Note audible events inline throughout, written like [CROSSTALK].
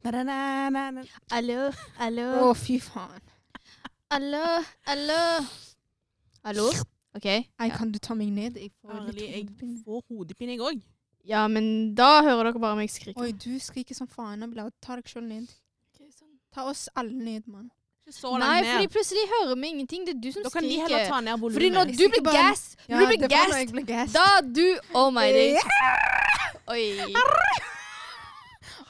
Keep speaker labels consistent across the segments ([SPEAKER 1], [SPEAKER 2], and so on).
[SPEAKER 1] Å,
[SPEAKER 2] Hallo, hallo,
[SPEAKER 1] fy faen.
[SPEAKER 2] hallo, hallo. Hallo? OK.
[SPEAKER 1] Nei,
[SPEAKER 2] Ja.
[SPEAKER 1] kan du ta meg ned? Jeg får
[SPEAKER 3] Ærlig,
[SPEAKER 1] litt
[SPEAKER 3] jeg
[SPEAKER 1] hodepine.
[SPEAKER 3] får hodepine, jeg òg.
[SPEAKER 2] ja, men da hører dere bare meg skrike.
[SPEAKER 1] Oi, du skriker som faen, Abla. Ta deg sjøl ned. Ta oss alle ned, mann.
[SPEAKER 3] Ikke så
[SPEAKER 2] Nei,
[SPEAKER 3] langt
[SPEAKER 2] fordi
[SPEAKER 3] ned.
[SPEAKER 2] plutselig hører vi ingenting. Det er du som
[SPEAKER 3] Da kan de heller
[SPEAKER 2] skriker.
[SPEAKER 3] ta ned
[SPEAKER 2] Fordi når
[SPEAKER 3] volumet.
[SPEAKER 1] Jeg
[SPEAKER 2] du
[SPEAKER 1] skriker
[SPEAKER 2] blir
[SPEAKER 1] bare-
[SPEAKER 2] gassed, når du blir
[SPEAKER 1] det var når jeg
[SPEAKER 2] gassed,
[SPEAKER 1] ble gassed.
[SPEAKER 2] da du Oh my days. Oi.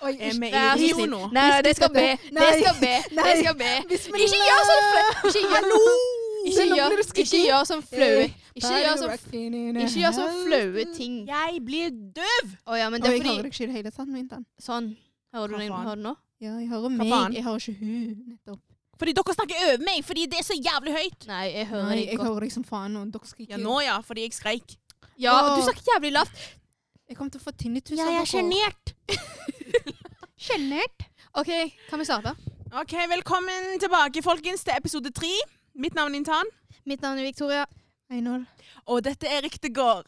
[SPEAKER 1] Oi,
[SPEAKER 3] Er sånn- vi
[SPEAKER 2] Vær så
[SPEAKER 3] i Rio
[SPEAKER 2] snill.
[SPEAKER 3] nå?
[SPEAKER 2] Nei, nei, det skal be. Det
[SPEAKER 1] Nei.
[SPEAKER 2] skal be. Det
[SPEAKER 1] Nei.
[SPEAKER 2] skal be.
[SPEAKER 1] Bismillah.
[SPEAKER 2] Ikke gjør sånn flau. Ikke gjør
[SPEAKER 1] Hallo!
[SPEAKER 2] Ikke
[SPEAKER 1] Nå blir
[SPEAKER 2] gjør
[SPEAKER 1] du
[SPEAKER 2] ikke
[SPEAKER 1] skriking.
[SPEAKER 2] gjør sånn flaue. Ikke
[SPEAKER 1] Bare
[SPEAKER 2] gjør sånn
[SPEAKER 1] rock in in a
[SPEAKER 2] ikke gjør sånn
[SPEAKER 1] house.
[SPEAKER 2] flaue ting.
[SPEAKER 3] Jeg blir døv!
[SPEAKER 2] Å ja, men
[SPEAKER 1] Og
[SPEAKER 2] det er
[SPEAKER 1] jeg hører
[SPEAKER 2] fordi
[SPEAKER 1] deg ikke i det hele tatt, Vintan.
[SPEAKER 2] Sånn. Hører du
[SPEAKER 3] Hva
[SPEAKER 2] den
[SPEAKER 3] faen?
[SPEAKER 2] hører du nå?
[SPEAKER 1] Ja, jeg hører
[SPEAKER 3] faen?
[SPEAKER 1] meg. Jeg hører ikke hun, nettopp.
[SPEAKER 3] Fordi dere snakker over meg fordi det er så jævlig høyt.
[SPEAKER 2] Nei, jeg hører
[SPEAKER 1] Nei,
[SPEAKER 2] deg
[SPEAKER 1] jeg
[SPEAKER 2] godt.
[SPEAKER 1] hører deg som faen, og dere skriker.
[SPEAKER 3] Ja, nå ja, fordi jeg skreik.
[SPEAKER 2] Ja, du
[SPEAKER 1] Åh.
[SPEAKER 2] snakker jævlig lavt.
[SPEAKER 1] Jeg kommer til å få tinnitus.
[SPEAKER 3] Jeg er sjenert.
[SPEAKER 2] Sjenert. OK, kan vi starte?
[SPEAKER 3] OK, velkommen tilbake, folkens, til episode tre. Mitt navn er Intan,
[SPEAKER 2] Mitt navn er Victoria.
[SPEAKER 1] Einol.
[SPEAKER 3] og dette er Riktegård.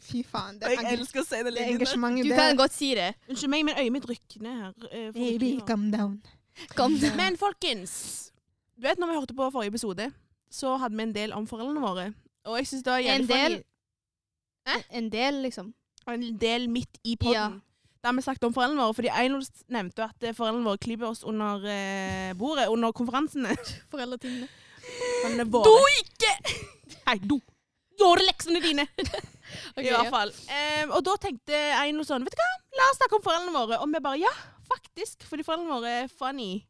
[SPEAKER 1] Fy faen, det
[SPEAKER 3] Og jeg
[SPEAKER 1] er, engel-
[SPEAKER 3] elsker å si det
[SPEAKER 1] det er
[SPEAKER 3] lignende.
[SPEAKER 2] Du
[SPEAKER 1] engasjementet
[SPEAKER 2] kan godt si det.
[SPEAKER 3] Unnskyld meg, men øyet mitt rykner her. eh, for
[SPEAKER 1] Baby,
[SPEAKER 3] rykninger.
[SPEAKER 1] calm down.
[SPEAKER 2] Kom. [LAUGHS]
[SPEAKER 3] Men folkens, du vet når vi hørte på forrige episode, så hadde vi en del om foreldrene våre. Og jeg synes det var
[SPEAKER 2] En
[SPEAKER 3] jævlig
[SPEAKER 2] del?
[SPEAKER 3] funny.
[SPEAKER 2] En del, liksom.
[SPEAKER 3] og en del midt i podden.
[SPEAKER 2] Ja.
[SPEAKER 3] Der vi snakket om foreldrene våre, fordi Einol s- nevnte at eh, foreldrene våre klipper oss under eh, bordet, under
[SPEAKER 2] [LAUGHS]
[SPEAKER 3] konferansene.
[SPEAKER 2] Foreldretingene.
[SPEAKER 3] Foreldrene våre.
[SPEAKER 2] Do
[SPEAKER 3] ikke! [LAUGHS] Nei, do. Gjør leksene dine!
[SPEAKER 2] [LAUGHS] Ok,
[SPEAKER 3] I hvert
[SPEAKER 2] ja.
[SPEAKER 3] fall. Eh, og da tenkte Einol sånn, vet du hva, la oss snakke om foreldrene våre. Og vi bare, ja, faktisk, fordi foreldrene våre er funny.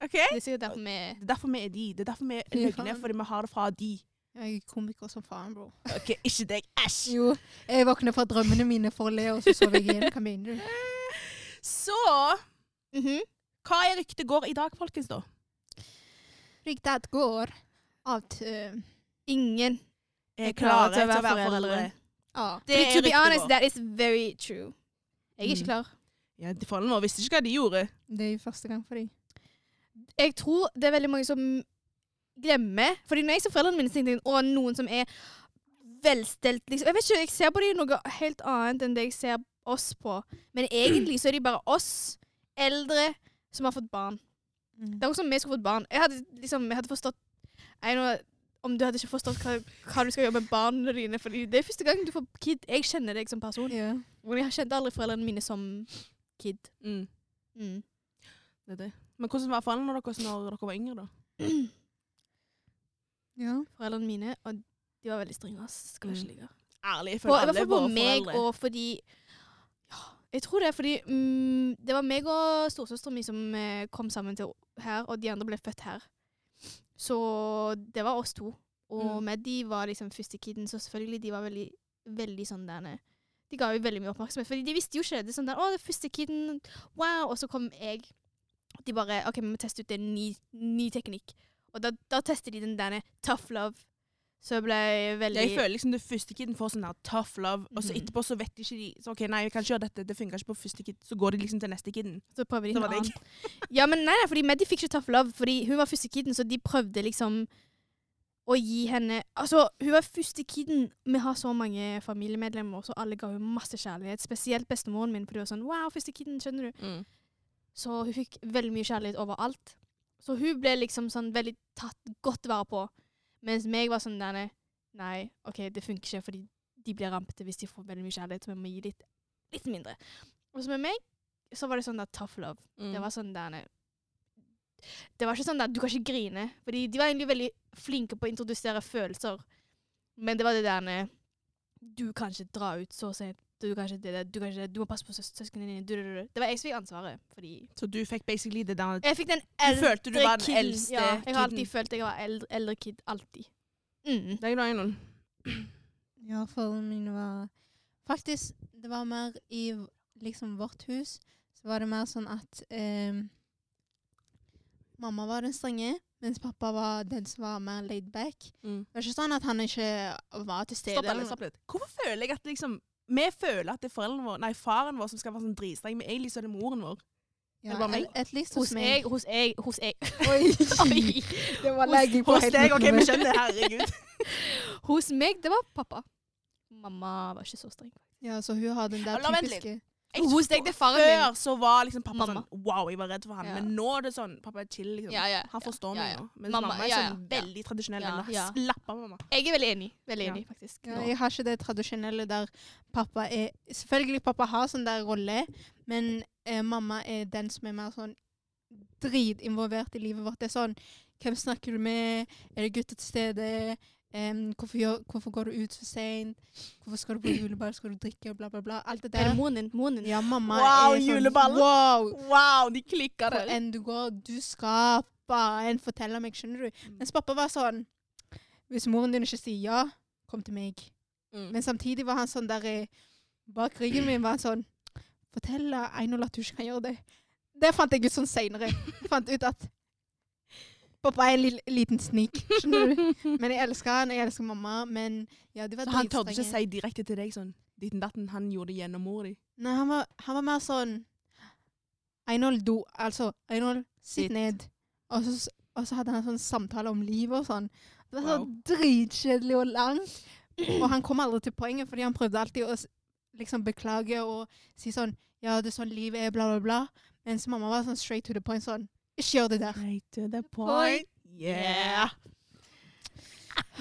[SPEAKER 3] Ok?
[SPEAKER 2] Det er sikkert derfor vi
[SPEAKER 3] Det er derfor vi er de. Det er derfor vi er
[SPEAKER 1] Fy
[SPEAKER 3] løgne,
[SPEAKER 1] faen.
[SPEAKER 3] fordi vi har det fra de.
[SPEAKER 1] Jeg er komiker som faen, bro.
[SPEAKER 3] Ok, ikke deg. Æsj!
[SPEAKER 1] Jo, jeg våkner fra drømmene mine for å le, og så sover jeg igjen. Hva mener du?
[SPEAKER 3] Så,
[SPEAKER 2] Mhm.
[SPEAKER 3] hva er ryktet går i dag, folkens, da?
[SPEAKER 1] Ryktet går at eh,
[SPEAKER 2] øh, Ingen
[SPEAKER 3] Jeg
[SPEAKER 2] klarer til å være foreldre.
[SPEAKER 1] Ja.
[SPEAKER 3] Det
[SPEAKER 2] Fordi,
[SPEAKER 3] er
[SPEAKER 2] to be
[SPEAKER 3] riktig
[SPEAKER 2] honest,
[SPEAKER 3] bra.
[SPEAKER 2] that is very true. Jeg er ikke
[SPEAKER 3] Mm.
[SPEAKER 2] klar.
[SPEAKER 3] Ja, de foreldrene våre visste ikke hva de gjorde.
[SPEAKER 1] Det er jo første gang for dem.
[SPEAKER 2] Jeg tror det er veldig mange som glemmer. Fordi når jeg ser foreldrene mine, så tenkte jeg «Å, noen som er velstelt. Liksom. Jeg vet ikke, jeg ser på dem noe helt annet enn det jeg ser oss på. Men egentlig så er de bare oss eldre som har fått barn. Det er også om vi skulle fått barn. Jeg hadde, liksom, jeg hadde forstått jeg nå, Om du hadde ikke forstått hva, hva du skal gjøre med barna dine. Fordi det er første gang du får kid. Jeg kjenner deg som person.
[SPEAKER 1] Ja.
[SPEAKER 2] Men jeg kjente aldri foreldrene mine som kid.
[SPEAKER 3] Mm.
[SPEAKER 2] Mm.
[SPEAKER 3] Det er det. Men hvordan var foreldrene deres når dere var yngre, da?
[SPEAKER 1] ja.
[SPEAKER 2] Foreldrene mine, og de var veldig strenge. ass. Skal ikke ligge.
[SPEAKER 3] Ærlig, jeg
[SPEAKER 2] For, I
[SPEAKER 3] føler
[SPEAKER 2] hvert
[SPEAKER 3] alle
[SPEAKER 2] fall på
[SPEAKER 3] våre
[SPEAKER 2] meg
[SPEAKER 3] foreldre.
[SPEAKER 2] og fordi ja, Jeg tror det er fordi mm, det var meg og storesøsteren min som eh, kom sammen til her, og de andre ble født her. Så det var oss to. Og
[SPEAKER 3] Mm.
[SPEAKER 2] med de var liksom første kiden, så selvfølgelig de var veldig, veldig sånn der nede. De ga jo veldig mye oppmerksomhet, fordi de visste jo ikke det. det er sånn der, 'Å, det er første kiden. Wow.' Og så kom jeg. Og de bare 'OK, vi må teste ut en ny, ny teknikk'. Og da, da tester de den der tough love. Så jeg ble veldig
[SPEAKER 3] Jeg føler liksom det første kiden får sånn her tough love, og så
[SPEAKER 2] Mhm.
[SPEAKER 3] etterpå så vet ikke de så OK, nei, vi kan ikke gjøre dette, det funka ikke på første kid. Så går de liksom til neste kiden.
[SPEAKER 2] Så prøver de
[SPEAKER 3] Det
[SPEAKER 2] en
[SPEAKER 3] var deg.
[SPEAKER 2] annen. [LAUGHS] Ja, men nei, nei, fordi Meddi fikk ikke tough love, fordi hun var første kiden, så de prøvde liksom å gi henne Altså, hun var første kiden. Vi har så mange familiemedlemmer, så alle ga hun masse kjærlighet. Spesielt bestemoren min, for hun var sånn Wow, første kiden, skjønner du? Så hun fikk veldig mye kjærlighet overalt. Så hun ble liksom sånn veldig tatt godt vare på. Mens meg var sånn der Nei, OK, det funker ikke, fordi de blir rampete hvis de får veldig mye kjærlighet, så vi må gi litt, litt mindre. Og så med meg så var det sånn der tough love.
[SPEAKER 3] Mm.
[SPEAKER 2] Det var sånn der Det var ikke sånn der du kan ikke grine. Fordi de var egentlig veldig flinke på å introdusere følelser. Men det var det der Du kan ikke dra ut så sent. Du kan ikke det der. Du kan ikke det. Du må passe på søs- søsknene dine. Du, du, du, du. Det var jeg som fikk ansvaret. Fordi
[SPEAKER 3] Så du fikk basically det der
[SPEAKER 2] Jeg fikk den
[SPEAKER 3] Du
[SPEAKER 2] eldre
[SPEAKER 3] følte du var den
[SPEAKER 2] kiden.
[SPEAKER 3] eldste
[SPEAKER 2] Ja, jeg har alltid
[SPEAKER 3] kiden.
[SPEAKER 2] følt jeg var eldre, eldre kid. Alltid. Mm.
[SPEAKER 3] Deg da, Einol.
[SPEAKER 1] Ja, foreldrene mine var Faktisk, det var mer i v- liksom vårt hus, så var det mer sånn at ehm, Mamma var den strenge, mens pappa var den som var mer laid back.
[SPEAKER 3] Mm.
[SPEAKER 1] Det var ikke sånn at han ikke var til stede.
[SPEAKER 3] Stopp
[SPEAKER 1] eller
[SPEAKER 3] litt,
[SPEAKER 1] noe.
[SPEAKER 3] stopp litt. Hvorfor føler jeg at liksom vi føler at det er foreldrene våre, nei, faren vår som skal være sånn dritstreng, men egentlig så er det moren vår.
[SPEAKER 1] sånn. Ja,
[SPEAKER 3] Er det bare meg?
[SPEAKER 1] at- at least hos
[SPEAKER 2] Hos jeg,
[SPEAKER 1] meg.
[SPEAKER 2] hos jeg, hos jeg.
[SPEAKER 1] Oi,
[SPEAKER 2] Oi.
[SPEAKER 1] [LAUGHS] det var
[SPEAKER 2] Hos-
[SPEAKER 1] legging på
[SPEAKER 3] Hos deg, OK, vi
[SPEAKER 1] men
[SPEAKER 3] skjønner, herregud.
[SPEAKER 2] Hos meg, det var pappa. Mamma var ikke så streng, faktisk.
[SPEAKER 1] Ja, så hun har den der
[SPEAKER 3] Eller vent litt.
[SPEAKER 1] typiske
[SPEAKER 3] Jeg
[SPEAKER 2] Hun
[SPEAKER 3] tror
[SPEAKER 2] stekte faren min.
[SPEAKER 3] Før så var liksom pappa
[SPEAKER 2] Mamma.
[SPEAKER 3] sånn Wow, jeg var redd for han.
[SPEAKER 2] Ja.
[SPEAKER 3] Men nå er det sånn Pappa er chill, liksom.
[SPEAKER 2] Ja, ja.
[SPEAKER 3] Han forstår
[SPEAKER 2] ja,
[SPEAKER 3] meg
[SPEAKER 2] ja.
[SPEAKER 3] nå. Mens
[SPEAKER 2] Mamma-
[SPEAKER 3] mamma, er
[SPEAKER 2] ja, ja.
[SPEAKER 3] sånn veldig tradisjonell.
[SPEAKER 2] Ja,
[SPEAKER 3] Ja.
[SPEAKER 2] ja.
[SPEAKER 3] Slapp av, mamma.
[SPEAKER 2] Jeg er veldig enig. Veldig
[SPEAKER 3] Ja.
[SPEAKER 2] enig, faktisk.
[SPEAKER 1] ja,
[SPEAKER 2] nå.
[SPEAKER 1] Jeg har ikke det tradisjonelle der pappa er Selvfølgelig pappa har sånn der rolle, men eh, mamma er den som er mer sånn dritinvolvert i livet vårt. Det er sånn Hvem snakker du med? Er det gutter til stede? Em, hvorfor, gjør, hvorfor går du ut så seint? Hvorfor skal du på juleball? Skal du drikke? Bla, bla, bla. Alt det
[SPEAKER 2] Er
[SPEAKER 1] der.
[SPEAKER 2] det moren din? Moren din?
[SPEAKER 1] Ja, mamma
[SPEAKER 3] Wow,
[SPEAKER 1] er sånn
[SPEAKER 3] juleball.
[SPEAKER 1] Wow!
[SPEAKER 3] Wow, de klikker
[SPEAKER 1] Hvor
[SPEAKER 3] der.
[SPEAKER 1] enn du går, du skal bare fortelle meg, skjønner du? Mens pappa var sånn Hvis moren din ikke sier ja, kom til meg.
[SPEAKER 3] Mm.
[SPEAKER 1] Men samtidig var han sånn der eh, Bak ryggen min var han sånn Fortell eh, Einol at du ikke kan gjøre det. Det fant jeg ut sånn seinere. Fant ut at pappa er en lille, liten snik. Skjønner du? Men jeg elsker han, jeg elsker mamma, men ja, de var
[SPEAKER 3] Så han tørde ikke
[SPEAKER 1] dritstrenge.
[SPEAKER 3] si direkte til deg sånn Ditten datten, han gjorde det gjennom mor di.
[SPEAKER 1] Nei, han var, han var mer sånn Einol, do, altså, Einol, sitt
[SPEAKER 3] Sitt.
[SPEAKER 1] ned. Og så, s- og så hadde han sånn samtale om livet og sånn. Det var så
[SPEAKER 3] Wow.
[SPEAKER 1] dritkjedelig og
[SPEAKER 3] [CLEARS THROAT]
[SPEAKER 1] langt. Og han kom aldri til poenget, fordi han prøvde alltid å s- liksom beklage og si sånn Ja, det er sånn livet er, bla, bla, bla. Mens mamma var sånn straight to the point sånn Ikke gjør det der.
[SPEAKER 3] Right to the
[SPEAKER 1] point.
[SPEAKER 3] Yeah.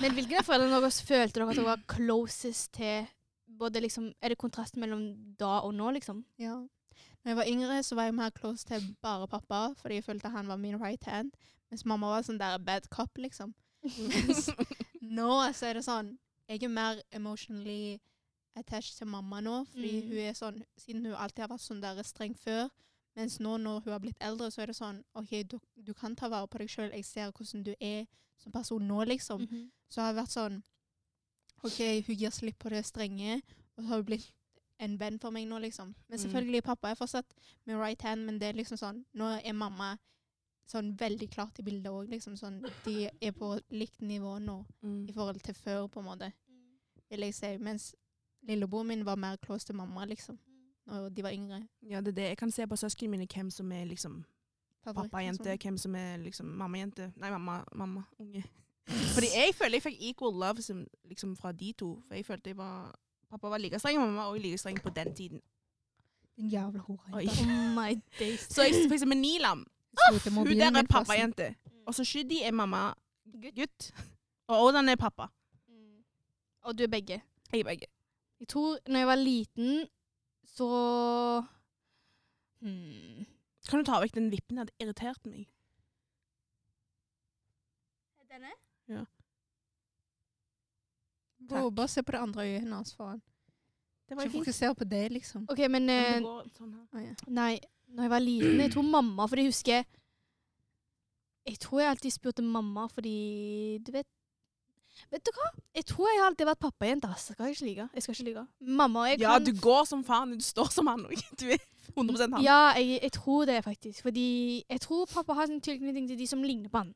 [SPEAKER 2] Men hvilken av foreldrene deres følte dere at dere var closest til både liksom, Er det kontrasten mellom da og nå, liksom?
[SPEAKER 1] Ja. Når jeg var yngre, så var jeg mer close til bare pappa, fordi jeg følte han var min right hand. Mens mamma var sånn der bad cop, liksom. Mens nå så er det sånn Jeg er mer emotionally attached til mamma nå, fordi
[SPEAKER 2] Mm.
[SPEAKER 1] hun er sånn Siden hun alltid har vært sånn der streng før, mens nå når hun har blitt eldre, så er det sånn OK, du, du kan ta vare på deg sjøl. Jeg ser hvordan du er som person nå, liksom.
[SPEAKER 3] Mm-hmm.
[SPEAKER 2] Mhm.
[SPEAKER 1] Så har jeg vært sånn OK, hun gir slipp på det strenge, og så har hun blitt en venn for meg nå, liksom. Men
[SPEAKER 3] Mm.
[SPEAKER 1] selvfølgelig, pappa er fortsatt min right hand, men det er liksom sånn Nå er mamma sånn veldig klart i bildet òg, liksom. Sånn de er på likt nivå nå
[SPEAKER 3] Mm.
[SPEAKER 1] i forhold til før, på en måte, vil jeg si. Mens lillebroren min var mer close til mamma, liksom. Når de var yngre.
[SPEAKER 3] Ja, det er det. Jeg kan se på søsknene mine hvem som er liksom
[SPEAKER 1] Favoritt,
[SPEAKER 2] sånn.
[SPEAKER 3] pappajente,
[SPEAKER 1] liksom.
[SPEAKER 3] hvem som er liksom mammajente. Nei, mamma, mamma, unge. Fordi jeg føler jeg fikk equal love som, liksom fra de to. For jeg følte jeg var Pappa var like streng, og mamma var også like streng på den tiden.
[SPEAKER 1] Din jævla hore.
[SPEAKER 3] Oi.
[SPEAKER 1] jente.
[SPEAKER 2] Oh my days.
[SPEAKER 3] Så jeg, for eksempel Nilam.
[SPEAKER 1] Skru til
[SPEAKER 3] Hun
[SPEAKER 1] mobilen
[SPEAKER 3] der
[SPEAKER 1] din,
[SPEAKER 3] er
[SPEAKER 1] forresten.
[SPEAKER 3] pappajente.
[SPEAKER 2] Mm.
[SPEAKER 3] Og så Shudi er mamma gutt. Og Odan er pappa.
[SPEAKER 2] Mm. Og du er begge.
[SPEAKER 3] Jeg er begge.
[SPEAKER 2] Jeg tror når jeg var liten, så hmm.
[SPEAKER 3] Kan du ta vekk den vippen? Det hadde irritert meg.
[SPEAKER 2] Denne?
[SPEAKER 1] Bro, bare se på det andre øyet hennes, faen.
[SPEAKER 3] Det var
[SPEAKER 1] Ikke
[SPEAKER 3] jo fint.
[SPEAKER 1] fokusere på det, liksom.
[SPEAKER 2] OK, men
[SPEAKER 3] Men
[SPEAKER 2] eh,
[SPEAKER 3] det går sånn her.
[SPEAKER 1] Å, ja.
[SPEAKER 2] Nei, når jeg var liten, jeg tror mamma, fordi jeg husker Jeg tror jeg alltid spurte mamma fordi Du vet Vet du hva? Jeg tror jeg har alltid vært pappajente. ass. Jeg skal ikke lyve. Jeg skal ikke lyve. Mamma og jeg
[SPEAKER 3] Ja,
[SPEAKER 2] kan
[SPEAKER 3] du går som faren, du står som han òg. Du er 100 han.
[SPEAKER 2] Ja, jeg, jeg tror det, faktisk. Fordi jeg tror pappa har en tilknytning til de som ligner på han.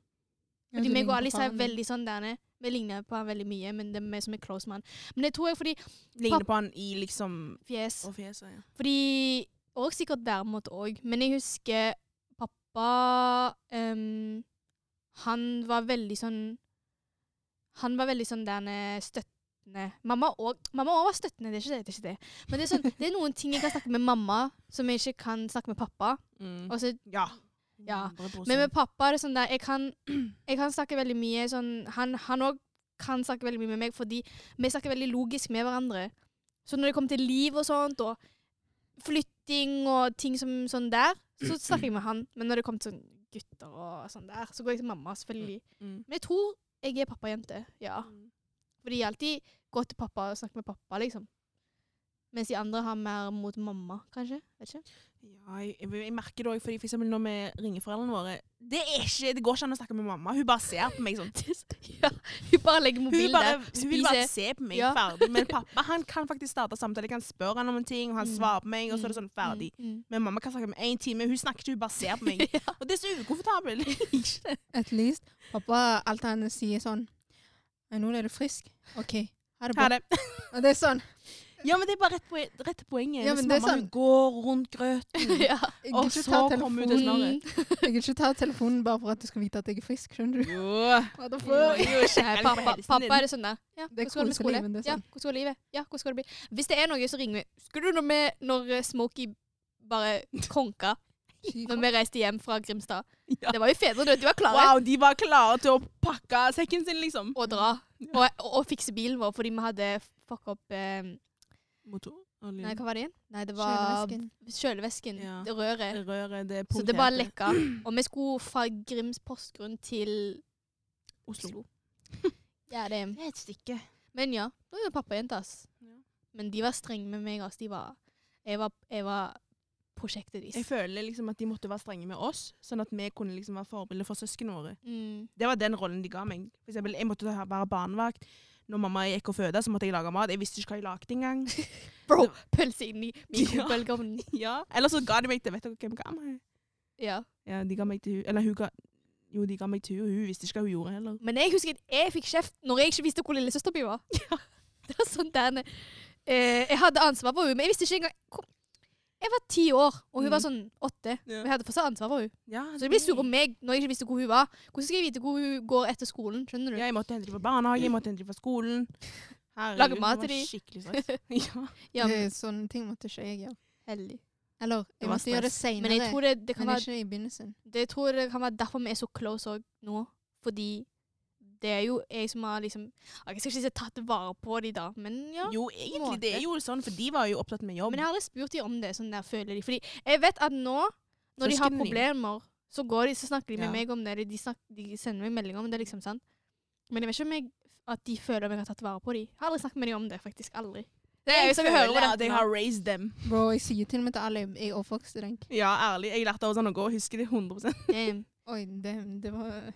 [SPEAKER 2] Fordi meg og Alice er veldig sånn der nede. Vi ligner på han veldig mye, men det er vi som er close med han. Men jeg tror jeg fordi
[SPEAKER 3] Ligner på han i liksom
[SPEAKER 2] Fjes.
[SPEAKER 3] Og fjeset, ja.
[SPEAKER 2] Fordi Og sikkert væremåte òg. Men jeg husker pappa ehm, Han var veldig sånn Han var veldig sånn der eh, støttende. Mamma òg mamma også var støttende, det er ikke det. det, er ikke det. Men det er, sånn, det er noen ting jeg kan snakke med mamma, som jeg ikke kan snakke med pappa.
[SPEAKER 3] Mm.
[SPEAKER 2] Og så
[SPEAKER 3] Ja.
[SPEAKER 2] Ja.
[SPEAKER 3] 100%.
[SPEAKER 2] men med pappa er det sånn der Jeg kan, [CLEARS THROAT] jeg kan snakke veldig mye sånn Han han òg kan snakke veldig mye med meg, fordi vi snakker veldig logisk med hverandre. Så når det kommer til liv og sånt, og flytting og ting som sånn der,
[SPEAKER 3] [CLEARS THROAT]
[SPEAKER 2] så snakker jeg med han. Men når det kommer til sånn gutter og sånn der, så går jeg til mamma, selvfølgelig.
[SPEAKER 3] Mm.
[SPEAKER 2] Men jeg tror jeg er pappajente, ja. Fordi jeg alltid går til pappa og snakker med pappa, liksom. Mens de andre har mer mot mamma, kanskje. Vet ikke.
[SPEAKER 3] Ja, jeg, jeg, jeg merker det òg, fordi for eksempel når vi ringer foreldrene våre Det er ikke, det går ikke an å snakke med mamma. Hun bare ser på meg sånn.
[SPEAKER 2] [LAUGHS] ja, hun bare legger
[SPEAKER 3] Hun,
[SPEAKER 2] mobilen
[SPEAKER 3] bare,
[SPEAKER 2] der.
[SPEAKER 3] hun vil bare
[SPEAKER 2] spiser.
[SPEAKER 3] se på meg
[SPEAKER 2] Ja.
[SPEAKER 3] ferdig. Men pappa han kan faktisk starte samtale. Jeg kan spørre han om en ting, og han
[SPEAKER 2] Mm.
[SPEAKER 3] svarer på meg, og så er det
[SPEAKER 2] Mm.
[SPEAKER 3] sånn ferdig.
[SPEAKER 2] Mm, mm.
[SPEAKER 3] Men mamma kan snakke om én time. Hun snakker ikke, hun bare ser på meg. Og det er så ukomfortabelt. Ikke det.
[SPEAKER 1] At least. Pappa, alt han sier sånn «Nei, Nå er du frisk. OK, ha det bra.
[SPEAKER 3] Ha det.
[SPEAKER 1] Og det er sånn
[SPEAKER 3] Ja, men det er bare rett, poe- rett til poenget.
[SPEAKER 1] Ja,
[SPEAKER 3] Hvis
[SPEAKER 1] men det er
[SPEAKER 3] mamma hun
[SPEAKER 1] sånn-
[SPEAKER 3] går rundt
[SPEAKER 1] [LAUGHS]
[SPEAKER 3] grøten,
[SPEAKER 2] ja.
[SPEAKER 1] Jeg
[SPEAKER 3] og
[SPEAKER 1] gidder ikke
[SPEAKER 3] så
[SPEAKER 1] ta
[SPEAKER 3] kommer hun til
[SPEAKER 1] telefonen.
[SPEAKER 3] snarret.
[SPEAKER 2] [LAUGHS]
[SPEAKER 1] Jeg gidder ikke ta telefonen bare for at du skal vite at jeg er frisk, skjønner du.
[SPEAKER 3] [LAUGHS] Jo.
[SPEAKER 1] What the
[SPEAKER 3] Jo,
[SPEAKER 1] fuck?
[SPEAKER 3] jo,
[SPEAKER 2] Nei,
[SPEAKER 3] sjekker
[SPEAKER 2] pappa,
[SPEAKER 3] helsen
[SPEAKER 2] pappa
[SPEAKER 3] din.
[SPEAKER 2] er det sånn der. Ja,
[SPEAKER 1] Det er
[SPEAKER 2] hvordan går det med skole?
[SPEAKER 1] koselivet, det er
[SPEAKER 2] Ja,
[SPEAKER 1] sånn.
[SPEAKER 2] hvordan går livet? Ja, hvordan går det bli? Hvis det er noe, så ringer vi. Skulle du noe med når eh, Smokey bare
[SPEAKER 1] [LAUGHS]
[SPEAKER 2] konka
[SPEAKER 1] Fy
[SPEAKER 2] når vi reiste hjem fra Grimstad?
[SPEAKER 3] Ja.
[SPEAKER 2] Det var jo fedredød. De var klare
[SPEAKER 3] Wow, de var klare til å pakke sekken sin, liksom.
[SPEAKER 2] å dra og, og, og fikse bilen vår fordi vi hadde fucka opp eh,
[SPEAKER 3] Mm. Motor,
[SPEAKER 2] Nei,
[SPEAKER 3] olje,
[SPEAKER 2] hva var det igjen? Nei, det var
[SPEAKER 1] Kjølevesken.
[SPEAKER 2] kjølevesken.
[SPEAKER 3] Ja.
[SPEAKER 2] Det røret.
[SPEAKER 3] røret, det
[SPEAKER 2] Så det bare
[SPEAKER 3] punkterte.
[SPEAKER 2] lekka.
[SPEAKER 3] [CLEARS THROAT]
[SPEAKER 2] Og vi skulle fra Grims postgrunn til
[SPEAKER 3] Oslo.
[SPEAKER 2] Oslo. Ja, det
[SPEAKER 3] Det er et stykke.
[SPEAKER 2] Men ja, nå er jo pappa og jenta, ass.
[SPEAKER 3] Ja.
[SPEAKER 2] Men de var strenge med meg, ass. De var Jeg var, jeg var prosjektet
[SPEAKER 3] Jeg
[SPEAKER 2] deres.
[SPEAKER 3] føler liksom at de måtte være strenge med oss, sånn at vi kunne liksom være forbilder for søsknene våre.
[SPEAKER 2] Mm.
[SPEAKER 3] Det var den rollen de ga meg. For eksempel, jeg måtte ta- være barnevakt. Når mamma gikk og fødte, så måtte jeg lage mat. Jeg visste ikke hva jeg lagde
[SPEAKER 2] [LAUGHS]
[SPEAKER 3] engang.
[SPEAKER 2] Bro, pølse inn i mikrobølgeovnen.
[SPEAKER 3] ja. Eller så ga de meg til Vet dere hvem ga meg?
[SPEAKER 2] Ja.
[SPEAKER 3] Ja, de ga meg til hun. Eller hun ga Jo, de ga meg til hun, og hun visste ikke hva hun gjorde heller.
[SPEAKER 2] Men jeg husker at jeg fikk kjeft når jeg ikke visste hvor lillesøster mi var. [LAUGHS] Det var sånn der eh, Jeg hadde ansvar for henne, men jeg visste ikke engang hvor- Jeg var ti år, og hun
[SPEAKER 3] Mm.
[SPEAKER 2] var sånn åtte.
[SPEAKER 3] Ja.
[SPEAKER 2] Og jeg hadde fortsatt ansvar for henne.
[SPEAKER 3] Ja,
[SPEAKER 2] Så de ble sure på meg når jeg ikke visste hvor hun var. Hvordan skal jeg vite hvor hun går etter skolen? Skjønner du?
[SPEAKER 3] Ja, jeg måtte hente dem fra barnehage, jeg måtte hente dem fra skolen. Herregud,
[SPEAKER 2] Lage mat
[SPEAKER 3] det var
[SPEAKER 2] til de.
[SPEAKER 3] Skikkelig stress. ja.
[SPEAKER 2] Ja,
[SPEAKER 1] Det er Sånne ting måtte ikke jeg gjøre.
[SPEAKER 2] heldig.
[SPEAKER 1] Eller,
[SPEAKER 3] Det
[SPEAKER 1] jeg
[SPEAKER 3] var
[SPEAKER 1] måtte gjøre det
[SPEAKER 2] Men jeg
[SPEAKER 1] senere.
[SPEAKER 2] tror det, det kan
[SPEAKER 1] Men
[SPEAKER 2] være
[SPEAKER 1] ikke i begynnelsen.
[SPEAKER 2] det, jeg tror det kan være derfor vi er så close òg nå. Fordi det er jo jeg som har liksom Jeg skal ikke si tatt vare på de da, men [LAUGHS] ja.
[SPEAKER 3] Jo, egentlig, det er jo sånn, for de var jo opptatt med jobb.
[SPEAKER 2] Men jeg har aldri spurt de om det. sånn der føler de. Fordi jeg vet at nå, når de
[SPEAKER 3] Søsknene
[SPEAKER 2] har
[SPEAKER 3] dine.
[SPEAKER 2] problemer, så går de, så snakker de med
[SPEAKER 3] Ja.
[SPEAKER 2] meg om det. eller De, snak, de sender meg meldinger om det, liksom. sant? Men jeg vet ikke om jeg, at de føler om jeg har tatt vare på de. Jeg har aldri snakket med de om det, faktisk. Aldri. Det er jo som vi hører på
[SPEAKER 3] føler at
[SPEAKER 2] dette
[SPEAKER 3] jeg
[SPEAKER 2] nå.
[SPEAKER 3] har raised dem.
[SPEAKER 1] Bro, jeg sier til og med til alle jeg er oppvokst i den.
[SPEAKER 3] Ja, ærlig. Jeg lærte av sånn å gå, husker det 100
[SPEAKER 2] Damn.
[SPEAKER 1] Oi, det, det var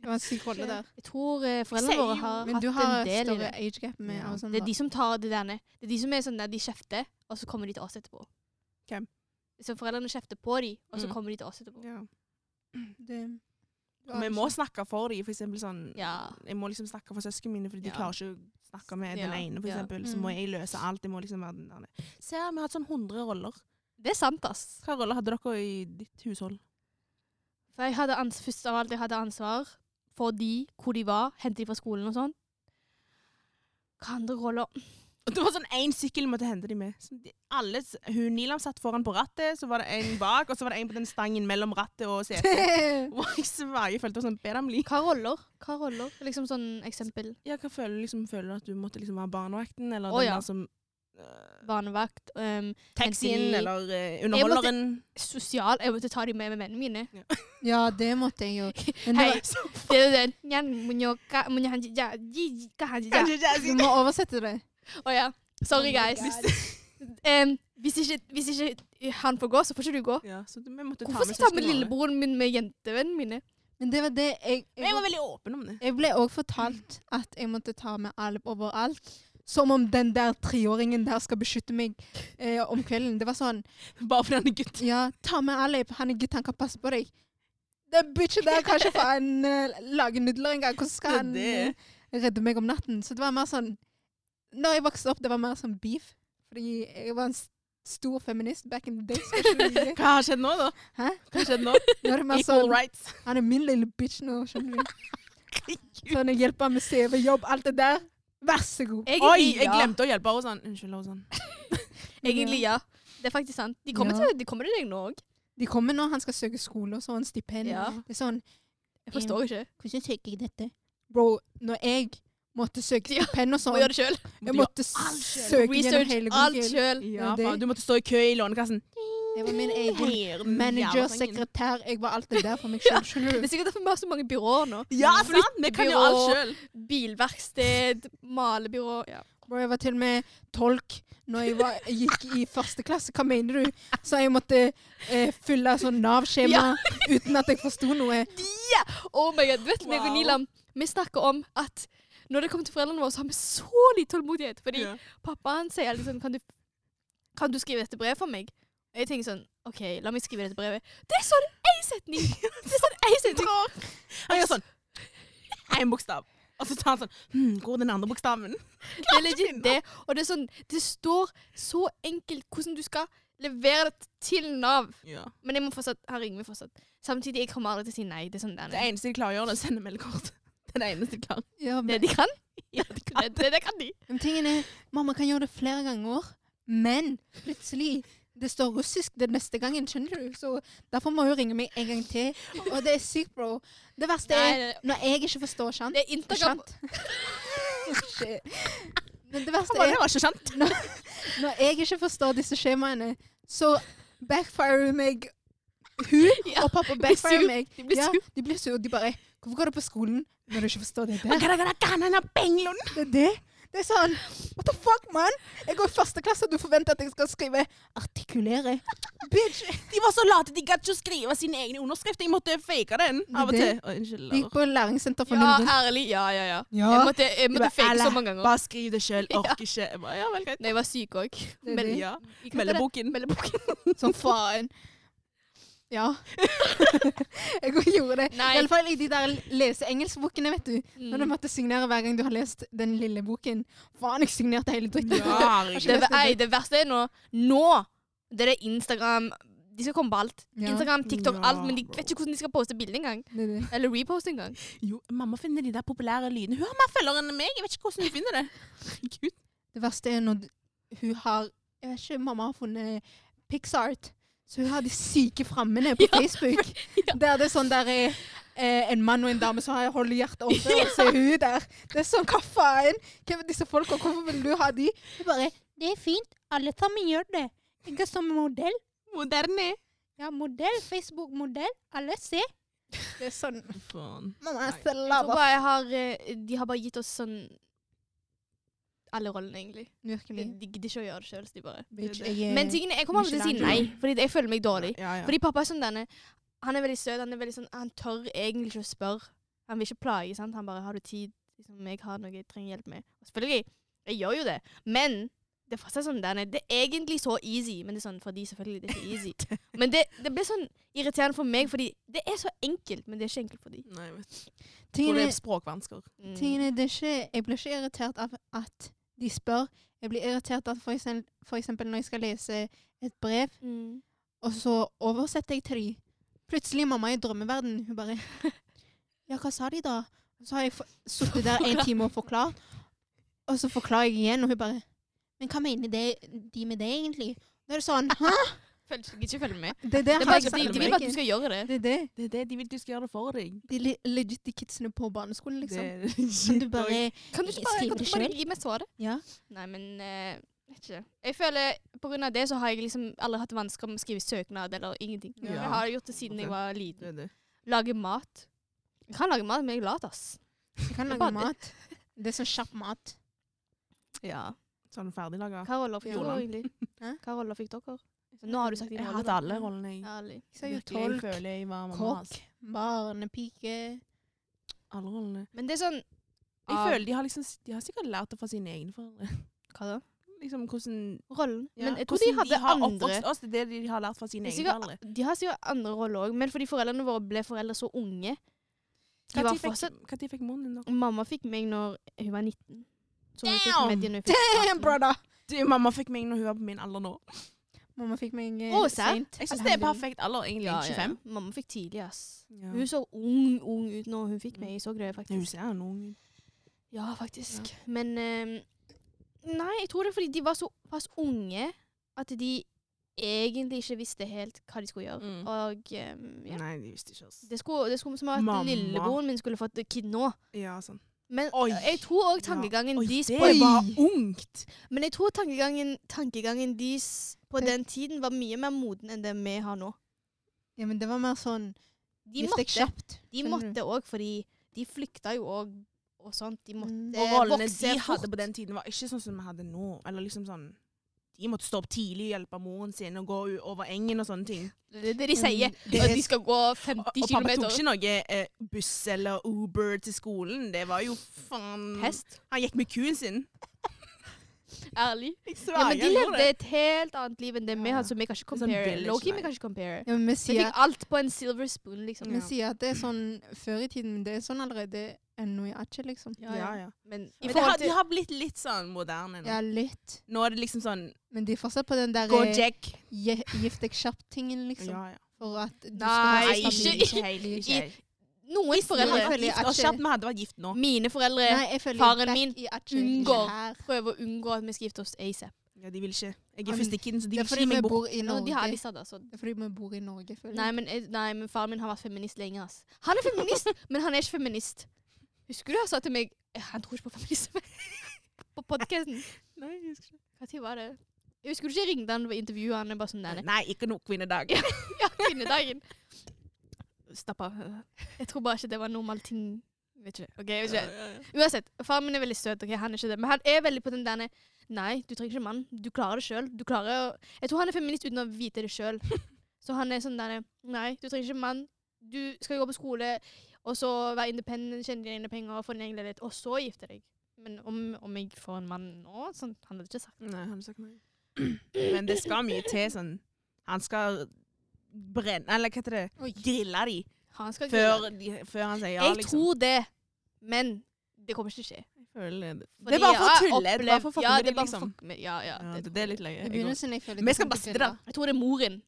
[SPEAKER 1] Det var en syk rolle der.
[SPEAKER 2] Jeg tror eh,
[SPEAKER 3] Sier
[SPEAKER 2] foreldrene våre
[SPEAKER 3] jo-
[SPEAKER 2] har
[SPEAKER 1] Men
[SPEAKER 2] hatt
[SPEAKER 1] du har
[SPEAKER 2] en
[SPEAKER 1] et
[SPEAKER 2] del i
[SPEAKER 1] større
[SPEAKER 2] det.
[SPEAKER 1] age gap med
[SPEAKER 3] Ja.
[SPEAKER 1] Alexander.
[SPEAKER 2] Det er de som tar det der ned. Det er de som er sånn der de kjefter, og så kommer de til oss etterpå.
[SPEAKER 3] Hvem?
[SPEAKER 2] Så foreldrene kjefter på de, og så
[SPEAKER 3] Mm.
[SPEAKER 2] kommer de til oss etterpå.
[SPEAKER 3] Ja.
[SPEAKER 1] Det- du
[SPEAKER 3] Og
[SPEAKER 1] aner
[SPEAKER 3] vi må
[SPEAKER 1] ikke.
[SPEAKER 3] snakke for dem, for eksempel sånn
[SPEAKER 2] Ja.
[SPEAKER 3] Jeg må liksom snakke for søskene mine, fordi de
[SPEAKER 2] Ja.
[SPEAKER 3] klarer ikke å snakke med den
[SPEAKER 2] Ja,
[SPEAKER 3] ene, for
[SPEAKER 2] ja.
[SPEAKER 3] eksempel. Så må
[SPEAKER 1] Mm.
[SPEAKER 3] jeg løse alt. Jeg må liksom være den der. Se, vi har hatt sånn 100 roller.
[SPEAKER 2] Det er sant, ass.
[SPEAKER 3] Hva roller hadde dere i ditt hushold?
[SPEAKER 2] For jeg hadde ans først av alt jeg hadde ansvar for de, hvor de var, hente de fra skolen og sånn. Hva andre roller?
[SPEAKER 3] Og Det var sånn én sykkel måtte hente de med. Så de, alle, s- hun Nilam satt foran på rattet, så var det en bak, og så var det en på den stangen mellom rattet og [LAUGHS]
[SPEAKER 1] [LAUGHS]
[SPEAKER 3] setet. Wow, jeg sverger, jeg følte meg sånn bedamli.
[SPEAKER 2] Hva roller? Hva roller? Liksom sånn eksempel.
[SPEAKER 3] Ja, hva føler du liksom? Føler du at du måtte liksom være barnevakten, eller
[SPEAKER 2] Å,
[SPEAKER 3] den
[SPEAKER 2] ja.
[SPEAKER 3] der som
[SPEAKER 2] Barnevakt. ehm,
[SPEAKER 3] Taxien,
[SPEAKER 2] de-
[SPEAKER 3] eller eh, underholderen.
[SPEAKER 2] sosial. Jeg måtte ta de med med vennene mine.
[SPEAKER 1] Ja, det måtte jeg jo.
[SPEAKER 3] [LAUGHS]
[SPEAKER 1] Men det
[SPEAKER 2] Hei,
[SPEAKER 1] var,
[SPEAKER 3] Så
[SPEAKER 2] det er jo den. Nyan, munyo, ka- munyo, hanji, ja, ji, ji, ka, hanji, ja.
[SPEAKER 3] Kanskje ikke jeg
[SPEAKER 1] du
[SPEAKER 3] skal-
[SPEAKER 1] må oversette det.
[SPEAKER 2] Å ja. Sorry,
[SPEAKER 1] Oh my
[SPEAKER 2] guys. Em, hvis, ikke, hvis ikke eh, han får gå, så får ikke du gå.
[SPEAKER 3] Ja, så du- vi måtte ta
[SPEAKER 2] Hvorfor
[SPEAKER 3] med
[SPEAKER 2] skal jeg ta med
[SPEAKER 3] søsknene våre.
[SPEAKER 2] lillebroren min med jentevennene mine?
[SPEAKER 1] Men det var det jeg
[SPEAKER 3] Men Jeg var
[SPEAKER 1] Jeg,
[SPEAKER 3] veldig åpen om det.
[SPEAKER 1] jeg ble òg fortalt at jeg måtte ta med alp overalt. Som om den der treåringen der skal beskytte meg eh, om kvelden. Det var sånn
[SPEAKER 3] Bare fordi han er gutt.
[SPEAKER 1] Ja, ta med Alep. Han er gutt, han kan passe på deg. Den bitchen der kan ikke faen eh, lage nudler engang. Hvordan skal han
[SPEAKER 3] Det er det.
[SPEAKER 1] eh, redde meg om natten? Så det var mer sånn Når jeg vokste opp, det var mer sånn beef. Fordi jeg var en s- stor feminist back in the day. Skal ikke du
[SPEAKER 3] [LAUGHS]
[SPEAKER 1] ljuge?
[SPEAKER 3] Hva har skjedd nå, da?
[SPEAKER 1] Hæ?
[SPEAKER 3] Hva har skjedd nå?
[SPEAKER 1] Nå er det mer
[SPEAKER 3] Equal
[SPEAKER 1] sånn
[SPEAKER 3] rights.
[SPEAKER 1] Han er min lille bitch nå, skjønner du. Sånn jeg hjelper ham med CV, jobb, alt det der. Vær så god.
[SPEAKER 3] Oi, jeg glemte å hjelpe Rosan. Unnskyld, Rosan.
[SPEAKER 2] Egentlig ja. Det er faktisk sant. De kommer,
[SPEAKER 1] Ja.
[SPEAKER 2] til, de kommer til deg nå òg.
[SPEAKER 1] De kommer nå, han skal søke skole og sånn, stipend.
[SPEAKER 2] Ja.
[SPEAKER 1] Det er sånn
[SPEAKER 2] Jeg forstår ikke.
[SPEAKER 1] Hvordan søker jeg dette? Bro, når jeg måtte søke
[SPEAKER 2] Ja,
[SPEAKER 1] stipend og
[SPEAKER 2] Må
[SPEAKER 1] sånn
[SPEAKER 2] gjøre det sjøl.
[SPEAKER 1] Jeg
[SPEAKER 3] gjøre
[SPEAKER 1] måtte
[SPEAKER 3] alt selv.
[SPEAKER 1] søke gjennom
[SPEAKER 2] Research
[SPEAKER 1] hele
[SPEAKER 2] alt
[SPEAKER 1] Google.
[SPEAKER 2] sjøl.
[SPEAKER 1] Ja,
[SPEAKER 3] Ja,
[SPEAKER 1] det-
[SPEAKER 3] faen, du måtte stå i kø i Lånekassen.
[SPEAKER 1] Det var min egen
[SPEAKER 3] Her,
[SPEAKER 1] manager,
[SPEAKER 3] jævla sangen.
[SPEAKER 1] sekretær Jeg var alt det der for [LAUGHS] meg sjøl.
[SPEAKER 2] Det
[SPEAKER 1] Skjønner
[SPEAKER 2] er
[SPEAKER 1] du?
[SPEAKER 2] sikkert derfor vi har så mange byråer nå.
[SPEAKER 3] Ja, sant? Vi kan jo
[SPEAKER 2] Byrå.
[SPEAKER 3] alt sjøl.
[SPEAKER 2] Bilverksted, malebyrå ja.
[SPEAKER 1] Bro, jeg var til og med tolk når jeg, var, jeg gikk i første klasse. Hva mener du? Så jeg måtte eh, fylle sånn Nav-skjema
[SPEAKER 2] Ja.
[SPEAKER 1] uten at jeg forsto noe.
[SPEAKER 2] Oh my god, du vet meg og
[SPEAKER 3] Wow.
[SPEAKER 2] Nilam, vi snakker om at når det kommer til foreldrene våre, så har vi så lite tålmodighet. Fordi
[SPEAKER 3] Ja.
[SPEAKER 2] pappaen sier liksom kan du, kan du skrive dette brevet for meg? Og jeg tenker sånn OK, la meg skrive dette brevet. Det er sånn én setning! Det er sånn en setning.
[SPEAKER 3] Han gjør sånn. Én bokstav. Og så tar han sånn hm, Hvor er den andre bokstaven?
[SPEAKER 2] Det er legit det. Og det, er sånn, det står så enkelt hvordan du skal levere det til Nav.
[SPEAKER 3] Ja.
[SPEAKER 2] Men jeg må fortsatt, han ringer meg fortsatt. Samtidig, jeg kommer aldri til å si nei. Det er sånn der.
[SPEAKER 3] Det eneste de klarer å gjøre, det er å sende meldekort. [LAUGHS] Det er det eneste de klarer.
[SPEAKER 1] Ja,
[SPEAKER 2] det
[SPEAKER 1] men,
[SPEAKER 2] de kan.
[SPEAKER 3] Ja,
[SPEAKER 2] [LAUGHS] det, det, det kan de.
[SPEAKER 1] men tingen er, mamma kan gjøre det flere ganger, men plutselig det står russisk den neste gangen, skjønner du? Så derfor må hun ringe meg en gang til. Og det er sykt, bro. Det verste
[SPEAKER 2] Nei,
[SPEAKER 1] er
[SPEAKER 2] det,
[SPEAKER 1] når jeg ikke forstår sant.
[SPEAKER 2] det er Instagram.
[SPEAKER 1] [LAUGHS] Shit. Men det verste
[SPEAKER 3] Han bare,
[SPEAKER 1] er
[SPEAKER 3] det var ikke sant.
[SPEAKER 1] Når jeg ikke forstår disse skjemaene, så backfirer meg hun
[SPEAKER 2] [LAUGHS] Ja,
[SPEAKER 1] og pappa
[SPEAKER 2] blir
[SPEAKER 1] backfirer
[SPEAKER 2] sur.
[SPEAKER 1] meg.
[SPEAKER 2] De blir
[SPEAKER 1] ja,
[SPEAKER 2] sur.
[SPEAKER 1] de blir sur. De bare 'Hvorfor går du på skolen når du ikke forstår det
[SPEAKER 3] Han
[SPEAKER 1] der?'
[SPEAKER 3] kan- han kan- han har Benglund.
[SPEAKER 1] Det er det. Det er sånn What the fuck, mann? Jeg går i første klasse, og du forventer at jeg skal skrive 'artikulere'. Bitch!
[SPEAKER 3] De var så late, de gadd ikke å skrive sine egne underskrifter. Jeg måtte fake den
[SPEAKER 1] Det er
[SPEAKER 3] av og til.
[SPEAKER 1] det.
[SPEAKER 3] Å, Unnskyld.
[SPEAKER 1] Du gikk
[SPEAKER 3] lærer.
[SPEAKER 1] på læringssenter for
[SPEAKER 2] Ja,
[SPEAKER 1] nylig.
[SPEAKER 2] ærlig. Ja, ja, ja.
[SPEAKER 1] Ja.
[SPEAKER 2] Jeg måtte, jeg
[SPEAKER 3] Du
[SPEAKER 2] måtte
[SPEAKER 3] bare,
[SPEAKER 2] fake så
[SPEAKER 3] «Alle,
[SPEAKER 2] mange ganger.
[SPEAKER 3] Bare skriv det sjøl. Orker ikke. Jeg bare, ja, Mm. vel, greit.
[SPEAKER 2] Når jeg var syk òg.
[SPEAKER 1] er det.
[SPEAKER 3] Ja. Meldeboken.
[SPEAKER 1] Som faen. Ja. [LAUGHS] jeg også gjorde det.
[SPEAKER 2] Nei.
[SPEAKER 1] I alle fall i de der lese-engelsk-bokene, vet du. Når du
[SPEAKER 2] Mm.
[SPEAKER 1] måtte signere hver gang du har lest den lille boken. Faen, jeg signerte hele dritten.
[SPEAKER 3] Ja, herregud.
[SPEAKER 2] Det, ver- ei, det verste er nå Nå! Det er det Instagram De skal komme på alt.
[SPEAKER 1] Ja.
[SPEAKER 2] Instagram, TikTok,
[SPEAKER 3] Ja,
[SPEAKER 2] alt. Men de
[SPEAKER 3] bro.
[SPEAKER 2] vet ikke hvordan de skal poste bilde engang.
[SPEAKER 1] Det er det.
[SPEAKER 2] Eller reposte engang.
[SPEAKER 3] Jo, mamma finner de der populære lydene. Hun har mer følgere enn meg. Jeg vet ikke hvordan hun finner det. Herregud.
[SPEAKER 1] Det verste er når d- hun har Jeg vet ikke, mamma har funnet Pixart. Så hun har de syke frammene
[SPEAKER 2] [LAUGHS]
[SPEAKER 1] på Facebook. Der det er sånn der er eh, en mann og en dame som har- holder hjertet oppe,
[SPEAKER 2] [LAUGHS]
[SPEAKER 1] og så er hun der. Det er sånn, hva faen? Hvem er disse folka? Hvorfor vil du ha de? Hun bare Det er fint. Alle sammen gjør det. Ikke som modell.
[SPEAKER 3] Moderne.
[SPEAKER 1] Ja, modell. Facebook-modell. Alle ser. Det er sånn
[SPEAKER 3] Faen.
[SPEAKER 1] Mamma
[SPEAKER 3] Nei.
[SPEAKER 1] er så
[SPEAKER 2] Jeg tror
[SPEAKER 1] lava.
[SPEAKER 2] bare jeg har, eh, de har bare gitt oss sånn alle rollene, egentlig. De,
[SPEAKER 1] Virkelig.
[SPEAKER 2] de gidder ikke å gjøre det sjøl. De bare.
[SPEAKER 1] Bitch,
[SPEAKER 3] det-
[SPEAKER 1] jeg er
[SPEAKER 2] Men tingene, jeg kommer aldri til å si nei, fordi jeg føler meg dårlig.
[SPEAKER 3] Ja, ja.
[SPEAKER 2] Fordi pappa er sånn denne Han er veldig søt. Han er veldig sånn Han tør egentlig ikke å spørre. Han vil ikke plage. sant? Han bare 'Har du tid? Liksom, jeg har noe jeg trenger hjelp med.' Og selvfølgelig, jeg gjør jo det. Men det er fortsatt sånn denne Det er egentlig så easy, men det er sånn for de selvfølgelig det er så [LAUGHS] easy. Men det, det ble sånn irriterende for meg, fordi det er så enkelt, men det er ikke enkelt for de.
[SPEAKER 3] Nei, jeg vet ikke. Tror
[SPEAKER 1] Tingene
[SPEAKER 3] det er språkvansker.
[SPEAKER 2] Mm.
[SPEAKER 1] Tingene, det er ikke, jeg blir ikke irritert av at de spør. Jeg blir irritert av for eksempel, for eksempel når jeg skal lese et brev,
[SPEAKER 2] Mm.
[SPEAKER 1] og så oversetter jeg til de. Plutselig er mamma i drømmeverden. Hun bare [LAUGHS] Ja, hva sa de da? Og så har jeg for- sittet der en time og forklart, og så forklarer jeg igjen, og hun bare Men hva mener det, de med det, egentlig? Da er det sånn Hæ?
[SPEAKER 2] Følg, ikke følge med.
[SPEAKER 1] Det er det
[SPEAKER 2] Det er
[SPEAKER 1] har
[SPEAKER 2] bare,
[SPEAKER 1] jeg
[SPEAKER 2] de,
[SPEAKER 1] sagt
[SPEAKER 2] de
[SPEAKER 1] til
[SPEAKER 2] vil bare at du
[SPEAKER 1] meg.
[SPEAKER 2] skal gjøre det.
[SPEAKER 1] Det er det.
[SPEAKER 3] Det er det de vil du skal gjøre det for deg.
[SPEAKER 1] De le- legit de kidsene på barneskolen, liksom.
[SPEAKER 3] Det er
[SPEAKER 1] Kan du
[SPEAKER 3] shit, og-
[SPEAKER 1] bare
[SPEAKER 2] Kan du ikke bare,
[SPEAKER 1] Skriv
[SPEAKER 2] kan du
[SPEAKER 1] det
[SPEAKER 2] ikke bare
[SPEAKER 1] selv.
[SPEAKER 2] gi meg svaret?
[SPEAKER 1] Ja.
[SPEAKER 2] Nei, men eh, vet ikke. Jeg føler På grunn av det så har jeg liksom aldri hatt vansker med å skrive søknad eller ingenting.
[SPEAKER 1] Ja.
[SPEAKER 2] Jeg har gjort det siden jeg var
[SPEAKER 3] Det
[SPEAKER 2] liten.
[SPEAKER 3] er det.
[SPEAKER 2] Lage mat. Jeg kan lage mat, men jeg er lat, ass.
[SPEAKER 1] Jeg kan
[SPEAKER 2] Det
[SPEAKER 1] lage
[SPEAKER 2] er bare
[SPEAKER 1] mat. Det er sånn kjapp mat.
[SPEAKER 2] Ja.
[SPEAKER 3] Sånn ferdiglaga.
[SPEAKER 2] Hva roller fikk
[SPEAKER 1] Ja.
[SPEAKER 3] [LAUGHS]
[SPEAKER 2] dere, egentlig?
[SPEAKER 1] Hæ?
[SPEAKER 2] Hva roller fikk dere? Nå har du sagt
[SPEAKER 3] Jeg
[SPEAKER 2] din
[SPEAKER 3] har
[SPEAKER 2] rolle.
[SPEAKER 3] hatt alle rollene. Jeg,
[SPEAKER 2] Ærlig.
[SPEAKER 1] Jeg sa jo
[SPEAKER 3] Virkelig, jeg
[SPEAKER 1] tolk,
[SPEAKER 3] føler jeg var mamma
[SPEAKER 1] kokk,
[SPEAKER 3] hans.
[SPEAKER 1] barnepike
[SPEAKER 3] Alle rollene.
[SPEAKER 2] Men det er sånn
[SPEAKER 3] Jeg
[SPEAKER 2] av-
[SPEAKER 3] føler de har, liksom, de har sikkert lært det fra sine egne foreldre.
[SPEAKER 2] Hva da?
[SPEAKER 3] [LAUGHS] Liksom hvordan
[SPEAKER 2] Rollen.
[SPEAKER 3] ja,
[SPEAKER 2] Men jeg tror de
[SPEAKER 3] hvordan
[SPEAKER 2] hadde
[SPEAKER 3] har
[SPEAKER 2] andre
[SPEAKER 3] oppvokst oss. Det er det de har lært fra sine
[SPEAKER 2] Det er
[SPEAKER 3] egne
[SPEAKER 2] sikkert-
[SPEAKER 3] foreldre.
[SPEAKER 2] De har sikkert andre roller òg, men fordi foreldrene våre ble foreldre så unge De var
[SPEAKER 3] Når fikk,
[SPEAKER 2] fortsatt
[SPEAKER 3] hva tid fikk moren [LAUGHS] din da?
[SPEAKER 2] Mamma fikk meg når hun var 19. Så hun fikk
[SPEAKER 3] Damn!
[SPEAKER 2] meg når hun fikk 18.
[SPEAKER 1] brother!
[SPEAKER 3] Du, mamma fikk meg når hun var på min alder nå.
[SPEAKER 1] Mamma fikk meg eh,
[SPEAKER 2] Å, serr?
[SPEAKER 1] seint.
[SPEAKER 3] Jeg syns det er perfekt alder, egentlig.
[SPEAKER 2] Ja, ja, ja.
[SPEAKER 3] 25.
[SPEAKER 2] Mamma fikk tidlig, ass.
[SPEAKER 3] Ja.
[SPEAKER 2] Hun så ung, ung ut når hun fikk meg. Jeg så det
[SPEAKER 3] Ja, Hun
[SPEAKER 2] faktisk.
[SPEAKER 3] ser jo noen ut.
[SPEAKER 2] Ja, faktisk. Men ehm, Nei, jeg tror det er fordi de var såpass unge at de egentlig ikke visste helt hva de skulle gjøre.
[SPEAKER 3] Mm.
[SPEAKER 2] Og ehm, ja.
[SPEAKER 3] Nei, de visste ikke oss.
[SPEAKER 2] Det skulle, det skulle som at
[SPEAKER 3] Mamma.
[SPEAKER 2] lillebroren min skulle fått kid nå.
[SPEAKER 3] Ja, sånn.
[SPEAKER 2] Men
[SPEAKER 3] Oi.
[SPEAKER 2] jeg tror òg tankegangen
[SPEAKER 3] Oi,
[SPEAKER 2] deres
[SPEAKER 3] det
[SPEAKER 2] på
[SPEAKER 3] var ungt!
[SPEAKER 2] Men jeg tror tankegangen, tankegangen deres på
[SPEAKER 1] Det-
[SPEAKER 2] den tiden var mye mer moden enn det vi har nå.
[SPEAKER 1] Ja, men det var mer sånn
[SPEAKER 2] De
[SPEAKER 1] gift deg
[SPEAKER 2] måtte
[SPEAKER 1] kjapt.
[SPEAKER 2] De
[SPEAKER 1] skjønner
[SPEAKER 2] måtte òg, fordi de flykta jo òg og sånt. De måtte
[SPEAKER 1] Mm.
[SPEAKER 3] Og rollene de
[SPEAKER 2] vokse fort.
[SPEAKER 3] hadde på den tiden, var ikke sånn som vi hadde nå. Eller liksom sånn De måtte stå opp tidlig, hjelpe moren sin og gå u- over engen og sånne ting.
[SPEAKER 2] Det er det de sier.
[SPEAKER 1] Mm, det
[SPEAKER 2] og
[SPEAKER 1] er-
[SPEAKER 2] de skal gå
[SPEAKER 3] Og,
[SPEAKER 2] 50
[SPEAKER 3] og pappa tok
[SPEAKER 2] km.
[SPEAKER 3] ikke noe eh, buss eller Uber til skolen. Det var jo faen
[SPEAKER 2] Hest.
[SPEAKER 3] Han gikk med kuen sin.
[SPEAKER 2] Ærlig.
[SPEAKER 3] Jeg
[SPEAKER 2] Ja,
[SPEAKER 3] sverger.
[SPEAKER 2] men de
[SPEAKER 3] jeg gjorde
[SPEAKER 2] levde et helt annet liv enn det vi
[SPEAKER 3] Ja.
[SPEAKER 2] hadde, så vi kan ikke
[SPEAKER 3] Sånn
[SPEAKER 2] compare.
[SPEAKER 3] village
[SPEAKER 2] Loki, vi
[SPEAKER 3] life.
[SPEAKER 2] kan ikke compare.
[SPEAKER 1] Ja, men vi
[SPEAKER 2] Vi
[SPEAKER 1] sier,
[SPEAKER 2] fikk alt på en silver spoon, liksom.
[SPEAKER 1] vi sier at det er sånn før i tiden, men det er sånn allerede ennå i Atje, liksom.
[SPEAKER 2] Ja,
[SPEAKER 3] Ja,
[SPEAKER 2] ja.
[SPEAKER 3] ja.
[SPEAKER 2] Men i
[SPEAKER 3] Men det har,
[SPEAKER 2] forhold
[SPEAKER 3] de
[SPEAKER 2] til
[SPEAKER 3] har blitt litt sånn moderne nå.
[SPEAKER 1] Ja, litt.
[SPEAKER 3] Nå er det liksom sånn
[SPEAKER 1] Men de er fortsatt på den der
[SPEAKER 3] Gå
[SPEAKER 1] eh,
[SPEAKER 3] jack.
[SPEAKER 1] gi- gift deg kjapt-tingen, liksom.
[SPEAKER 3] Ja, ja.
[SPEAKER 1] For at du
[SPEAKER 2] Nei,
[SPEAKER 1] skal være
[SPEAKER 2] ikke-
[SPEAKER 1] stabil.
[SPEAKER 3] ikke helt. Ikke helt.
[SPEAKER 2] noen
[SPEAKER 1] jeg
[SPEAKER 2] foreldre
[SPEAKER 1] føler
[SPEAKER 3] Gift
[SPEAKER 1] at
[SPEAKER 3] oss
[SPEAKER 1] ikke-
[SPEAKER 3] kjapt, vi hadde vært gift nå.
[SPEAKER 2] Mine foreldre
[SPEAKER 1] Nei, jeg føler
[SPEAKER 2] Faren
[SPEAKER 1] back
[SPEAKER 2] min
[SPEAKER 1] i Atje, ikke
[SPEAKER 2] unngår.
[SPEAKER 1] her.
[SPEAKER 2] prøver å unngå at vi skal gifte oss asap.
[SPEAKER 3] Ja, de vil ikke. Jeg
[SPEAKER 1] Men
[SPEAKER 3] er fystikken, så de
[SPEAKER 1] Det
[SPEAKER 3] vil
[SPEAKER 1] er
[SPEAKER 3] ikke
[SPEAKER 1] fordi vi
[SPEAKER 3] gi meg bort.
[SPEAKER 1] bor i
[SPEAKER 2] Nå, de har
[SPEAKER 1] Norge.
[SPEAKER 2] disse, da, så
[SPEAKER 1] Det Mm. er fordi vi bor i Norge, føler
[SPEAKER 2] Nei
[SPEAKER 1] jeg.
[SPEAKER 2] men, eh, nei, men faren min har vært feminist lenge, ass. Han er feminist, men han er ikke feminist. Husker du han sa til meg eh, Han tror ikke på feminisme. på podkasten.
[SPEAKER 3] Nei, jeg husker ikke.
[SPEAKER 2] Når var det? Jeg husker du ikke jeg ringte han og intervjuet han? jeg Bare sånn der,
[SPEAKER 3] Nei, ikke noe kvinnedag.
[SPEAKER 2] ja, kvinnedagen. Stapp av. Jeg tror bare ikke det var en normal ting. Vet ikke. Ok, jeg vet ikke.
[SPEAKER 3] [LAUGHS]
[SPEAKER 2] Uansett, faren min er veldig søt, ok, han er ikke det. Men han er veldig på den der Nei, du trenger ikke mann. Du klarer det sjøl. Du klarer å Jeg tror han er feminist uten å vite det sjøl. Så han er sånn der Nei, du trenger ikke mann. Du skal gå på skole, og så være independent, tjene dine egne penger, få din egen leilighet, og så gifte deg. Men om, om jeg får en mann nå sånn, Han hadde ikke sagt
[SPEAKER 3] Nei, han har sagt nei. Men det skal mye til sånn Han skal brenne Eller hva heter det?
[SPEAKER 1] Oi.
[SPEAKER 3] Grille de
[SPEAKER 2] Han skal
[SPEAKER 3] før,
[SPEAKER 2] grille.
[SPEAKER 3] de, før han sier ja,
[SPEAKER 2] Jeg
[SPEAKER 3] liksom.
[SPEAKER 2] tror det, men det kommer ikke til å skje.
[SPEAKER 3] Jeg føler det.
[SPEAKER 2] Fordi
[SPEAKER 3] det er bare for å
[SPEAKER 2] jeg har
[SPEAKER 3] tulle. Det er bare for å
[SPEAKER 2] opplevd-
[SPEAKER 3] fucke
[SPEAKER 2] ja,
[SPEAKER 3] med
[SPEAKER 2] det er
[SPEAKER 3] deg,
[SPEAKER 2] bare for å
[SPEAKER 3] liksom.
[SPEAKER 2] fucke med- Ja, ja.
[SPEAKER 3] Ja,
[SPEAKER 2] det
[SPEAKER 3] det, er
[SPEAKER 2] tror jeg.
[SPEAKER 3] litt løye.
[SPEAKER 1] I
[SPEAKER 3] Jeg går-
[SPEAKER 1] begynnelsen jeg føler
[SPEAKER 3] Vi skal
[SPEAKER 1] ikke
[SPEAKER 3] bare
[SPEAKER 1] til
[SPEAKER 3] sitte der.
[SPEAKER 1] det.
[SPEAKER 2] Jeg tror det er moren.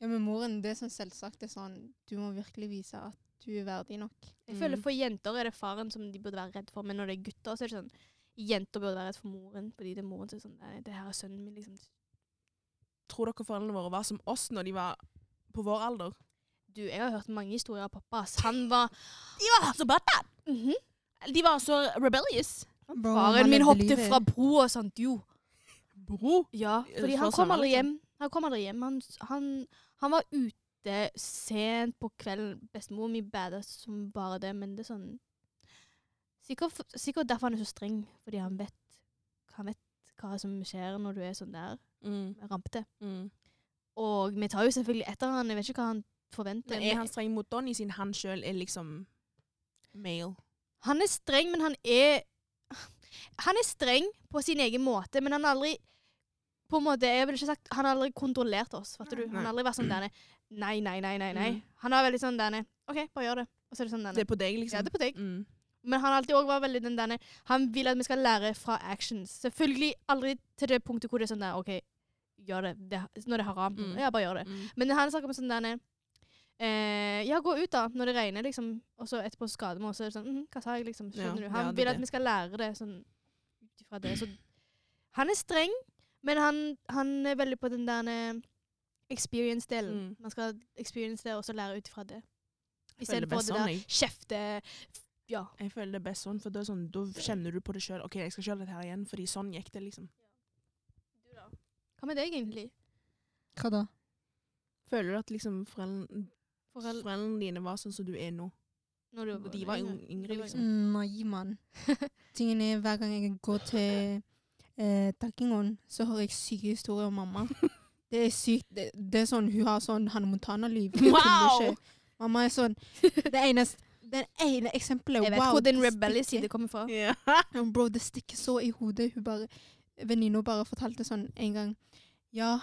[SPEAKER 1] Ja, men moren, det er sånn selvsagt det er sånn Du må virkelig vise at du er verdig nok.
[SPEAKER 2] Jeg
[SPEAKER 3] Mm.
[SPEAKER 2] føler For jenter er det faren som de burde være redd for, men når det er gutter, så er det sånn Jenter burde være redd for moren, fordi det er moren som er sånn Nei, det her er sønnen min, liksom.
[SPEAKER 3] Tror dere foreldrene våre var som oss når de var på vår alder?
[SPEAKER 2] Du, jeg har hørt mange historier av pappa. ass. Han var
[SPEAKER 3] De var så bad!
[SPEAKER 2] Mhm.
[SPEAKER 3] De var så rebellious.
[SPEAKER 1] Bro,
[SPEAKER 2] Faren
[SPEAKER 1] man
[SPEAKER 2] min
[SPEAKER 1] levde
[SPEAKER 2] hoppet
[SPEAKER 1] livet.
[SPEAKER 2] fra broa og sånt, jo.
[SPEAKER 3] Bro.
[SPEAKER 2] Ja,
[SPEAKER 3] Eh,
[SPEAKER 2] fordi
[SPEAKER 3] fra
[SPEAKER 2] han kom
[SPEAKER 3] Sandnes,
[SPEAKER 2] aldri
[SPEAKER 3] ja.
[SPEAKER 2] hjem. Han kom aldri hjem. Han, han, han var ute sent på kvelden. Bestemor mi bader som bare det, men det er sånn Sikkert, f- sikkert derfor han er så streng, fordi han vet, han vet hva som skjer når du er sånn der
[SPEAKER 3] Mm,
[SPEAKER 2] rampete.
[SPEAKER 3] mm.
[SPEAKER 2] Og vi tar jo selvfølgelig etter han. Jeg vet ikke hva han forventer.
[SPEAKER 3] Men er han streng mot Donny siden han sjøl er liksom male?
[SPEAKER 2] Han er streng, men han er Han er streng på sin egen måte, men han har aldri på en måte, jeg vil ikke sagt, Han har aldri kontrollert oss. fatter du? Han har aldri vært sånn derne Nei, nei, nei, nei. nei.
[SPEAKER 3] Mm.
[SPEAKER 2] Han har veldig sånn derne OK, bare gjør det. Og så er det sånn
[SPEAKER 3] Det
[SPEAKER 2] derne
[SPEAKER 3] er på deg, liksom?
[SPEAKER 2] Ja, det er på deg.
[SPEAKER 3] Mm.
[SPEAKER 2] Men han har alltid også vært veldig den derne Han vil at vi skal lære fra actions. Selvfølgelig aldri til det punktet hvor det er sånn der OK, gjør det. det når det er haram.
[SPEAKER 3] Mm.
[SPEAKER 2] Ja, bare gjør det.
[SPEAKER 3] Mm.
[SPEAKER 2] Men han snakker om sånn derne eh, Ja, gå ut da, når det regner, liksom. Og så etterpå så skader vi oss. og så er det Sånn, «Mhm, hva sa jeg, liksom?
[SPEAKER 3] Ja,
[SPEAKER 2] Skjønner du?
[SPEAKER 3] ja,
[SPEAKER 2] Han
[SPEAKER 3] det er
[SPEAKER 2] vil at
[SPEAKER 3] det.
[SPEAKER 2] vi skal lære det sånn ut ifra det. Så han er streng, men han, han er veldig på den derne experience-delen.
[SPEAKER 3] Mm.
[SPEAKER 2] Man skal experience det, og så lære ut ifra det.
[SPEAKER 3] føler
[SPEAKER 2] I stedet
[SPEAKER 3] det
[SPEAKER 2] for
[SPEAKER 3] best
[SPEAKER 2] det
[SPEAKER 3] sånn,
[SPEAKER 2] der
[SPEAKER 3] jeg.
[SPEAKER 2] kjefte Ja.
[SPEAKER 3] Jeg føler det er best sånn, for da, er sånn, da kjenner du på det sjøl. OK, jeg skal ikke gjøre dette her igjen, fordi sånn gikk det, liksom.
[SPEAKER 2] Hva med deg, egentlig?
[SPEAKER 1] Hva da?
[SPEAKER 3] Føler du at liksom foreldrene,
[SPEAKER 2] Forhold
[SPEAKER 3] foreldrene dine var sånn som du er nå?
[SPEAKER 2] når du
[SPEAKER 3] De var yng-
[SPEAKER 2] De
[SPEAKER 3] yngre,
[SPEAKER 2] var
[SPEAKER 3] liksom.
[SPEAKER 1] Mm, Nei, [LAUGHS] mann. Tingen er, hver gang jeg går til eh, Takkingon, så hører jeg syke historier om
[SPEAKER 2] [LAUGHS]
[SPEAKER 1] mamma. Det er sykt. Det, det er sånn, Hun har sånn Hanne
[SPEAKER 2] [LAUGHS]
[SPEAKER 1] Montana-liv. Jeg tuller
[SPEAKER 3] Wow!
[SPEAKER 1] ikke. Mamma er sånn Det eneste, den ene eksempelet
[SPEAKER 2] Jeg vet
[SPEAKER 1] wow,
[SPEAKER 2] hvor den
[SPEAKER 1] det
[SPEAKER 2] rebellious
[SPEAKER 1] stikker.
[SPEAKER 2] side kommer fra.
[SPEAKER 3] [LAUGHS] Ja.
[SPEAKER 1] Ja, men Bro, det stikker så i hodet. Hun bare, Venninna bare fortalte sånn en gang Ja,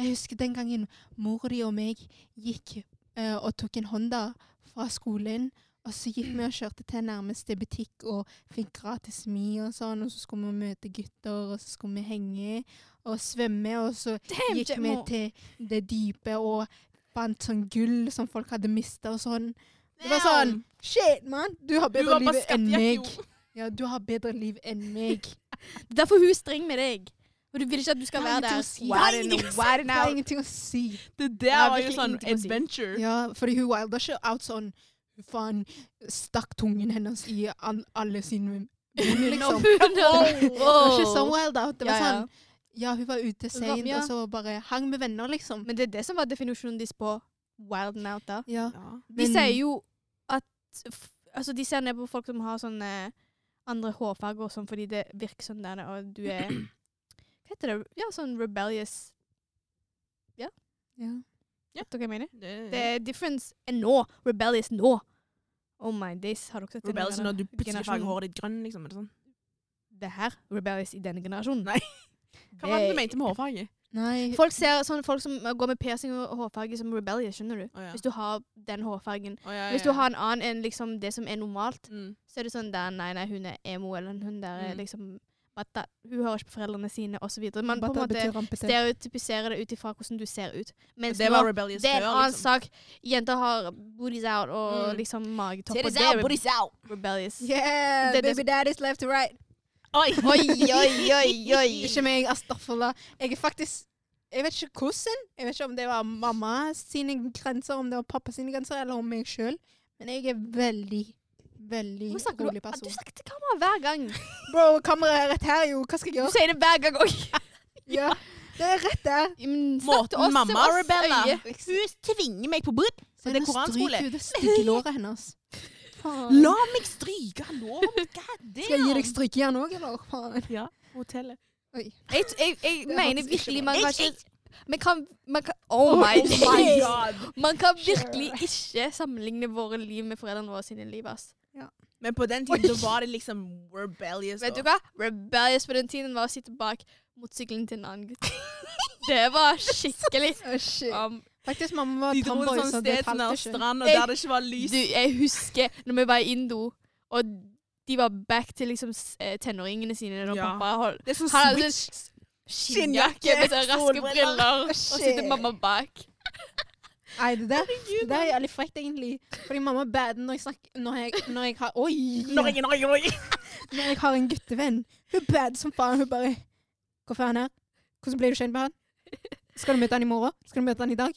[SPEAKER 1] jeg husker den gangen mor di og meg gikk eh, og tok en Honda fra skolen. Og så gikk vi og kjørte til nærmeste butikk og fikk gratis mi og sånn. Og så skulle vi møte gutter, og så skulle vi henge og svømme. Og så
[SPEAKER 2] Damn,
[SPEAKER 1] gikk vi
[SPEAKER 2] Jemma.
[SPEAKER 1] til det dype og fant sånn gull som folk hadde mista og sånn. Det var sånn Shit, mann! Du har
[SPEAKER 3] Du
[SPEAKER 1] bedre
[SPEAKER 3] var
[SPEAKER 1] liv
[SPEAKER 3] bare
[SPEAKER 1] enn meg.
[SPEAKER 3] skattejakke, jo.
[SPEAKER 1] Ja, du har bedre liv enn
[SPEAKER 2] [LAUGHS]
[SPEAKER 1] meg.
[SPEAKER 2] Det er derfor hun er streng med deg. For du vil ikke at du skal
[SPEAKER 1] Jeg har
[SPEAKER 2] være
[SPEAKER 1] ingenting
[SPEAKER 2] der.
[SPEAKER 1] å si.
[SPEAKER 2] Wide
[SPEAKER 3] Nei,
[SPEAKER 2] in,
[SPEAKER 3] ingenting å si.
[SPEAKER 2] wide
[SPEAKER 1] Det har ingenting å si.
[SPEAKER 3] Det
[SPEAKER 2] in out. Jeg
[SPEAKER 3] der
[SPEAKER 2] har
[SPEAKER 3] var jo
[SPEAKER 2] virkelig
[SPEAKER 3] sånn
[SPEAKER 2] ingenting å si.
[SPEAKER 3] adventure.
[SPEAKER 1] Ja, fordi hun wilder ikke out sånn Hun faen stakk tungen hennes i an, alle
[SPEAKER 2] [LAUGHS]
[SPEAKER 1] sine munn, liksom. Det var ikke sånn wild out. Det var
[SPEAKER 2] Ja, ja.
[SPEAKER 1] sånn Ja, hun var ute seint,
[SPEAKER 2] Ja.
[SPEAKER 1] og så bare hang med venner, liksom.
[SPEAKER 2] Men det er det som var definisjonen deres på wild and out. da.
[SPEAKER 1] Ja,
[SPEAKER 3] Ja.
[SPEAKER 2] De
[SPEAKER 1] men-
[SPEAKER 2] sier jo at f- Altså, de ser ned på folk som har sånne andre hårfarger og sånn, fordi det virker sånn der, og du [CLEARS THROAT] er Hva heter det? Ja, sånn rebellious.
[SPEAKER 1] ja.
[SPEAKER 2] Vet dere hva jeg mener?
[SPEAKER 3] Det,
[SPEAKER 2] Det er difference enn nå. Rebellious nå. Oh my days. Har dere sett den
[SPEAKER 3] Rebellious
[SPEAKER 2] der
[SPEAKER 3] når du plutselig
[SPEAKER 2] generasjonen?
[SPEAKER 3] farger håret ditt grønn, liksom. Er det sånn?
[SPEAKER 2] det her rebellies i denne generasjonen.
[SPEAKER 3] Nei. Hva var det du mente med hårfarge?
[SPEAKER 1] Nei,
[SPEAKER 2] Folk ser sånn folk som går med piercing og hårfarge som rebellious, skjønner du?
[SPEAKER 3] Å, ja.
[SPEAKER 2] Hvis du har den hårfargen.
[SPEAKER 3] Å, ja, ja,
[SPEAKER 2] Hvis du
[SPEAKER 3] ja.
[SPEAKER 2] har en annen enn liksom det som er normalt,
[SPEAKER 3] Mm.
[SPEAKER 2] så er det sånn der, nei, nei, hun er emo, eller hun der er
[SPEAKER 3] Mm.
[SPEAKER 2] liksom bata, Hun hører ikke på foreldrene sine, osv. Man på en
[SPEAKER 1] Bata
[SPEAKER 2] måte
[SPEAKER 1] betyr rampete.
[SPEAKER 2] stereotypiserer det ut ifra hvordan du ser ut. Mens
[SPEAKER 3] Det
[SPEAKER 2] nå-
[SPEAKER 3] var rebellious
[SPEAKER 2] det er en
[SPEAKER 3] før,
[SPEAKER 2] annen
[SPEAKER 3] liksom.
[SPEAKER 2] sak. Jenter har booties out og
[SPEAKER 3] Mm.
[SPEAKER 2] liksom magetopp. og
[SPEAKER 3] Titties
[SPEAKER 2] det
[SPEAKER 3] out,
[SPEAKER 2] er
[SPEAKER 3] booties out.
[SPEAKER 2] rebellious.
[SPEAKER 1] Yeah,
[SPEAKER 2] Det- det-
[SPEAKER 1] baby daddy's left to right.
[SPEAKER 3] Oi!
[SPEAKER 2] Oi, oi, oi,
[SPEAKER 1] [LAUGHS]
[SPEAKER 2] oi.
[SPEAKER 1] Ikke meg, astafallah. Jeg er faktisk Jeg vet ikke hvordan. Jeg vet ikke om det var mamma sine grenser, om det var pappa sine grenser, eller om meg sjøl. Men jeg er veldig, veldig
[SPEAKER 2] Hvorfor snakker du?
[SPEAKER 1] rolig
[SPEAKER 2] Ah,
[SPEAKER 1] person.
[SPEAKER 2] Du snakker til kamera hver gang.
[SPEAKER 1] Bro, kameraet er rett her, jo. Hva skal jeg
[SPEAKER 2] Du [LAUGHS]
[SPEAKER 1] gjøre?
[SPEAKER 2] sier det hver gang òg.
[SPEAKER 1] Ja, det er rett der.
[SPEAKER 3] Måten mamma rebeller Hun tvinger meg på bud.
[SPEAKER 1] Se,
[SPEAKER 3] det er
[SPEAKER 1] nå
[SPEAKER 3] koranskole.
[SPEAKER 1] stryker hun Det stygge låret hennes. Faen.
[SPEAKER 3] La meg stryke [LAUGHS] låret! God damn!
[SPEAKER 1] Skal jeg gi deg strykejern òg, eller? Faen.
[SPEAKER 3] Ja, hotellet.
[SPEAKER 1] Oi.
[SPEAKER 2] Jeg, jeg, jeg
[SPEAKER 1] Det
[SPEAKER 2] mener
[SPEAKER 1] hørtes ikke bra
[SPEAKER 2] virkelig man
[SPEAKER 3] ut.
[SPEAKER 2] kan ikke man kan, man kan, oh, my
[SPEAKER 1] my
[SPEAKER 2] days.
[SPEAKER 3] god! [LAUGHS]
[SPEAKER 2] Man kan virkelig ikke sammenligne våre liv med foreldrene våre sine liv. ass.
[SPEAKER 3] Men på den tiden så var det liksom rebellious.
[SPEAKER 2] Vet du
[SPEAKER 3] og-
[SPEAKER 2] hva? Rebellious på den tiden var å sitte bak motorsykkelen til en annen gutt. [LAUGHS] Det var skikkelig
[SPEAKER 1] Å, shit.
[SPEAKER 2] um,
[SPEAKER 1] Faktisk, mamma var
[SPEAKER 3] De dro til
[SPEAKER 1] tamboy,
[SPEAKER 3] sånn
[SPEAKER 1] så det
[SPEAKER 3] sted som
[SPEAKER 1] talte
[SPEAKER 3] nær
[SPEAKER 1] ikke.
[SPEAKER 3] strand, og
[SPEAKER 2] Jeg-
[SPEAKER 3] der det ikke var lys.
[SPEAKER 2] du, Jeg husker når vi var i Indo, og de var back til liksom s- eh, tenåringene sine når
[SPEAKER 3] Ja.
[SPEAKER 2] pappa holdt
[SPEAKER 3] Det er sånn
[SPEAKER 2] Han hadde
[SPEAKER 3] switch.
[SPEAKER 2] s- skinnjakke med sånne raske
[SPEAKER 3] solbriller.
[SPEAKER 2] briller, og
[SPEAKER 1] Shit.
[SPEAKER 2] sitter mamma bak.
[SPEAKER 1] Nei, det der, det der er litt frekt, egentlig. Fordi mamma bader når jeg snakker Når jeg, når jeg har Oi!
[SPEAKER 3] Norge, Norge, Norge!
[SPEAKER 1] Når jeg har en guttevenn. Hun bader som faen. Hun bare 'Hvorfor er han her? Hvordan ble du kjent med han? Skal du møte han i morgen? Skal du møte han i dag?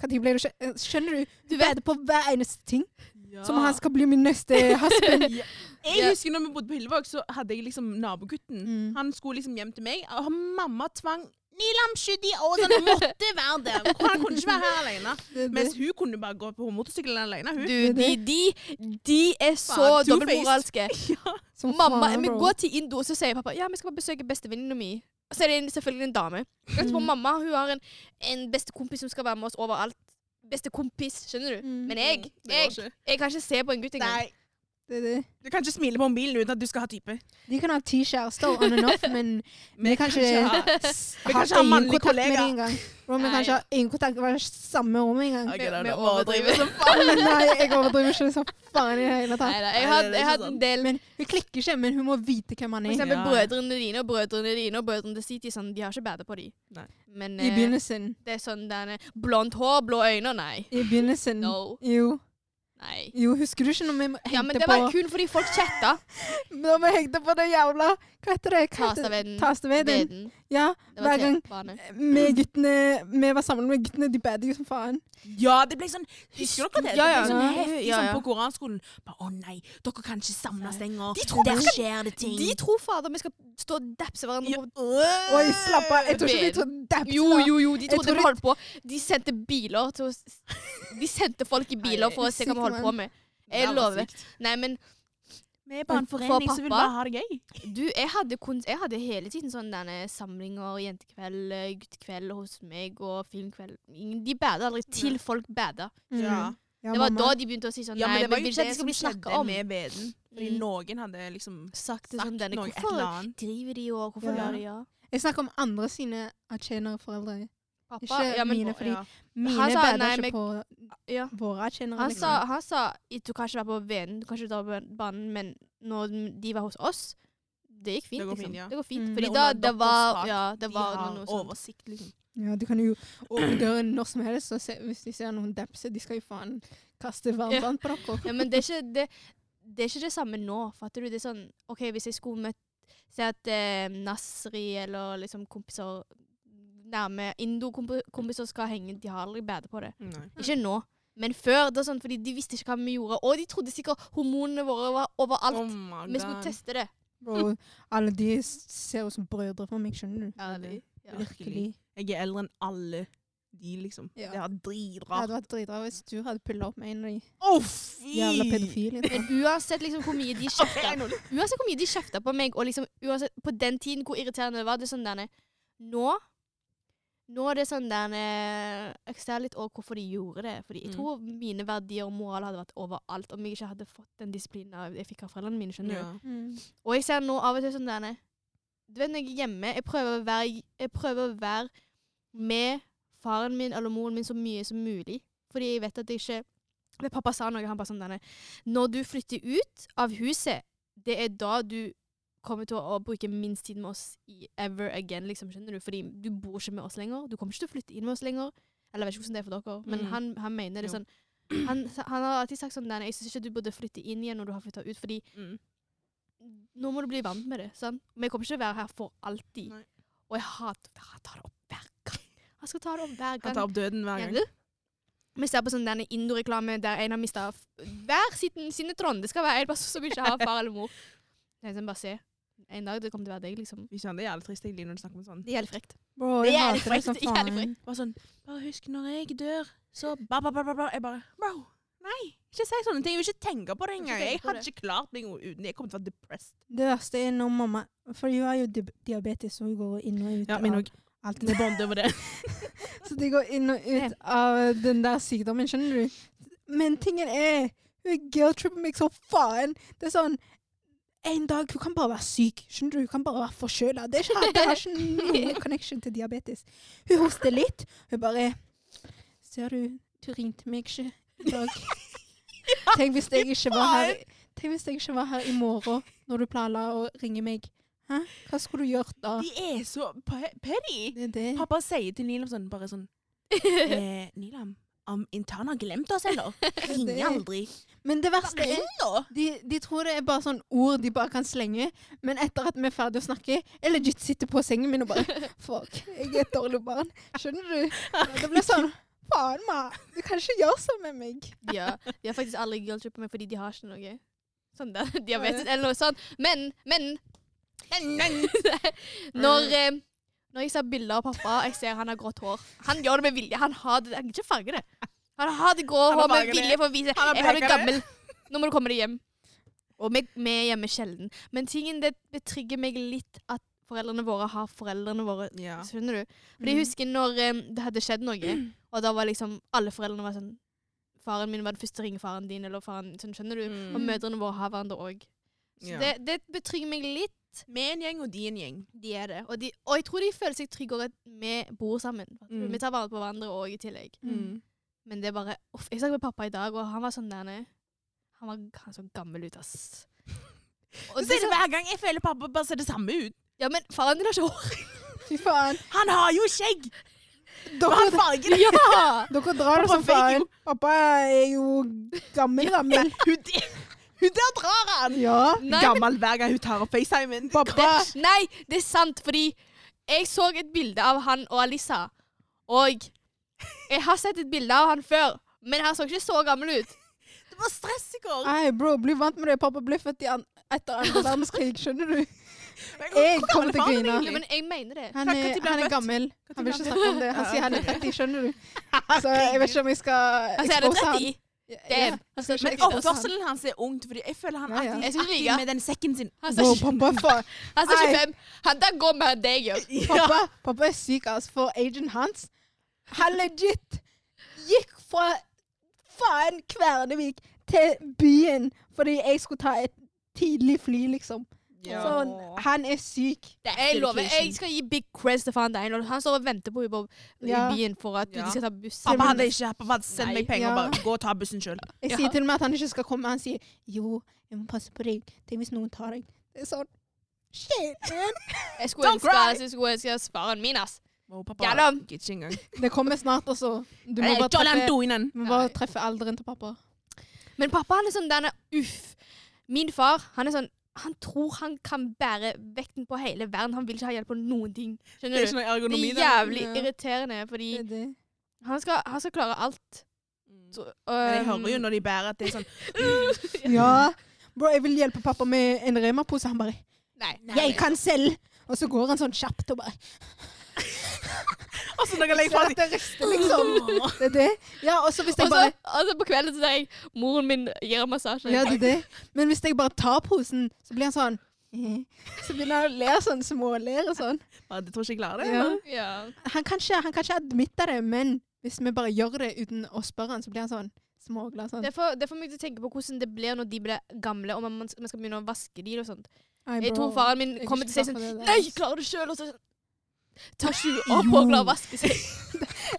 [SPEAKER 1] Hva tid ble du kjent? Eh, Skjønner du? Du
[SPEAKER 2] Du vet-
[SPEAKER 1] bader på hver eneste ting.
[SPEAKER 3] Ja.
[SPEAKER 1] Som han skal bli min neste husband.
[SPEAKER 3] Jeg
[SPEAKER 2] Ja.
[SPEAKER 3] husker når vi bodde på Hillevåg, så hadde jeg liksom nabogutten.
[SPEAKER 1] Mm.
[SPEAKER 3] Han skulle liksom hjem til meg, og han- mamma tvang Nilam skydde i årene, han måtte være der. Han kunne ikke være her alene.
[SPEAKER 1] Det-
[SPEAKER 3] Mens
[SPEAKER 1] det-
[SPEAKER 3] hun kunne bare gå på motorsykkelen alene. Hun.
[SPEAKER 2] Du, de, de, de er så
[SPEAKER 3] Faen, two-faced.
[SPEAKER 2] dobbeltmoralske.
[SPEAKER 1] som
[SPEAKER 2] Mamma,
[SPEAKER 1] faen,
[SPEAKER 2] vi
[SPEAKER 1] bro.
[SPEAKER 2] går til Indo, og så sier pappa ja, vi skal bare besøke bestevenninna mi. Og så er det en, selvfølgelig en dame. Etterpå
[SPEAKER 1] Mm.
[SPEAKER 2] mamma hun har en, en bestekompis som skal være med oss overalt. Bestekompis, skjønner du?
[SPEAKER 1] Mm.
[SPEAKER 2] Men jeg,
[SPEAKER 3] Det går
[SPEAKER 2] jeg,
[SPEAKER 3] ikke.
[SPEAKER 2] jeg kan ikke se på en gutt engang.
[SPEAKER 3] Nei,
[SPEAKER 1] Det er det.
[SPEAKER 3] du kan ikke smile på mobilen uten at du skal ha type.
[SPEAKER 1] De kan ha ti kjærester on and off, men
[SPEAKER 3] Men
[SPEAKER 1] vi kan ikke
[SPEAKER 3] ha- Vi kan ikke ha
[SPEAKER 1] ingen kontakt
[SPEAKER 3] mannlige
[SPEAKER 1] med
[SPEAKER 3] kollegaer.
[SPEAKER 1] dem engang. Bro, vi
[SPEAKER 2] Nei.
[SPEAKER 1] kan ikke ha ingen kontakt med det samme rommet engang.
[SPEAKER 3] Ok, da,
[SPEAKER 2] Vi- vi
[SPEAKER 3] da
[SPEAKER 2] overdriver.
[SPEAKER 3] overdriver som faen.
[SPEAKER 1] Nei, jeg overdriver ikke så faen i det hele
[SPEAKER 2] Nei,
[SPEAKER 1] tatt.
[SPEAKER 2] da,
[SPEAKER 3] Nei,
[SPEAKER 2] jeg hadde,
[SPEAKER 3] det er
[SPEAKER 2] jeg
[SPEAKER 3] ikke
[SPEAKER 2] hadde en del
[SPEAKER 1] Men hun klikker ikke, men hun må vite hvem han
[SPEAKER 2] For
[SPEAKER 1] er.
[SPEAKER 2] eksempel
[SPEAKER 3] Ja, ja.
[SPEAKER 2] brødrene dine og brødrene dine og brødrene til City, sånn, de har ikke bæret på de.
[SPEAKER 3] Nei.
[SPEAKER 2] Men
[SPEAKER 1] I
[SPEAKER 2] eh,
[SPEAKER 1] begynnelsen.
[SPEAKER 2] det er sånn denne blondt hår, blå øyne, nei.
[SPEAKER 1] I begynnelsen.
[SPEAKER 2] No.
[SPEAKER 1] Jo.
[SPEAKER 2] Nei.
[SPEAKER 1] jo, husker du ikke når vi hengte
[SPEAKER 2] Ja, men det
[SPEAKER 1] på
[SPEAKER 2] var kun fordi folk chatta.
[SPEAKER 1] Når vi hengte på det jævla Hva heter det? Hva heter det?
[SPEAKER 2] Tastaveden.
[SPEAKER 1] Tastaveden.
[SPEAKER 2] Veden.
[SPEAKER 1] Ja,
[SPEAKER 2] Det
[SPEAKER 1] hver
[SPEAKER 2] var
[SPEAKER 1] gang
[SPEAKER 2] T-bane.
[SPEAKER 1] vi guttene Vi var sammen med guttene, de bader jo som faen.
[SPEAKER 3] Ja, det ble sånn Husker dere det?
[SPEAKER 2] Ja, ja.
[SPEAKER 3] Det ble sånn
[SPEAKER 2] Ja,
[SPEAKER 3] heftig
[SPEAKER 2] ja, ja.
[SPEAKER 3] sånn på koranskolen. Bare, Å nei, dere kan ikke samles lenger.
[SPEAKER 2] De tror-
[SPEAKER 3] Der skjer det sånn ting.
[SPEAKER 2] De tror fader vi skal stå og dapse hverandre på
[SPEAKER 1] Oi, slapp av. Jeg tror ikke vi
[SPEAKER 2] Bed.
[SPEAKER 1] trodde dæpt
[SPEAKER 2] Jo,
[SPEAKER 1] da.
[SPEAKER 2] jo, jo, de
[SPEAKER 1] Jeg
[SPEAKER 2] trodde
[SPEAKER 1] tror
[SPEAKER 2] vi
[SPEAKER 1] de-
[SPEAKER 2] holdt på. De sendte biler til oss. De sendte folk i biler for å se hva vi holdt på med. Jeg lover. Nei, men
[SPEAKER 3] Vi er bare en
[SPEAKER 2] For
[SPEAKER 3] forening som vil
[SPEAKER 2] pappa.
[SPEAKER 3] bare ha det gøy.
[SPEAKER 2] du, jeg hadde, kun, jeg hadde hele tiden sånne derne samlinger, jentekveld, eh, guttekveld hos meg og filmkveld. Ingen- De bader aldri til folk bader.
[SPEAKER 1] Mm.
[SPEAKER 3] Ja.
[SPEAKER 1] Ja,
[SPEAKER 2] Det var
[SPEAKER 1] mamma.
[SPEAKER 2] da de begynte å si sånn
[SPEAKER 3] Ja,
[SPEAKER 2] Nei,
[SPEAKER 3] men det
[SPEAKER 2] vi
[SPEAKER 3] var
[SPEAKER 2] vil
[SPEAKER 3] jo
[SPEAKER 2] ikke at
[SPEAKER 3] det
[SPEAKER 2] det skal
[SPEAKER 3] som
[SPEAKER 2] bli snakka
[SPEAKER 3] skjedde
[SPEAKER 2] om.
[SPEAKER 3] med beden. Fordi
[SPEAKER 2] Mm.
[SPEAKER 3] noen hadde liksom
[SPEAKER 2] Sagt
[SPEAKER 3] sagt
[SPEAKER 2] sånn denne,
[SPEAKER 3] noe, et eller
[SPEAKER 2] Hvorfor
[SPEAKER 3] annet.
[SPEAKER 2] driver de og Hvorfor
[SPEAKER 1] Ja.
[SPEAKER 2] gjør de ja?
[SPEAKER 1] Jeg snakker om andre sine atjenerforeldre.
[SPEAKER 2] Pappa,
[SPEAKER 1] Ikke
[SPEAKER 2] ja, men,
[SPEAKER 1] mine, fordi
[SPEAKER 3] Ja.
[SPEAKER 1] mine
[SPEAKER 2] Han sa,
[SPEAKER 1] bader
[SPEAKER 2] nei,
[SPEAKER 1] ikke
[SPEAKER 2] men-
[SPEAKER 1] på
[SPEAKER 2] ja.
[SPEAKER 1] våre liksom. atjenere.
[SPEAKER 2] Han
[SPEAKER 3] liksom?
[SPEAKER 2] sa, han sa «I- du kan ikke være på veden, du kan ikke dra på banen, men når de var hos oss, det gikk fint.
[SPEAKER 3] Det går
[SPEAKER 2] liksom.
[SPEAKER 3] fint, ja.
[SPEAKER 2] Det går fint.
[SPEAKER 1] Mm.
[SPEAKER 2] Fordi
[SPEAKER 3] Det er
[SPEAKER 2] da
[SPEAKER 3] under
[SPEAKER 2] det
[SPEAKER 3] doktorens
[SPEAKER 2] var
[SPEAKER 3] tak.
[SPEAKER 2] Ja, det
[SPEAKER 3] De
[SPEAKER 2] var
[SPEAKER 3] har
[SPEAKER 2] noe sånn. sånt.
[SPEAKER 3] oversikt, liksom.
[SPEAKER 1] Ja, de kan jo åpne døren når som helst, og se, hvis de ser noen depse, de skal jo faen kaste varmt
[SPEAKER 2] Ja.
[SPEAKER 1] vann på dere.
[SPEAKER 2] Ja, men det er, ikke, det, det er ikke det samme nå, fatter du? Det er sånn OK, hvis jeg skulle møtt Si at eh, Nasri eller liksom kompiser nærme Indo-kompiser skal henge, de har aldri bedre på det. Ikke nå. Men før, det er sånn, fordi de visste ikke hva vi gjorde. Og de trodde sikkert hormonene våre var overalt.
[SPEAKER 3] Oh my
[SPEAKER 2] vi skulle
[SPEAKER 3] God.
[SPEAKER 2] teste det.
[SPEAKER 1] Bro, alle de s- ser jo som brødre for meg, skjønner du?
[SPEAKER 2] Ærlig. Ja.
[SPEAKER 1] Virkelig.
[SPEAKER 3] Jeg er eldre enn alle de, liksom.
[SPEAKER 1] Ja.
[SPEAKER 3] Det var
[SPEAKER 1] Det
[SPEAKER 3] dritrart.
[SPEAKER 1] hadde vært dritrart hvis du hadde pulla opp med en av de
[SPEAKER 3] Å, fy!
[SPEAKER 1] jævla pedofile.
[SPEAKER 2] Men uansett liksom hvor mye
[SPEAKER 3] [LAUGHS]
[SPEAKER 2] de
[SPEAKER 3] Ok,
[SPEAKER 2] kjefta
[SPEAKER 3] nå-
[SPEAKER 2] Uansett hvor mye de kjefta på meg, og liksom uansett på den tiden hvor irriterende det var, det er sånn derne Nå Nå er det sånn der eh, Jeg ser litt òg hvorfor de gjorde det. Fordi jeg
[SPEAKER 3] Mm.
[SPEAKER 2] tror mine verdier og moral hadde vært overalt om jeg ikke hadde fått den disiplinen jeg fikk av foreldrene mine. skjønner du?
[SPEAKER 1] Mm.
[SPEAKER 2] Og jeg ser nå av og til sånn derne Du vet når jeg er hjemme, jeg prøver å være, jeg prøver å være med faren min eller moren min så mye som mulig. Fordi jeg vet at jeg ikke Men pappa sa noe, han bare sånn derne Når du flytter ut av huset, det er da du kommer til å bruke minst tid med oss i ever again, liksom, skjønner du? Fordi du bor ikke med oss lenger. Du kommer ikke til å flytte inn med oss lenger. Eller jeg vet ikke hvordan det er for dere, men
[SPEAKER 3] Mm.
[SPEAKER 2] han, han mener det
[SPEAKER 3] Jo.
[SPEAKER 2] sånn han, han har alltid sagt sånn derne Jeg syns ikke du burde flytte inn igjen når du har flytta ut, fordi
[SPEAKER 3] Mm.
[SPEAKER 2] nå må du bli vant med det. sant? Men jeg kommer ikke til å være her for alltid.
[SPEAKER 3] Nei.
[SPEAKER 2] Og jeg hater Han tar det opp hver gang. Han skal ta det opp hver
[SPEAKER 3] Han
[SPEAKER 2] gang.
[SPEAKER 3] tar opp døden hver gang.
[SPEAKER 2] Gjør du? Vi ser på sånn denne Indo-reklame der en har mista hver sin, sine tråd. Det skal være en person som ikke har far eller mor. Det er sånn, bare se. En dag det kommer til å være deg, liksom.
[SPEAKER 3] Ikke sant? Det er jævlig trist egentlig når du snakker om sånn.
[SPEAKER 2] Det er jævlig frekt.
[SPEAKER 1] Bro,
[SPEAKER 2] Det
[SPEAKER 1] jeg
[SPEAKER 2] er jævlig
[SPEAKER 1] hater det
[SPEAKER 2] frekt,
[SPEAKER 1] som
[SPEAKER 2] det er jævlig
[SPEAKER 1] faen.
[SPEAKER 3] Bare sånn, bare husk når jeg dør, så ba, ba, ba, ba, ba. Jeg bare, bro, nei, ikke si sånne ting. Jeg vil ikke tenke på det
[SPEAKER 2] Ikke
[SPEAKER 3] engang.
[SPEAKER 2] tenke
[SPEAKER 3] Jeg
[SPEAKER 2] på
[SPEAKER 3] hadde
[SPEAKER 2] det.
[SPEAKER 3] ikke klart meg uten det. Jeg kommer til å være depressed.
[SPEAKER 1] Det verste er når mamma For hun har jo di- diabetes, så hun går inn og ut
[SPEAKER 3] Ja, min
[SPEAKER 1] av
[SPEAKER 3] òg.
[SPEAKER 1] alt
[SPEAKER 3] Vi bonder over [LAUGHS] det.
[SPEAKER 1] Så de går inn og ut av den der sykdommen, skjønner du? Men tingen er, hun guilt-tripper meg så faen. Det er sånn En dag hun kan bare være syk. skjønner du? Hun kan bare være forkjøla. Det, er ikke- det har ikke noe connection til diabetes. Hun hoster litt. Hun bare Ser du, du ringte meg ikke i dag. Tenk hvis jeg ikke var her Tenk hvis jeg ikke var her i morgen når du planla å ringe meg. Hæ? Hva skulle du gjort da?
[SPEAKER 3] De er så pe- petty.
[SPEAKER 1] Det er det.
[SPEAKER 3] Pappa sier til Nilam sånn, bare [LAUGHS] sånn eh, Nilam, om intern har glemt oss, [LAUGHS] eller? Ring
[SPEAKER 1] Det-
[SPEAKER 3] aldri.
[SPEAKER 1] Men det verste er
[SPEAKER 3] Ring, da!
[SPEAKER 1] De, de tror det er bare sånn ord de bare kan slenge, men etter at vi er ferdig å snakke, jeg legit sitter på sengen min og bare [LAUGHS] Fuck, jeg er et dårlig barn. Skjønner du? Det blir sånn Faen, ma. Du kan ikke gjøre sånn med meg.
[SPEAKER 2] Ja, de har faktisk aldri guilt-trippa meg fordi de har ikke noe sånn der, diabetes eller noe sånt. Men, men [LAUGHS] Når,
[SPEAKER 3] Mm.
[SPEAKER 2] eh, når jeg ser bilder av pappa, jeg ser han har grått hår. Han gjør det med vilje. Han har det, han kan ikke farge det. Han har det grå
[SPEAKER 3] Han har
[SPEAKER 2] hår med
[SPEAKER 3] farget det.
[SPEAKER 2] vilje for å vise
[SPEAKER 3] Han har
[SPEAKER 2] jeg har blitt
[SPEAKER 3] farget
[SPEAKER 2] gammel. Nå må du komme deg hjem. Og vi, vi er hjemme sjelden. Men tingen det betrygger meg litt at foreldrene våre har foreldrene våre.
[SPEAKER 3] Ja. Mm.
[SPEAKER 2] Skjønner du? Fordi jeg husker når eh, det hadde skjedd noe, og da var liksom alle foreldrene var sånn Faren min var den første til å ringe faren din, eller faren sånn, Skjønner du?
[SPEAKER 3] Mm.
[SPEAKER 2] Og mødrene våre har hverandre òg. Så
[SPEAKER 3] Ja.
[SPEAKER 2] det, det betrygger meg litt.
[SPEAKER 3] Vi er en gjeng, og de er en gjeng.
[SPEAKER 2] De er det. Og, de, og jeg tror de føler seg trygge over at vi bor sammen.
[SPEAKER 3] Mm.
[SPEAKER 2] Vi tar vare på hverandre òg i tillegg.
[SPEAKER 1] Mm.
[SPEAKER 2] Men det er bare uff, Jeg snakket med pappa i dag, og han var sånn der nede. Han var han så gammel ut, ass.
[SPEAKER 3] Og
[SPEAKER 2] Og
[SPEAKER 3] så er
[SPEAKER 2] det, er
[SPEAKER 3] det
[SPEAKER 2] sånn-
[SPEAKER 3] hver gang jeg føler pappa bare ser det samme ut.
[SPEAKER 2] ja, men faren din har ikke hår!
[SPEAKER 1] Fy faen.
[SPEAKER 3] Han har jo skjegg! Og han
[SPEAKER 1] Dere,
[SPEAKER 3] [LAUGHS] farger det!
[SPEAKER 2] Ja!
[SPEAKER 1] dere drar det
[SPEAKER 3] Pappa
[SPEAKER 1] som
[SPEAKER 3] fake
[SPEAKER 1] faen.
[SPEAKER 3] jo.
[SPEAKER 1] Pappa er jo gammel, gammel.
[SPEAKER 3] [LAUGHS] Hun der, hun der drar han!
[SPEAKER 1] Ja.
[SPEAKER 2] Nei,
[SPEAKER 3] Gammel hver gang hun tar opp FaceTimen.
[SPEAKER 1] Pappa.
[SPEAKER 2] det, nei, det er sant, fordi jeg så et bilde av han og Alisa, og jeg har sett et bilde av han før, men han så ikke så gammel ut.
[SPEAKER 3] Det var stress i går.
[SPEAKER 1] Nei, bro, bli vant med det. Pappa ble født i an etter andre verdenskrig, skjønner du?
[SPEAKER 3] Jeg
[SPEAKER 1] Jeg kommer til å grine.
[SPEAKER 2] Ja,
[SPEAKER 3] [LAUGHS]
[SPEAKER 2] men jeg mener det.
[SPEAKER 1] Han
[SPEAKER 3] Hva-
[SPEAKER 1] er,
[SPEAKER 3] når ble han
[SPEAKER 1] han er
[SPEAKER 3] født?
[SPEAKER 1] gammel. Han vil ikke snakke om det. Han
[SPEAKER 3] Ja,
[SPEAKER 1] sier han er
[SPEAKER 3] ok.
[SPEAKER 1] 30, skjønner du. Så jeg vet ikke om jeg skal
[SPEAKER 2] Altså, er det
[SPEAKER 1] expose han.
[SPEAKER 2] 30? Damn.
[SPEAKER 1] Han skal
[SPEAKER 3] Men
[SPEAKER 1] ikke expose han.
[SPEAKER 3] oppførselen hans er ungt, fordi jeg føler han
[SPEAKER 1] Ja, ja.
[SPEAKER 3] alltid
[SPEAKER 2] Jeg synes det er
[SPEAKER 3] aktiv
[SPEAKER 2] like.
[SPEAKER 3] med den sekken sin.
[SPEAKER 2] Han
[SPEAKER 1] Bro,
[SPEAKER 2] ser ikke
[SPEAKER 1] pappa, fa-
[SPEAKER 2] Han står
[SPEAKER 1] Nei.
[SPEAKER 2] 25. Han der går med det jeg gjør.
[SPEAKER 1] pappa, pappa er syk, altså, for agent hans. Han legit gikk fra faen Kvernevik til byen fordi jeg skulle ta et tidlig fly, liksom.
[SPEAKER 3] Ja.
[SPEAKER 1] Sånn, han er syk.
[SPEAKER 2] Det jeg lover.
[SPEAKER 1] dedication.
[SPEAKER 2] Jeg skal gi big creds til faren din. og Han står og venter på henne på-
[SPEAKER 1] Ja.
[SPEAKER 2] i byen for at du
[SPEAKER 3] Ja.
[SPEAKER 2] skal ta bussen.
[SPEAKER 3] Pappa hadde ikke pappa hadde sendt
[SPEAKER 2] Nei.
[SPEAKER 3] meg penger
[SPEAKER 1] Ja.
[SPEAKER 3] og bare gå og ta bussen sjøl.
[SPEAKER 1] Jeg
[SPEAKER 2] Ja.
[SPEAKER 1] sier til og med at han ikke skal komme. Han sier jo, jeg må passe på deg. Tenk hvis noen tar deg. Det er sånn Shit, man.
[SPEAKER 2] Jeg skulle
[SPEAKER 3] Don't
[SPEAKER 2] ønske
[SPEAKER 3] cry.
[SPEAKER 2] jeg skulle ønske at faren min, ass.
[SPEAKER 3] Wow,
[SPEAKER 2] Ja da.
[SPEAKER 3] gidder ikke engang.
[SPEAKER 1] Det kommer snart også. Du må
[SPEAKER 3] Nei,
[SPEAKER 1] bare
[SPEAKER 3] John
[SPEAKER 1] treffe,
[SPEAKER 3] Antoinen.
[SPEAKER 1] du må bare
[SPEAKER 2] Nei.
[SPEAKER 1] treffe alderen til pappa.
[SPEAKER 2] Men pappa han er sånn denne uff. Min far han er sånn han tror han kan bære vekten på hele verden. Han vil ikke ha hjelp på noen ting.
[SPEAKER 3] Det er
[SPEAKER 2] Skjønner
[SPEAKER 3] ikke
[SPEAKER 2] du?
[SPEAKER 3] noe ergonomi
[SPEAKER 2] Det er
[SPEAKER 3] der.
[SPEAKER 2] jævlig
[SPEAKER 1] Ja.
[SPEAKER 2] irriterende, fordi
[SPEAKER 1] Det er det.
[SPEAKER 2] han skal, han skal klare alt. Så,
[SPEAKER 3] Mm. Men jeg
[SPEAKER 2] øhm,
[SPEAKER 3] hører jo når de bærer at det er sånn
[SPEAKER 1] Ja. Bro, jeg vil hjelpe pappa med en Rema-pose. Han bare
[SPEAKER 2] Nei.
[SPEAKER 1] 'Jeg kan selv!' Og så går han sånn kjapt og bare
[SPEAKER 3] Og så når jeg legger fra
[SPEAKER 1] Ser at det rister,
[SPEAKER 2] [LAUGHS]
[SPEAKER 1] liksom. Det er det. Ja, og så hvis jeg
[SPEAKER 2] Og så
[SPEAKER 1] bare
[SPEAKER 2] og så på kvelden så sier jeg moren min gir en massasje.
[SPEAKER 1] Ja, det er det. Men hvis jeg bare tar posen, så blir han sånn [LAUGHS] Så begynner han å le sånn, småler og sånn.
[SPEAKER 3] Bare, jeg tror ikke jeg klarer det.
[SPEAKER 1] Ja.
[SPEAKER 2] Ja.
[SPEAKER 1] Han, kan ikke, han kan ikke admitte det, men hvis vi bare gjør det uten å spørre han, så blir han sånn småglad sånn.
[SPEAKER 2] Det får, det får meg til å tenke på hvordan det blir når de blir gamle, og man, man man skal begynne å vaske de og sånt.
[SPEAKER 1] «Ei,
[SPEAKER 2] Jeg
[SPEAKER 1] bro,
[SPEAKER 2] tror faren min
[SPEAKER 1] jeg er
[SPEAKER 2] kommer
[SPEAKER 1] ikke
[SPEAKER 2] til å si
[SPEAKER 1] klar
[SPEAKER 2] sånn
[SPEAKER 1] for det der,
[SPEAKER 2] Nei,
[SPEAKER 1] ass.»
[SPEAKER 2] klarer du sjøl? Og så sånn, tar 20 år på å klare å vaske seg.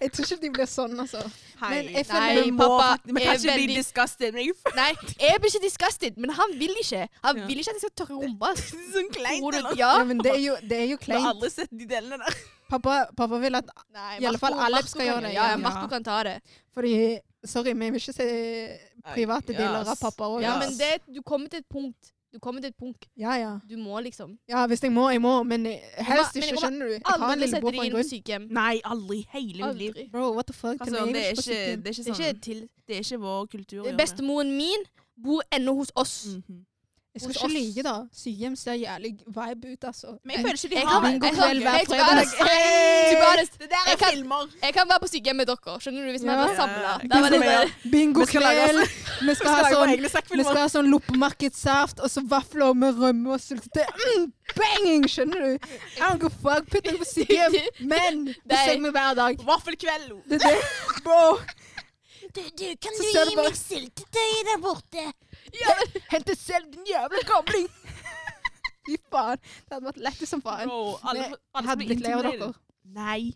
[SPEAKER 1] Jeg tror ikke de blir sånn, altså.
[SPEAKER 3] Hei,
[SPEAKER 1] Men jeg
[SPEAKER 3] nei,
[SPEAKER 1] føler-
[SPEAKER 3] pappa
[SPEAKER 2] pappa
[SPEAKER 3] faktisk- Vi kan
[SPEAKER 2] er
[SPEAKER 3] ikke bli
[SPEAKER 2] veldig-
[SPEAKER 3] disgusted, men jeg føler
[SPEAKER 2] Nei, jeg blir ikke disgusted, men han vil ikke. Han
[SPEAKER 3] Ja.
[SPEAKER 2] vil ikke at jeg skal tørke rumpa. ass.
[SPEAKER 3] det er sånn kleint.
[SPEAKER 2] Tror du-
[SPEAKER 3] eller?
[SPEAKER 2] Ja.
[SPEAKER 1] Ja, men det er jo, det er jo
[SPEAKER 3] Jeg har
[SPEAKER 1] kleint.
[SPEAKER 3] aldri sett de delene der.
[SPEAKER 1] Pappa, pappa vil at
[SPEAKER 2] Nei,
[SPEAKER 1] I alle fall
[SPEAKER 2] Marco-
[SPEAKER 1] Alex
[SPEAKER 2] Marco
[SPEAKER 1] skal
[SPEAKER 2] kan-
[SPEAKER 1] gjøre det,
[SPEAKER 2] Ja,
[SPEAKER 1] ja.
[SPEAKER 2] ja, Marco kan ta det.
[SPEAKER 1] Fordi Sorry, vi vil ikke se private
[SPEAKER 3] Ai,
[SPEAKER 1] dealer av
[SPEAKER 3] yes.
[SPEAKER 1] pappa òg.
[SPEAKER 2] Ja,
[SPEAKER 3] Ja,
[SPEAKER 2] men
[SPEAKER 3] ass.
[SPEAKER 2] det, du kommer til et punkt. Du kommer til et punkt.
[SPEAKER 1] ja, ja.
[SPEAKER 2] Du må liksom.
[SPEAKER 1] Ja, hvis jeg må, jeg må, men eh, helst
[SPEAKER 2] Men jeg
[SPEAKER 1] ikke,
[SPEAKER 2] kommer
[SPEAKER 1] skjønner du. Jeg har en
[SPEAKER 2] Aldri sette
[SPEAKER 1] lillebror
[SPEAKER 2] deg
[SPEAKER 1] på en
[SPEAKER 2] inn på
[SPEAKER 1] grunn.
[SPEAKER 2] sykehjem.
[SPEAKER 3] Nei, aldri. Hele mitt liv.
[SPEAKER 2] Aldri.
[SPEAKER 1] Bro, what the fuck? Kan
[SPEAKER 3] Altså,
[SPEAKER 1] vi
[SPEAKER 3] det,
[SPEAKER 1] egentlig
[SPEAKER 3] er ikke,
[SPEAKER 1] ikke
[SPEAKER 3] det, er ikke
[SPEAKER 2] Det er
[SPEAKER 3] sånn,
[SPEAKER 2] ikke til.
[SPEAKER 3] det er ikke vår kultur. å gjøre det.
[SPEAKER 2] Bestemoren min bor ennå hos oss.
[SPEAKER 1] Mm.
[SPEAKER 3] Mhm.
[SPEAKER 1] Jeg skal
[SPEAKER 2] hos
[SPEAKER 1] ikke
[SPEAKER 2] oss.
[SPEAKER 1] lyve, da. Sykehjem ser jævlig vibe ut, altså.
[SPEAKER 3] Men jeg føler ikke de
[SPEAKER 2] Jeg
[SPEAKER 3] har
[SPEAKER 2] kan- jeg kan-
[SPEAKER 1] Bingokveld hver
[SPEAKER 2] jeg- to be
[SPEAKER 1] fredag.
[SPEAKER 2] honest- to be honest,
[SPEAKER 3] Det der
[SPEAKER 2] jeg
[SPEAKER 3] er
[SPEAKER 2] kan-
[SPEAKER 3] filmer.
[SPEAKER 2] Jeg kan være på sykehjem med dere, skjønner du, hvis vi
[SPEAKER 1] Ja.
[SPEAKER 2] hadde vært samla. Da var det
[SPEAKER 3] Ja.
[SPEAKER 2] sånn,
[SPEAKER 1] Bingo
[SPEAKER 3] Vi skal lage
[SPEAKER 1] kveld! Vi skal ha sånn,
[SPEAKER 3] egne
[SPEAKER 1] vi skal
[SPEAKER 3] snakkfilmer.
[SPEAKER 1] ha sånn loppemarkedssaft, og så vafler med rømme og syltetøy. Mm, bang! Skjønner du? I don't give a fuck. Putt meg på
[SPEAKER 3] [LAUGHS]
[SPEAKER 1] sykehjem. Men besøk meg hver dag.
[SPEAKER 3] Vaffelkveld.
[SPEAKER 1] Det er det. Bro,
[SPEAKER 4] Du, du, kan
[SPEAKER 1] Så
[SPEAKER 4] du
[SPEAKER 1] ser du
[SPEAKER 4] gi
[SPEAKER 1] bare-
[SPEAKER 4] meg syltetøyet der borte?
[SPEAKER 1] hente selv din jævla gamling! [LAUGHS] Fy faen. Det hadde vært lettest som faen.
[SPEAKER 3] Bro, alle,
[SPEAKER 1] Men
[SPEAKER 3] alle
[SPEAKER 1] Jeg hadde blitt lei av dere.
[SPEAKER 3] Nei.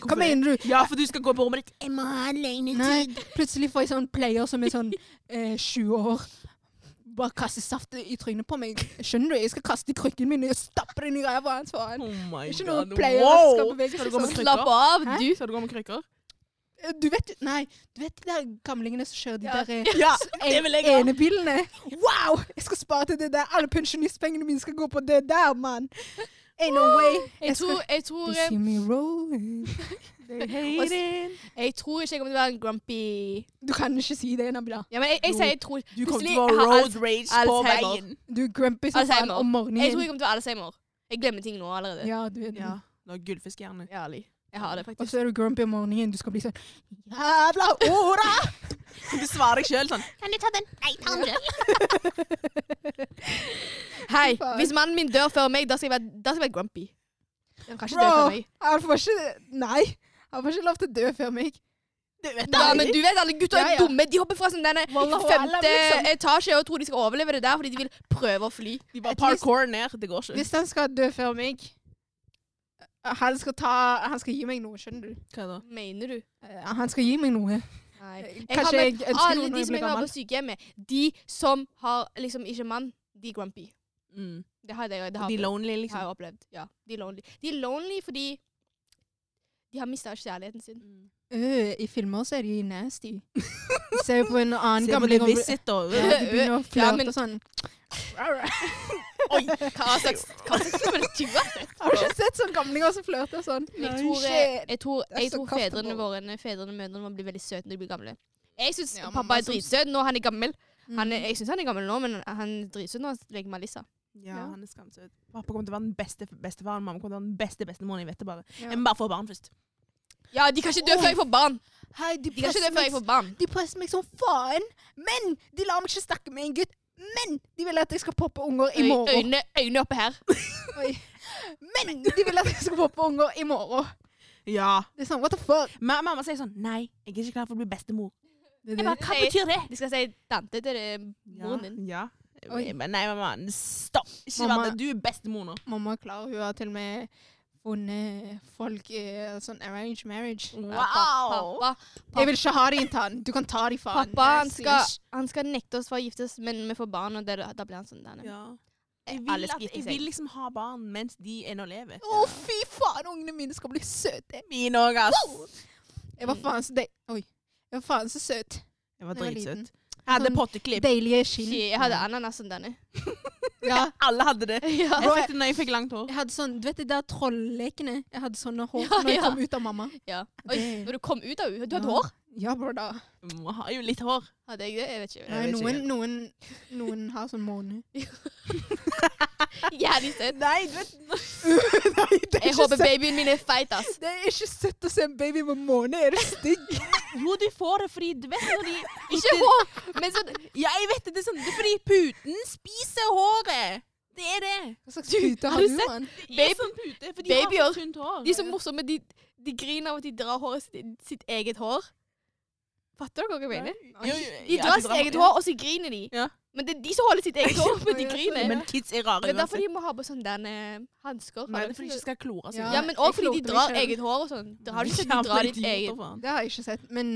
[SPEAKER 1] Hva mener du?
[SPEAKER 3] Ja, for du skal gå på rommet ditt.
[SPEAKER 4] Jeg må ha
[SPEAKER 1] Nei,
[SPEAKER 4] alenetid.
[SPEAKER 1] plutselig får jeg sånn player som er sånn eh, 20 år. Bare kaster saft i trynet på meg. Skjønner du? Jeg skal kaste i krykken min og stappe den i ræva hans. faen.
[SPEAKER 3] Oh my
[SPEAKER 1] Ikke noe
[SPEAKER 3] god.
[SPEAKER 1] player
[SPEAKER 3] wow.
[SPEAKER 1] skal bevege
[SPEAKER 3] Skal
[SPEAKER 1] seg
[SPEAKER 3] du gå med
[SPEAKER 1] sånn.
[SPEAKER 2] Slapp
[SPEAKER 3] krykker?
[SPEAKER 2] av,
[SPEAKER 1] Hæ?
[SPEAKER 2] du.
[SPEAKER 3] Skal du gå med krykker?
[SPEAKER 1] Eh, Du vet, nei, du vet de der gamlingene som kjører de
[SPEAKER 2] Ja. [LAUGHS]
[SPEAKER 1] der eh,
[SPEAKER 3] Ja,
[SPEAKER 1] s-
[SPEAKER 3] det vil jeg ha.
[SPEAKER 1] enebilene? Wow! Jeg skal spare til det der. Alle pensjonistpengene mine skal gå på det der, mann. Ain't no way.
[SPEAKER 2] Jeg tror, jeg
[SPEAKER 1] They
[SPEAKER 2] tror,
[SPEAKER 1] see me rolling.
[SPEAKER 2] jeg tror ikke jeg kommer til å være en grumpy
[SPEAKER 1] Du kan ikke si det, Nabila.
[SPEAKER 2] Ja, men jeg, jeg
[SPEAKER 3] Jo.
[SPEAKER 2] sier jeg tror
[SPEAKER 3] Du kommer
[SPEAKER 2] Plutselig
[SPEAKER 3] til å få
[SPEAKER 2] har
[SPEAKER 3] road rage på
[SPEAKER 2] Alzheimer.
[SPEAKER 3] veien.
[SPEAKER 1] Du er grumpy som
[SPEAKER 2] Alzheimer.
[SPEAKER 1] faen om morgenen.
[SPEAKER 2] Altså, Jeg tror jeg kommer til å ha Alzheimer. Jeg glemmer ting nå allerede.
[SPEAKER 1] ja, du er det.
[SPEAKER 3] Ja. Du har gullfiskhjerne.
[SPEAKER 2] Ærlig. Jeg har det
[SPEAKER 1] Og
[SPEAKER 2] faktisk.
[SPEAKER 1] så er du grumpy om morgenen. Du skal bli sånn Jævla ora!
[SPEAKER 3] [LAUGHS] Du svarer deg sjøl sånn.
[SPEAKER 4] Kan du ta den? Nei, ta den sjøl.
[SPEAKER 2] Hei,
[SPEAKER 1] Faen.
[SPEAKER 2] hvis mannen min dør før meg, da skal jeg være, da skal jeg være grumpy. Han kan ikke dø
[SPEAKER 1] Bro,
[SPEAKER 2] før meg.
[SPEAKER 1] han får ikke Nei. Han får ikke lov til å dø før meg.
[SPEAKER 3] Du vet
[SPEAKER 2] Ja,
[SPEAKER 3] aldri.
[SPEAKER 2] men du vet alle gutter
[SPEAKER 1] Ja,
[SPEAKER 2] er
[SPEAKER 1] ja.
[SPEAKER 2] dumme. De hopper fra sånn denne
[SPEAKER 1] Wallah, wallah,
[SPEAKER 2] femte
[SPEAKER 1] liksom.
[SPEAKER 2] etasje og tror de skal overleve det der fordi de vil prøve å fly.
[SPEAKER 3] De bare parkour ned. Det går ikke.
[SPEAKER 1] Hvis han skal dø før meg han skal, ta, han skal gi meg noe, skjønner du.
[SPEAKER 3] Hva da?
[SPEAKER 2] Mener du?
[SPEAKER 1] Eh, Han skal gi meg noe.
[SPEAKER 2] Nei. Jeg har
[SPEAKER 1] Kanskje jeg
[SPEAKER 2] møtt
[SPEAKER 1] ønsker
[SPEAKER 2] alle
[SPEAKER 1] noe når
[SPEAKER 2] de
[SPEAKER 1] jeg
[SPEAKER 2] som
[SPEAKER 1] blir
[SPEAKER 2] jeg var
[SPEAKER 1] gammel.
[SPEAKER 2] på sykehjemmet. De som har liksom ikke mann, de er grumpy.
[SPEAKER 3] Mm.
[SPEAKER 2] Det har jeg, det har
[SPEAKER 3] De
[SPEAKER 2] jeg, opplevd.
[SPEAKER 3] lonely,
[SPEAKER 2] Det har
[SPEAKER 3] liksom.
[SPEAKER 2] jeg opplevd. Ja, de er lonely. De er lonely fordi de har mista kjærligheten sin.
[SPEAKER 3] Mm.
[SPEAKER 1] Øh, I filmer så er de [LAUGHS] nasty. De ser jo på en annen
[SPEAKER 3] Se på
[SPEAKER 1] gammel
[SPEAKER 3] The Visit, da.
[SPEAKER 1] [LAUGHS] Ja, de begynner å
[SPEAKER 2] Ja,
[SPEAKER 1] flørte
[SPEAKER 2] men-
[SPEAKER 1] og sånn.
[SPEAKER 2] [LAUGHS] Oi, hva slags hva slags [LAUGHS] kultur er det?
[SPEAKER 1] Har du ikke sett sånne gamlinger som flørter sånn?
[SPEAKER 2] Jeg tror, eh,
[SPEAKER 1] Shit.
[SPEAKER 2] jeg tror,
[SPEAKER 1] er
[SPEAKER 2] jeg
[SPEAKER 1] så
[SPEAKER 2] tror
[SPEAKER 1] kaffe på.
[SPEAKER 2] fedrene våre fedrene og mødrene våre blir veldig søte når de blir gamle. Jeg syns
[SPEAKER 1] Ja,
[SPEAKER 2] pappa
[SPEAKER 1] mamma
[SPEAKER 2] er
[SPEAKER 1] som-
[SPEAKER 2] dritsøt når han er gammel. Han er,
[SPEAKER 1] Mm.
[SPEAKER 2] jeg syns han er gammel nå, men han er dritsøt når han leker med Alissa.
[SPEAKER 3] Ja,
[SPEAKER 1] Ja.
[SPEAKER 3] han er skamsøt. Pappa kommer til å være den beste bestefaren. Mamma kommer til å være den beste bestemoren. Jeg vet det bare.
[SPEAKER 1] Ja.
[SPEAKER 3] Jeg må bare få barn først.
[SPEAKER 2] Ja, de kan ikke dø før jeg får barn!
[SPEAKER 1] Hei, de
[SPEAKER 2] [LAUGHS] De kan ikke dø
[SPEAKER 1] presser
[SPEAKER 2] før
[SPEAKER 1] meg
[SPEAKER 2] jeg får barn.
[SPEAKER 1] De presser meg som faen, men de lar meg ikke snakke med en gutt. Men de vil at jeg skal poppe unger i
[SPEAKER 2] Øy-
[SPEAKER 1] morgen.
[SPEAKER 2] Øyne, øyne oppe her.
[SPEAKER 1] Men de vil at jeg skal poppe unger i morgen.
[SPEAKER 3] Ja.
[SPEAKER 1] Det er sånn, what the fuck?
[SPEAKER 3] Ma mamma sier sånn Nei, jeg er ikke klar for å bli bestemor.
[SPEAKER 1] Det,
[SPEAKER 2] Jeg
[SPEAKER 1] er
[SPEAKER 2] bare,
[SPEAKER 1] det.
[SPEAKER 2] hva betyr det? De skal si tante til eh,
[SPEAKER 3] Ja.
[SPEAKER 2] moren din.
[SPEAKER 3] ja.
[SPEAKER 1] Oi.
[SPEAKER 3] Jeg bare, Nei, mamma. Stopp. Ikke
[SPEAKER 1] Mamma-
[SPEAKER 3] vær det. Du er bestemor nå.
[SPEAKER 1] Mamma er klar, hun har til og med funnet folk eh, sånn arranged marriage.
[SPEAKER 2] Ja, pa- Pappa,
[SPEAKER 1] Jeg vil ikke ha dem, Tan. Du kan ta dem, faen.
[SPEAKER 2] pappa han,
[SPEAKER 1] Nasty.
[SPEAKER 2] skal, han skal nekte oss for å gifte oss, men vi får barn, og det, da blir han sånn der.
[SPEAKER 3] Ja.
[SPEAKER 2] Eh,
[SPEAKER 3] Jeg vil,
[SPEAKER 2] alle
[SPEAKER 3] at,
[SPEAKER 2] skiter
[SPEAKER 3] jeg
[SPEAKER 2] seg.
[SPEAKER 3] vil liksom ha barn mens de ennå lever.
[SPEAKER 1] Å, fy faen, ungene mine skal bli søte.
[SPEAKER 3] Mine òg, ass.
[SPEAKER 1] Jeg var faen så de Oi. Jeg var faen så søt.
[SPEAKER 3] Jeg var
[SPEAKER 1] Når jeg var
[SPEAKER 3] dritsøt.
[SPEAKER 1] liten.
[SPEAKER 3] Jeg hadde
[SPEAKER 1] Sånn-
[SPEAKER 3] potteklipp.
[SPEAKER 1] Deilige skinn.
[SPEAKER 2] Shit, Jeg hadde ananas som denne.
[SPEAKER 1] Ja.
[SPEAKER 3] Alle hadde det.
[SPEAKER 2] [LAUGHS] Ja.
[SPEAKER 3] Jeg fikk det når jeg fikk langt hår.
[SPEAKER 1] Jeg hadde sånn, Du vet de der trollekene? Jeg hadde sånne hår
[SPEAKER 2] Ja,
[SPEAKER 1] når jeg
[SPEAKER 2] ja.
[SPEAKER 1] kom ut av mamma.
[SPEAKER 2] ja. Oi,
[SPEAKER 1] Det-
[SPEAKER 2] når du kom ut av henne, du hadde
[SPEAKER 1] Ja.
[SPEAKER 2] hår.
[SPEAKER 1] Ja, bro, da.
[SPEAKER 3] Må ha jo litt hår.
[SPEAKER 2] [LAUGHS] Hadde jeg det? Jeg vet ikke.
[SPEAKER 1] Nei,
[SPEAKER 3] vet ikke
[SPEAKER 1] noen,
[SPEAKER 3] helt.
[SPEAKER 1] noen, noen har sånn måne.
[SPEAKER 2] [LAUGHS] Jævlig søt.
[SPEAKER 3] Nei, du vet
[SPEAKER 1] Nei, det
[SPEAKER 2] Jeg håper babyen min er feit, ass.
[SPEAKER 1] Det er ikke søtt å se en baby med måne. Er du stygg?
[SPEAKER 3] Jo, de får det fordi Du vet når de
[SPEAKER 2] [LAUGHS] [LAUGHS] Ikke hår, men sånn
[SPEAKER 3] Ja, jeg vet det. Det er, sånn, det er fordi puten spiser håret. Det er det!
[SPEAKER 1] Hva slags pute
[SPEAKER 2] Har
[SPEAKER 1] har
[SPEAKER 2] du
[SPEAKER 1] du,
[SPEAKER 2] sett-
[SPEAKER 1] mann?
[SPEAKER 3] Det er
[SPEAKER 2] Baby-
[SPEAKER 3] sånn pute, for de
[SPEAKER 2] babyer,
[SPEAKER 3] har så tynt hår.
[SPEAKER 2] De er så morsomme. De, de griner av at de drar håret sitt, sitt eget hår. Fatter dere hva jeg mener?
[SPEAKER 3] Jo, jo,
[SPEAKER 2] De
[SPEAKER 3] ja,
[SPEAKER 2] drar sitt eget
[SPEAKER 3] ja.
[SPEAKER 2] hår, og så griner de.
[SPEAKER 3] Ja.
[SPEAKER 2] Men det er de som holder sitt [LAUGHS] eget hår, men de griner.
[SPEAKER 3] Men kids er rare
[SPEAKER 2] det er derfor de må ha på sånne der, eh, hansker.
[SPEAKER 3] Nei,
[SPEAKER 2] har
[SPEAKER 3] det er
[SPEAKER 2] dere
[SPEAKER 3] fordi de
[SPEAKER 2] sett
[SPEAKER 3] ikke skal klore seg.
[SPEAKER 2] det?
[SPEAKER 1] Ja,
[SPEAKER 2] ja, men
[SPEAKER 1] jeg
[SPEAKER 2] òg fordi
[SPEAKER 1] klorte
[SPEAKER 2] de
[SPEAKER 1] meg
[SPEAKER 2] drar
[SPEAKER 1] selv.
[SPEAKER 2] eget hår og sånn. Det [LAUGHS] har de ikke, de
[SPEAKER 3] Jævla
[SPEAKER 2] drar ditt
[SPEAKER 3] idioter,
[SPEAKER 2] eget.
[SPEAKER 3] faen.
[SPEAKER 1] Det har jeg ikke sett. Men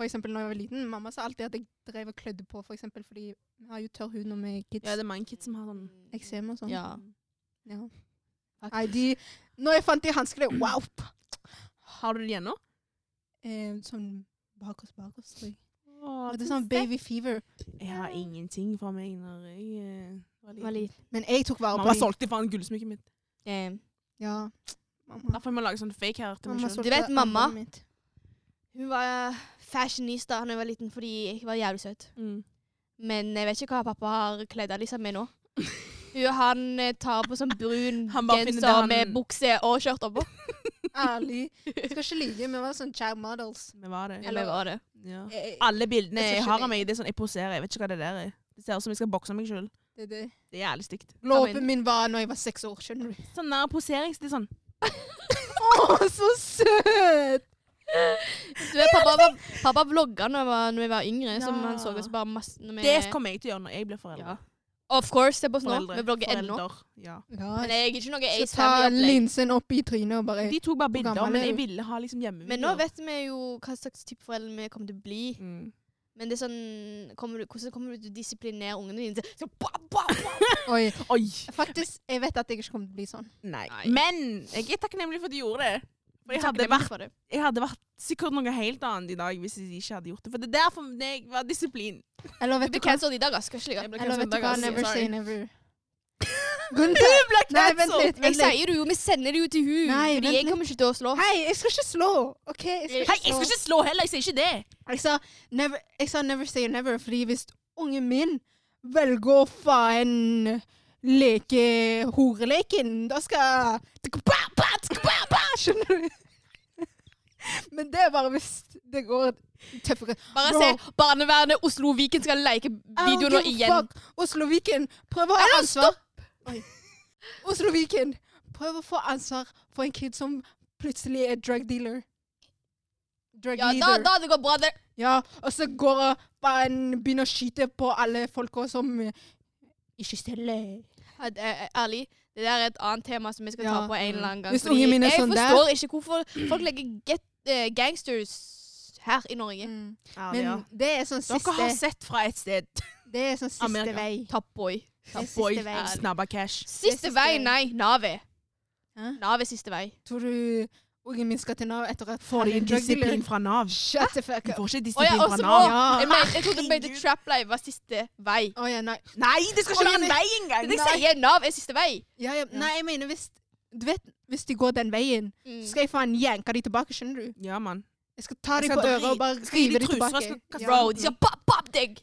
[SPEAKER 1] for eksempel når jeg var liten, mamma sa alltid at jeg drev og klødde på, for eksempel, fordi vi har jo tørr hud når vi er
[SPEAKER 3] Ja,
[SPEAKER 1] kids.
[SPEAKER 3] det er mange kids som har sånn
[SPEAKER 1] Eksem og sånn.
[SPEAKER 2] Ja.
[SPEAKER 1] Ja. Nei, de Når jeg fant de hanskene, wow!
[SPEAKER 3] Har du det igjen nå?
[SPEAKER 1] Eh, sånn bakerst, bakerst, tror jeg. Og Det er sånn baby fever.
[SPEAKER 3] Jeg har ingenting fra meg når jeg eh, var liten.
[SPEAKER 2] Valid.
[SPEAKER 1] Men jeg tok vare på
[SPEAKER 3] Mamma
[SPEAKER 1] dem.
[SPEAKER 3] solgte faen gullsmykket mitt.
[SPEAKER 2] Eh,
[SPEAKER 1] Ja. Mamma.
[SPEAKER 3] Derfor må jeg lage sånn fake her til meg
[SPEAKER 1] Mamma
[SPEAKER 3] selv.
[SPEAKER 1] solgte
[SPEAKER 2] vet
[SPEAKER 1] armbåndet
[SPEAKER 2] mamma?
[SPEAKER 1] mitt.
[SPEAKER 2] hun var fashionista da jeg var liten fordi jeg var jævlig søt.
[SPEAKER 3] Mm.
[SPEAKER 2] Men jeg vet ikke hva pappa har kledd av liksom med
[SPEAKER 3] [LAUGHS]
[SPEAKER 2] nå. Hun og han eh, tar på sånn brun
[SPEAKER 3] Han bare finner det
[SPEAKER 2] genser
[SPEAKER 3] han-
[SPEAKER 2] med bukse og skjørt
[SPEAKER 3] [LAUGHS]
[SPEAKER 2] oppå.
[SPEAKER 1] Ærlig. Jeg skal ikke lyve, vi var sånn child models.
[SPEAKER 3] Det var det.
[SPEAKER 2] Eller var det?
[SPEAKER 3] Ja. Ah.
[SPEAKER 1] Eh,
[SPEAKER 3] Alle bildene
[SPEAKER 1] Jeg
[SPEAKER 3] jeg
[SPEAKER 1] tror
[SPEAKER 3] har
[SPEAKER 1] ikke
[SPEAKER 3] av meg, det er sånn jeg poserer. Jeg vet ikke hva det der er. Det ser ut som jeg skal bokse meg sjøl.
[SPEAKER 1] det, er det.
[SPEAKER 3] Det er jævlig stygt.
[SPEAKER 1] Låpen min var når jeg var seks år, skjønner du.
[SPEAKER 3] Sånn nær posering, så det er sånn
[SPEAKER 1] Å, så søt!
[SPEAKER 2] Du vet, pappa, var- pappa vlogga når jeg var, når jeg var yngre, som
[SPEAKER 3] Ja.
[SPEAKER 2] han så oss bare masse når vi-
[SPEAKER 3] Det kommer jeg til å gjøre når jeg blir
[SPEAKER 2] ja.
[SPEAKER 3] forelder.
[SPEAKER 2] Of course, se på oss nå.
[SPEAKER 3] Foreldre.
[SPEAKER 2] Vi vlogger ennå.
[SPEAKER 3] Forelder. Ja.
[SPEAKER 1] Ja,
[SPEAKER 2] Men jeg er ikke noe
[SPEAKER 1] skal ta
[SPEAKER 2] Ace-opplegg.
[SPEAKER 1] linsen opp i trynet og bare
[SPEAKER 3] De tok bare bilder,
[SPEAKER 1] gammel er
[SPEAKER 3] men jeg
[SPEAKER 1] du?
[SPEAKER 3] ville ha liksom hjemmevideo.
[SPEAKER 2] Men nå vet vi jo hva slags type foreldre vi kommer til å bli.
[SPEAKER 3] mm.
[SPEAKER 2] Men det er sånn kommer du, Hvordan kommer du til å disiplinere ungene dine? til- Så, ba, ba, ba.
[SPEAKER 1] Oi.
[SPEAKER 3] Oi!
[SPEAKER 1] Faktisk, jeg vet at jeg ikke kommer til å bli sånn.
[SPEAKER 3] Nei.
[SPEAKER 2] Nei.
[SPEAKER 3] Men jeg er takknemlig for at de gjorde det. For jeg hadde,
[SPEAKER 2] Takknemlig
[SPEAKER 3] vært,
[SPEAKER 2] for det.
[SPEAKER 3] jeg hadde vært sikkert noe helt annet i dag hvis jeg ikke hadde gjort det. For det er derfor jeg var disiplin.
[SPEAKER 1] Eller
[SPEAKER 2] Jeg
[SPEAKER 1] vet du
[SPEAKER 2] blir
[SPEAKER 1] hva?
[SPEAKER 2] cancelled i dag, ass. Skal ikke
[SPEAKER 3] Jeg
[SPEAKER 2] ligge.
[SPEAKER 3] blir
[SPEAKER 1] Eller vet du
[SPEAKER 3] cancelled
[SPEAKER 1] hva?
[SPEAKER 3] i dag,
[SPEAKER 1] Never
[SPEAKER 3] altså.
[SPEAKER 1] say
[SPEAKER 3] Sorry.
[SPEAKER 1] never. Gunther! Nei, vent litt.
[SPEAKER 2] Jeg
[SPEAKER 1] Vent litt.
[SPEAKER 2] sier det jo, vi sender det jo til hun.
[SPEAKER 1] Nei,
[SPEAKER 2] Fordi
[SPEAKER 1] vent
[SPEAKER 2] jeg kommer ikke til å slå.
[SPEAKER 1] Hei, jeg skal ikke slå! OK? Jeg skal
[SPEAKER 2] Hei,
[SPEAKER 1] ikke
[SPEAKER 3] Hei,
[SPEAKER 1] slå.
[SPEAKER 3] jeg skal ikke slå heller! Jeg sier ikke det.
[SPEAKER 1] Jeg sa never, jeg sa never say never, fordi hvis ungen min velger å faen leke horeleken, da skal tsk-ba, ba, tsk-ba, ba, Skjønner du? [LAUGHS] Men det er bare hvis det går tøffere.
[SPEAKER 2] Bare
[SPEAKER 1] Bro.
[SPEAKER 2] se Barnevernet Oslo Viken skal leke video nå
[SPEAKER 1] I don't give a
[SPEAKER 2] igjen.
[SPEAKER 1] fuck. Oslo Viken, prøv å ha ansvar. Oi. Oslo Viken, prøv å få ansvar for en kid som plutselig er drug dealer. Drug
[SPEAKER 2] Ja, da,
[SPEAKER 1] dealer.
[SPEAKER 2] da det går bra. Det.
[SPEAKER 1] Ja, og så går og bare en begynner å skyte på alle folka som eh, ikke steller.
[SPEAKER 2] Ja, det er- Ærlig, det der er et annet tema som vi skal ta
[SPEAKER 1] Ja.
[SPEAKER 2] på en eller annen gang.
[SPEAKER 1] Hvis
[SPEAKER 2] fordi
[SPEAKER 1] ungen min er
[SPEAKER 2] jeg
[SPEAKER 1] sånn der-
[SPEAKER 2] forstår ikke hvorfor folk legger get, eh, gangsters her i Norge.
[SPEAKER 1] Men det er sånn
[SPEAKER 3] Dere har
[SPEAKER 1] siste,
[SPEAKER 3] sett fra et sted.
[SPEAKER 1] det er sånn siste
[SPEAKER 3] Amerika.
[SPEAKER 1] vei.
[SPEAKER 2] Top boy.
[SPEAKER 1] Det er
[SPEAKER 3] [LAUGHS] Boy,
[SPEAKER 1] siste vei.
[SPEAKER 3] snabba cash.
[SPEAKER 2] Siste
[SPEAKER 1] siste vei.
[SPEAKER 2] vei, nei. Navet.
[SPEAKER 1] Hæ?
[SPEAKER 2] Navet siste vei.
[SPEAKER 1] Tror du ungen min skal til Nav etter at
[SPEAKER 3] Får
[SPEAKER 1] han
[SPEAKER 3] de
[SPEAKER 1] er drug dealer?
[SPEAKER 3] disiplin fra Nav?
[SPEAKER 1] Shut the fuck
[SPEAKER 3] De
[SPEAKER 1] up.
[SPEAKER 3] får ikke
[SPEAKER 2] Å ja,
[SPEAKER 3] disiplin
[SPEAKER 2] og
[SPEAKER 3] fra
[SPEAKER 2] så
[SPEAKER 3] Nav.
[SPEAKER 2] må- Jeg, mener- jeg trodde
[SPEAKER 3] Herregud.
[SPEAKER 2] Bøyde Trap Live var siste vei.
[SPEAKER 1] Å ja, nei.
[SPEAKER 3] Nei, det skal
[SPEAKER 1] Å,
[SPEAKER 3] ikke
[SPEAKER 1] ja,
[SPEAKER 3] være en
[SPEAKER 1] nei.
[SPEAKER 3] vei engang!
[SPEAKER 2] Det jeg sier, Nav er siste vei.
[SPEAKER 1] Ja, ja. Nei, jeg mener hvis Du vet, hvis de går den veien, så
[SPEAKER 2] Mm.
[SPEAKER 1] skal jeg faen jenke de tilbake, skjønner du?
[SPEAKER 3] Ja, mann.
[SPEAKER 1] Jeg skal ta de
[SPEAKER 3] Jeg
[SPEAKER 1] på
[SPEAKER 3] skal
[SPEAKER 1] øret
[SPEAKER 3] dri-
[SPEAKER 1] og bare
[SPEAKER 3] skal gi
[SPEAKER 1] rive
[SPEAKER 3] de
[SPEAKER 1] de
[SPEAKER 3] truser, jeg
[SPEAKER 1] tilbake.
[SPEAKER 3] skal kaste-
[SPEAKER 2] Bro, de skal pop, pop deg.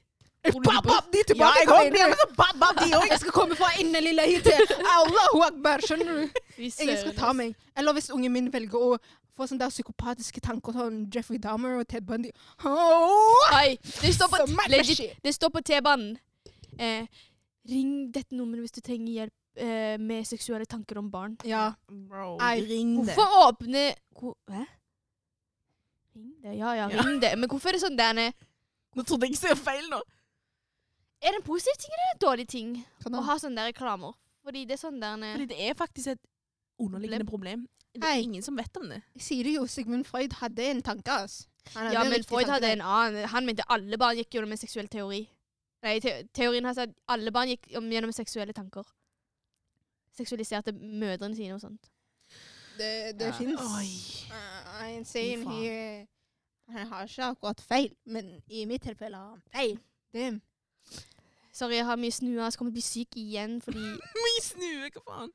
[SPEAKER 2] Tror du de
[SPEAKER 1] Bap,
[SPEAKER 2] bor-
[SPEAKER 1] bap, de er
[SPEAKER 3] Ja,
[SPEAKER 1] tilbake!
[SPEAKER 3] jeg håper
[SPEAKER 1] Karina.
[SPEAKER 3] det, men så bap, bap, altså. de òg.
[SPEAKER 1] jeg skal komme fra innen lille hit til Allahu akbar, skjønner du?
[SPEAKER 2] Fy
[SPEAKER 1] Ingen skal
[SPEAKER 2] søren,
[SPEAKER 1] ta
[SPEAKER 2] ass.
[SPEAKER 1] meg. Eller hvis ungen min velger å få sånne der psykopatiske tanker som Jeffrey Dahmer og Ted Bundy. Åh!
[SPEAKER 2] Oi, det står på,
[SPEAKER 1] Så mye
[SPEAKER 2] legit,
[SPEAKER 1] shit.
[SPEAKER 2] det står på T-banen. Eh, ring dette nummeret hvis du trenger hjelp eh, med seksuelle tanker om barn.
[SPEAKER 1] Ja.
[SPEAKER 3] Bro,
[SPEAKER 1] Nei,
[SPEAKER 3] ring det.
[SPEAKER 2] Hvorfor åpne hvor, Hæ? Ring det? Ja, ja,
[SPEAKER 3] Ja.
[SPEAKER 2] ring det. Men hvorfor er det sånn, Danne?
[SPEAKER 3] Nå trodde jeg jeg sa feil nå.
[SPEAKER 2] Er det en positiv ting eller en dårlig ting
[SPEAKER 1] Sånn
[SPEAKER 2] å
[SPEAKER 1] da.
[SPEAKER 2] ha sånne der reklamer? Fordi det er sånn der
[SPEAKER 3] Fordi det er faktisk et underliggende problem. Det er
[SPEAKER 1] Hei.
[SPEAKER 3] ingen som vet om det.
[SPEAKER 1] Jeg sier det jo, Sigmund Freud hadde en tanke, ass. Han hadde
[SPEAKER 2] Ja,
[SPEAKER 1] en
[SPEAKER 2] men
[SPEAKER 1] riktig
[SPEAKER 2] Freud
[SPEAKER 1] tanke
[SPEAKER 2] hadde
[SPEAKER 1] der.
[SPEAKER 2] en annen. Han mente alle barn gikk gjennom en seksuell teori. Nei, te teorien hans er at alle barn gikk om- gjennom seksuelle tanker. Seksualiserte mødrene sine og sånt.
[SPEAKER 1] Det, det
[SPEAKER 2] Ja.
[SPEAKER 1] fins.
[SPEAKER 3] Oi.
[SPEAKER 1] I'm saying
[SPEAKER 3] Fy faen.
[SPEAKER 1] he eh, Han har ikke akkurat feil, men i mitt tilfelle har han feil. Damn.
[SPEAKER 2] Sorry, jeg har mye snue, så kommer jeg til å bli syk igjen fordi
[SPEAKER 3] Vi snue, hva faen?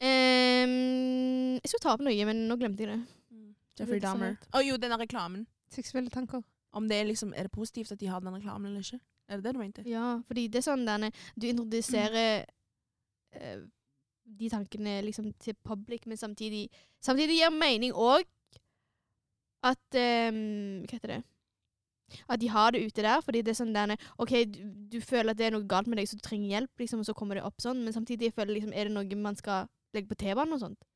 [SPEAKER 2] Ehm, Jeg skulle ta opp noe, men nå glemte jeg det.
[SPEAKER 3] Jeffrey
[SPEAKER 2] Det er sånn
[SPEAKER 3] Dahmer. Å jo, den der reklamen.
[SPEAKER 1] Seksuelle tanker.
[SPEAKER 3] Om det er liksom, er det positivt at de har den reklamen eller ikke? Er det det du mente?
[SPEAKER 2] Ja, fordi det er sånn derne Du introduserer eh, de tankene liksom til public, men samtidig Samtidig gir mening òg at ehm, Hva eh, heter det? At de har det ute der, fordi det er sånn der OK, du, du føler at det er noe galt med deg, så du trenger hjelp, liksom, og så kommer det opp sånn, men samtidig jeg føler liksom, er det noe man skal legge på T-banen og sånt?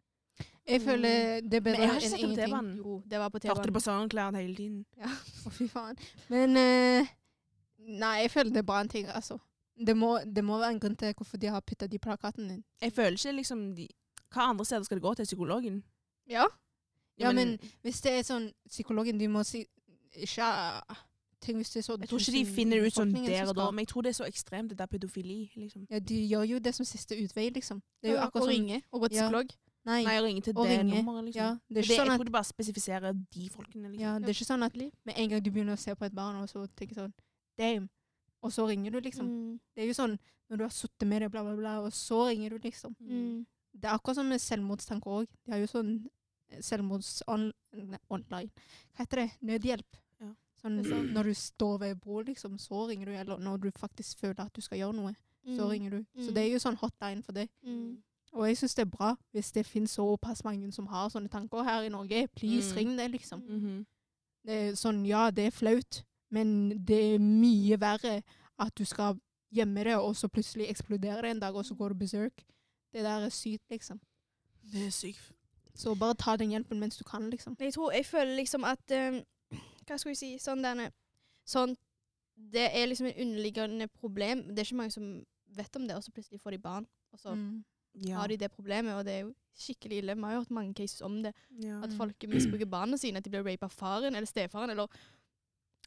[SPEAKER 1] Jeg føler det er
[SPEAKER 3] Mm. Men
[SPEAKER 1] bedre
[SPEAKER 3] jeg har ikke
[SPEAKER 1] enn
[SPEAKER 3] sett om
[SPEAKER 1] ingenting.
[SPEAKER 3] T-banen.
[SPEAKER 2] Jo, det var på
[SPEAKER 3] Hørte det
[SPEAKER 2] T-banen.
[SPEAKER 3] på SoundCloud hele tiden.
[SPEAKER 1] Å, fy faen. Men eh, Nei, jeg føler det er bare en ting, altså. Det må, det må være en grunn til hvorfor de har putta de plakatene din.
[SPEAKER 3] Jeg føler ikke liksom de, Hva andre steder skal det gå til? Psykologen?
[SPEAKER 2] Ja.
[SPEAKER 1] Ja, men hvis det er sånn Psykologen, de må si Ikke Tenk hvis det er så
[SPEAKER 3] Jeg tror ikke de
[SPEAKER 1] tusen
[SPEAKER 3] finner det ut sånn
[SPEAKER 1] befolkningen
[SPEAKER 3] der
[SPEAKER 1] som
[SPEAKER 3] og da,
[SPEAKER 1] skal-
[SPEAKER 3] men jeg tror det er så ekstremt, det der pedofili. liksom.
[SPEAKER 1] Ja, de gjør jo det som siste utvei, liksom. Det er jo akkurat
[SPEAKER 2] og
[SPEAKER 1] sånn
[SPEAKER 2] ringe, og gå til
[SPEAKER 1] Ja.
[SPEAKER 2] psykolog.
[SPEAKER 1] Nei.
[SPEAKER 3] Nei, å ringe til
[SPEAKER 1] Og
[SPEAKER 3] det
[SPEAKER 1] ringe.
[SPEAKER 3] nummeret, liksom.
[SPEAKER 1] ja, det er
[SPEAKER 3] det,
[SPEAKER 1] ikke sånn
[SPEAKER 3] jeg
[SPEAKER 1] at
[SPEAKER 3] tror de bare spesifiserer de folkene. liksom.
[SPEAKER 1] ja, det er ikke sånn at med en gang du begynner å se på et barn, og så tenker sånn Damn. Og så ringer du, liksom.
[SPEAKER 2] Mm.
[SPEAKER 1] Det er jo sånn når du har sittet med det, bla, bla, bla, og så ringer du, liksom.
[SPEAKER 2] Mm.
[SPEAKER 1] Det er akkurat som med selvmordstanker òg. De har jo sånn eh, selvmords... On, nei, online. Hva heter det? Nødhjelp.
[SPEAKER 3] Ja.
[SPEAKER 1] Sånn,
[SPEAKER 2] Det er sant.
[SPEAKER 1] når du står ved et bord, liksom, så ringer du. Eller når du faktisk føler at du skal gjøre noe, så ringer du. Så
[SPEAKER 2] Mm.
[SPEAKER 1] det er jo sånn hotline for det.
[SPEAKER 2] Mm.
[SPEAKER 1] Og jeg syns det er bra hvis det finnes såpass mange som har sånne tanker her i Norge. Please,
[SPEAKER 3] Mm.
[SPEAKER 1] ring det, liksom.
[SPEAKER 3] Mhm.
[SPEAKER 1] Det er sånn, ja, det er flaut, men det er mye verre at du skal gjemme det, og så plutselig eksploderer det en dag, og så går du berserk. Det der er sykt, liksom.
[SPEAKER 3] Det er sykt.
[SPEAKER 1] Så bare ta den hjelpen mens du kan, liksom.
[SPEAKER 2] Men jeg tror, jeg føler liksom at eh, Hva skal jeg si? Sånn derne Sånn Det er liksom en underliggende problem. Det er ikke mange som vet om det, og så plutselig får de barn. Og så
[SPEAKER 1] Mm.
[SPEAKER 3] Ja.
[SPEAKER 2] har de det problemet, og det er jo skikkelig ille. Vi har jo hørt mange cases om det.
[SPEAKER 3] ja.
[SPEAKER 2] At
[SPEAKER 1] Mm.
[SPEAKER 2] folk misbruker barna sine. At de blir rapet av faren eller stefaren eller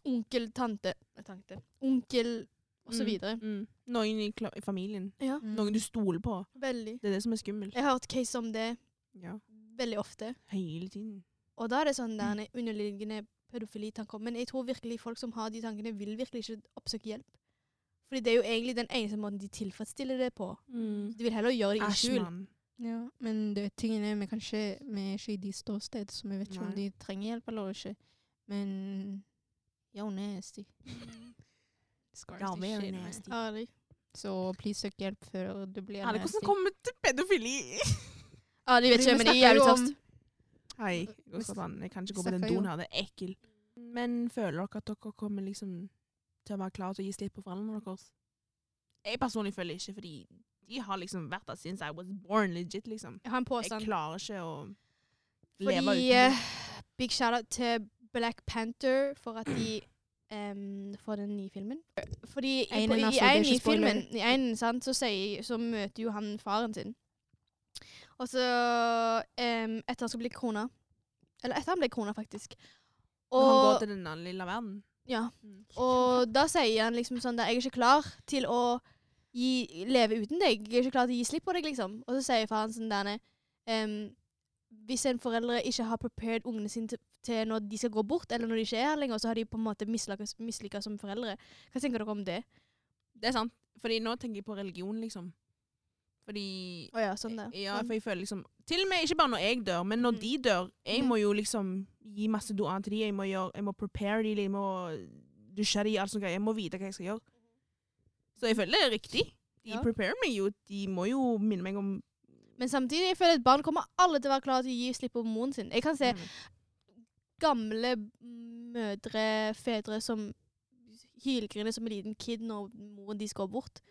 [SPEAKER 2] onkel, tante eh, Tante. Onkel og så
[SPEAKER 3] Mm.
[SPEAKER 2] videre.
[SPEAKER 3] Mm. Noen i, kla- i familien.
[SPEAKER 2] Ja,
[SPEAKER 1] Mm.
[SPEAKER 3] Noen du stoler på.
[SPEAKER 2] veldig.
[SPEAKER 3] Det er det som er skummelt.
[SPEAKER 2] Jeg har hørt cases om det
[SPEAKER 3] Ja.
[SPEAKER 2] veldig ofte.
[SPEAKER 3] Hele tiden.
[SPEAKER 2] Og da er det sånn
[SPEAKER 1] Mm.
[SPEAKER 2] der en underliggende pedofilitanker. Men jeg tror virkelig folk som har de tankene, vil virkelig ikke oppsøke hjelp. Fordi det er jo egentlig den eneste måten de tilfredsstiller det på. De vil heller gjøre det i
[SPEAKER 3] Mm. Æsj,
[SPEAKER 2] skjul.
[SPEAKER 3] mann.
[SPEAKER 1] Ja, men det, tingen er, vi, kan ikke, vi er ikke i de ståsted, så vi vet ikke om
[SPEAKER 3] Nei.
[SPEAKER 1] de trenger hjelp eller ikke. Men yo [LAUGHS] nasty. Scars
[SPEAKER 3] Ja,
[SPEAKER 1] the
[SPEAKER 3] very
[SPEAKER 1] shit, man.
[SPEAKER 3] nasty.
[SPEAKER 2] Ærlig.
[SPEAKER 1] Så please søk hjelp før du blir
[SPEAKER 3] Alle,
[SPEAKER 1] nasty.
[SPEAKER 3] hvordan kommer vi til pedofili?
[SPEAKER 2] Ja, de vet
[SPEAKER 1] Fordi
[SPEAKER 2] ikke,
[SPEAKER 1] vi
[SPEAKER 2] men de er
[SPEAKER 1] snakker jo
[SPEAKER 2] jævlig
[SPEAKER 1] om-
[SPEAKER 2] tørst.
[SPEAKER 3] Hei, jeg går sånn, jeg kan ikke gå på den
[SPEAKER 1] Snakker jo.
[SPEAKER 3] doen her, det er ekkel. Men føler dere at dere kommer liksom til å være klare til å gi slipp på foreldrene deres? Jeg personlig føler ikke, fordi de har liksom vært der since I was born legit, liksom.
[SPEAKER 2] Jeg har en
[SPEAKER 3] Jeg
[SPEAKER 2] påstand.
[SPEAKER 3] klarer ikke å leve
[SPEAKER 2] sånn- Fordi
[SPEAKER 3] uten
[SPEAKER 2] eh, Big shout-out til Black Panther for at de em, får den nye filmen. Fordi i-
[SPEAKER 1] Einen,
[SPEAKER 2] på-
[SPEAKER 1] altså, det
[SPEAKER 2] i
[SPEAKER 1] er
[SPEAKER 2] en
[SPEAKER 1] ikke
[SPEAKER 2] i
[SPEAKER 1] spoiler.
[SPEAKER 2] filmen i einen, sant, så, sier, så møter jo han faren sin. Og så em, Etter han skal bli krona. Eller etter han ble krona, faktisk.
[SPEAKER 3] Når han går
[SPEAKER 2] Og,
[SPEAKER 3] til den lille verden.
[SPEAKER 2] ja,
[SPEAKER 3] Mm.
[SPEAKER 2] og da sier han liksom sånn der, Jeg er ikke klar til å gi, leve uten deg. Jeg er ikke klar til å gi slipp på deg, liksom. Og så sier faren sånn der ehm, Hvis en foreldre ikke har prepared ungene sine til, til når de skal gå bort, eller når de ikke er her lenger, så har de på en måte mislykka som foreldre. Hva tenker dere om det?
[SPEAKER 3] Det er sant, fordi nå tenker jeg på religion, liksom. Fordi
[SPEAKER 2] Å ja, sånn der.
[SPEAKER 3] Ja,
[SPEAKER 2] Sånn.
[SPEAKER 3] for jeg føler liksom Til og med ikke bare når jeg dør, men når
[SPEAKER 2] Mm.
[SPEAKER 3] de dør. Jeg
[SPEAKER 2] Mhm.
[SPEAKER 3] må jo liksom gi masse doa til de, jeg må, gjøre, jeg må prepare de, jeg må dusje de, alt sånt. greier. Jeg må vite hva jeg skal gjøre. Så jeg føler det er riktig. De
[SPEAKER 2] Ja.
[SPEAKER 3] preparer meg jo. De må jo minne meg om
[SPEAKER 2] Men samtidig jeg føler at barn kommer alle til å være klare til å gi slipp på moren sin. Jeg kan se
[SPEAKER 3] Mm.
[SPEAKER 2] gamle mødre, fedre, som hylgriner som en liten kid når moren deres går bort.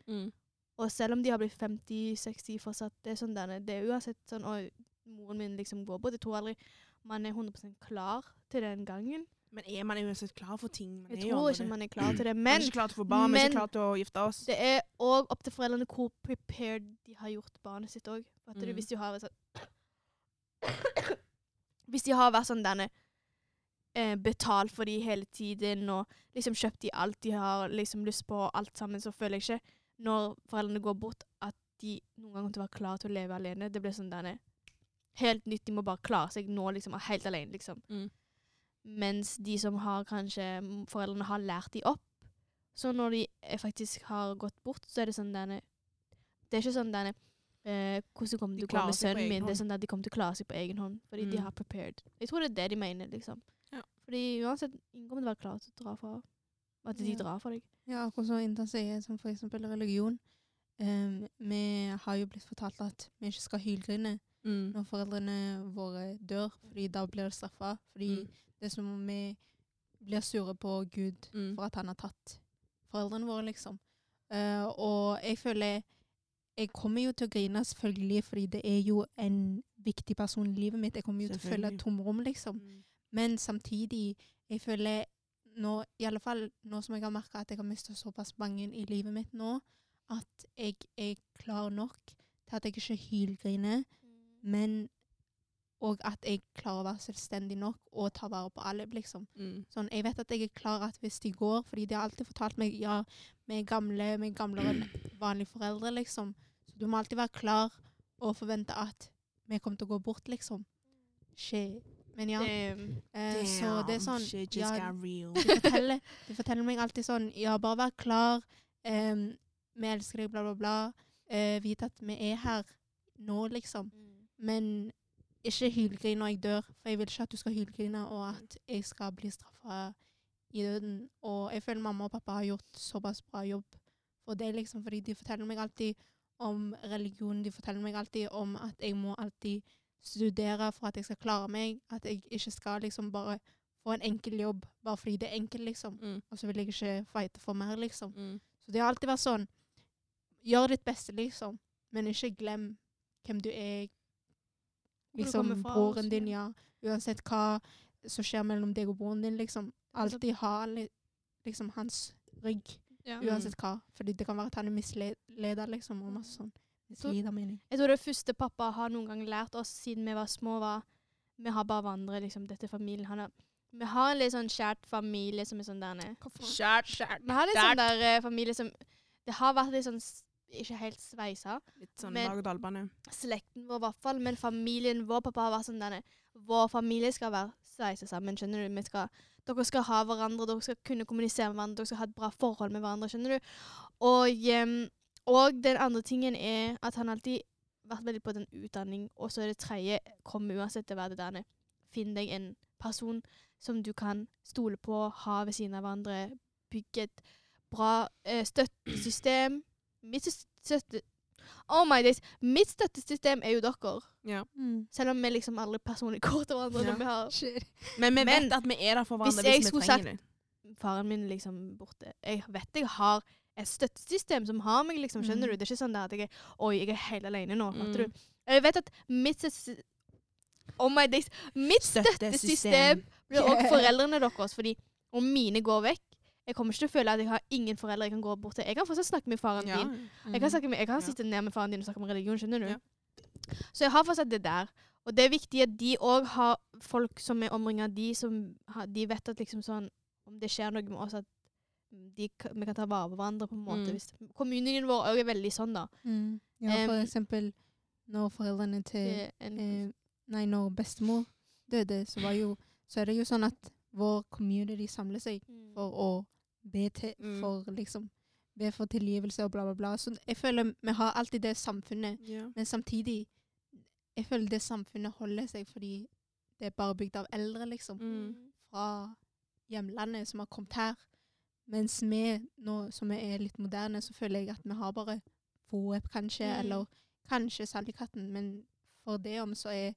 [SPEAKER 2] Og selv om de har blitt 50-60 fortsatt, det er sånn derne, det er uansett sånn Og moren min liksom går bort. Jeg tror aldri man er 100 klar til den gangen.
[SPEAKER 3] Men er man uansett klar for ting? Man
[SPEAKER 2] Jeg
[SPEAKER 3] er jo
[SPEAKER 2] tror
[SPEAKER 3] aldri
[SPEAKER 2] ikke
[SPEAKER 3] det.
[SPEAKER 2] man er klar til
[SPEAKER 3] Man
[SPEAKER 2] det.
[SPEAKER 3] er
[SPEAKER 2] Men
[SPEAKER 3] ikke klar til å få barn, man er
[SPEAKER 2] men-
[SPEAKER 3] ikke klar til å gifte oss.
[SPEAKER 2] det er òg opp til foreldrene hvor prepared de har gjort barnet sitt òg.
[SPEAKER 3] Mm.
[SPEAKER 2] Hvis du har et sånt [COUGHS] Hvis de har vært sånn denne eh, Betalt for de hele tiden og liksom kjøpt de alt de har liksom lyst på, alt sammen, så føler jeg ikke, når foreldrene går bort, at de noen gang kommer til å være klare til å leve alene. Det blir sånn denne Helt nytt, de må bare klare seg nå, liksom, og helt alene, liksom.
[SPEAKER 3] Mm.
[SPEAKER 2] Mens de som har kanskje Foreldrene har lært de opp. Så når de eh, faktisk har gått bort, så er det sånn denne Det er ikke sånn denne eh, Hvordan kommer
[SPEAKER 3] De
[SPEAKER 2] det til å gå
[SPEAKER 3] klarer
[SPEAKER 2] med
[SPEAKER 3] seg på
[SPEAKER 2] sønnen
[SPEAKER 3] egen
[SPEAKER 2] min? Det er
[SPEAKER 3] hånd.
[SPEAKER 2] sånn at de kommer til å klare seg på egen hånd, fordi de
[SPEAKER 3] Mm.
[SPEAKER 2] har prepared. Jeg tror det er det de mener, liksom.
[SPEAKER 3] Ja.
[SPEAKER 2] Fordi uansett, ingen kommer til å være klar til å dra fra At de
[SPEAKER 1] Ja.
[SPEAKER 2] drar fra deg.
[SPEAKER 1] Ja, akkurat som Intan sier, som for eksempel religion. Em, vi har jo blitt fortalt at vi ikke skal hylgrine
[SPEAKER 3] Mm.
[SPEAKER 2] Mm.
[SPEAKER 1] når foreldrene våre dør, fordi da blir det straffa. Fordi
[SPEAKER 3] Mm.
[SPEAKER 1] det som vi blir sure på Gud
[SPEAKER 3] Mm.
[SPEAKER 1] for at han har tatt foreldrene våre, liksom. Eh, og jeg føler Jeg kommer jo til å grine, selvfølgelig, fordi det er jo en viktig person i livet mitt. Jeg kommer jo til å føle et
[SPEAKER 3] Selvfølgelig.
[SPEAKER 1] tomrom, liksom.
[SPEAKER 3] Mm.
[SPEAKER 1] Men samtidig, jeg føler nå, i alle fall nå som jeg har merka at jeg har mista såpass mange i livet mitt nå, at jeg er klar nok til at jeg ikke hylgriner, men og at jeg klarer å være selvstendig nok og ta vare på alle, liksom.
[SPEAKER 3] Mm.
[SPEAKER 1] Sånn, jeg vet at jeg er klar at hvis de går, fordi de har alltid fortalt meg ja, vi er gamle, vi er gamlere enn vanlige foreldre, liksom. Så du må alltid være klar og forvente at vi kommer til å gå bort, liksom. Shit. Men ja.
[SPEAKER 2] Ehm,
[SPEAKER 1] Eh, så det er sånn
[SPEAKER 3] shit just
[SPEAKER 1] ja,
[SPEAKER 3] got
[SPEAKER 2] [LAUGHS]
[SPEAKER 3] real.
[SPEAKER 1] de,
[SPEAKER 3] [LAUGHS]
[SPEAKER 1] forteller, de forteller meg alltid sånn Ja, bare vær klar. em, vi elsker deg, bla, bla, bla. Eh, vit at vi er her nå, liksom. Men ikke hylgrin når jeg dør, for jeg vil ikke at du skal hylgrine, og at jeg skal bli straffa i døden. Og jeg føler mamma og pappa har gjort såpass bra jobb for det, liksom, fordi de forteller meg alltid om religion, de forteller meg alltid om at jeg må alltid studere for at jeg skal klare meg, at jeg ikke skal liksom bare få en enkel jobb bare fordi det er enkelt, liksom.
[SPEAKER 3] Mm.
[SPEAKER 1] Og så vil jeg ikke fighte for mer, liksom.
[SPEAKER 3] Mm.
[SPEAKER 1] Så det har alltid vært sånn Gjør ditt beste, liksom, men ikke glem hvem du er.
[SPEAKER 2] Hvor du
[SPEAKER 1] Liksom
[SPEAKER 2] kommer fra,
[SPEAKER 1] broren
[SPEAKER 2] og så
[SPEAKER 1] din, ja.
[SPEAKER 2] videre.
[SPEAKER 1] Uansett hva som skjer mellom deg og broren din, liksom.
[SPEAKER 2] sant.
[SPEAKER 1] Alltid ha li- liksom hans rygg,
[SPEAKER 2] ja.
[SPEAKER 3] Mm.
[SPEAKER 1] uansett hva. Fordi det kan være at han er misleda, liksom, og masse sånn.
[SPEAKER 2] Så-
[SPEAKER 1] Misleda, mener jeg.
[SPEAKER 2] Jeg tror det første pappa har noen gang lært oss siden vi var små, var vi har bare hverandre, liksom, dette er familien. Han har, vi har en litt sånn kjært familie som er sånn der nede.
[SPEAKER 3] Kjært, kjært.
[SPEAKER 2] Vi har litt
[SPEAKER 3] Kjært.
[SPEAKER 2] sånn der eh, familie som Det har vært litt sånn s- ikke helt sveisa.
[SPEAKER 3] Litt sånn
[SPEAKER 2] Men-
[SPEAKER 3] dag-og-dal-bane.
[SPEAKER 2] Slekten vår, i hvert fall. Men familien vår, pappa, har vært sånn der nede. Vår familie skal være sveisa sammen, skjønner du. Vi skal, dere skal ha hverandre, dere skal kunne kommunisere med hverandre, dere skal ha et bra forhold med hverandre, skjønner du. Og, ehm, og den andre tingen er at han alltid vært veldig på den utdanning, og så er det tredje, kom uansett til å være det der. nede. Finn deg en person som du kan stole på, ha ved siden av hverandre, bygge et bra eh, støttesystem. Mitt stø- støtte... Oh my days! Mitt støttesystem er jo dere.
[SPEAKER 3] Ja.
[SPEAKER 1] Mm.
[SPEAKER 2] Selv om vi liksom aldri personlig [LAUGHS] går til hverandre
[SPEAKER 3] Ja.
[SPEAKER 2] når vi har
[SPEAKER 3] Men vi
[SPEAKER 2] Men-
[SPEAKER 3] vet at vi er der for
[SPEAKER 2] Hvis
[SPEAKER 3] hverandre
[SPEAKER 2] jeg
[SPEAKER 3] hvis, vi
[SPEAKER 2] skulle
[SPEAKER 3] trenger det.
[SPEAKER 2] faren min liksom borte. Jeg vet jeg har et støttesystem som har meg, liksom, skjønner
[SPEAKER 1] Mm.
[SPEAKER 2] du? Det er ikke sånn der at jeg er Oi, jeg er helt alene nå, fatter
[SPEAKER 3] Mm.
[SPEAKER 2] du? Jeg vet at mitt støttesystem Oh my days. Mitt [LAUGHS] støttesystem blir også foreldrene deres. Fordi om mine går vekk Jeg kommer ikke til å føle at jeg har ingen foreldre jeg kan gå bort til. Jeg kan fortsatt snakke med faren
[SPEAKER 3] Ja.
[SPEAKER 2] din. Jeg kan, snakke med, jeg kan
[SPEAKER 3] Mm. Ja.
[SPEAKER 2] sitte ned med faren din og snakke om religion, skjønner du?
[SPEAKER 3] Ja.
[SPEAKER 2] Så jeg har fortsatt det der. Og det er viktig at de òg har folk som er omringa de, som har, de vet at liksom sånn Om det skjer noe med oss, at de, k- vi kan ta vare på hverandre på en måte.
[SPEAKER 3] Mm.
[SPEAKER 2] Hvis, communityen vår òg er veldig sånn, da.
[SPEAKER 1] Mm. Ja, for
[SPEAKER 2] Em,
[SPEAKER 1] eksempel når foreldrene til
[SPEAKER 2] Det er en,
[SPEAKER 1] eh, Nei, når bestemor døde, så, var jo, så er det jo sånn at vår community samler seg
[SPEAKER 2] Mm.
[SPEAKER 1] for å be, til,
[SPEAKER 3] Mm.
[SPEAKER 1] for, liksom, be for tilgivelse og bla, bla, bla. Så jeg føler vi har alltid det samfunnet,
[SPEAKER 3] Ja.
[SPEAKER 1] men samtidig Jeg føler det samfunnet holder seg fordi det er bare bygd av eldre, liksom.
[SPEAKER 3] Mm.
[SPEAKER 1] Fra hjemlandet som har kommet her. Mens vi nå som vi er litt moderne, så føler jeg at vi har bare få app, kanskje,
[SPEAKER 2] Mm.
[SPEAKER 1] eller kanskje Sandikatten, men for det om så er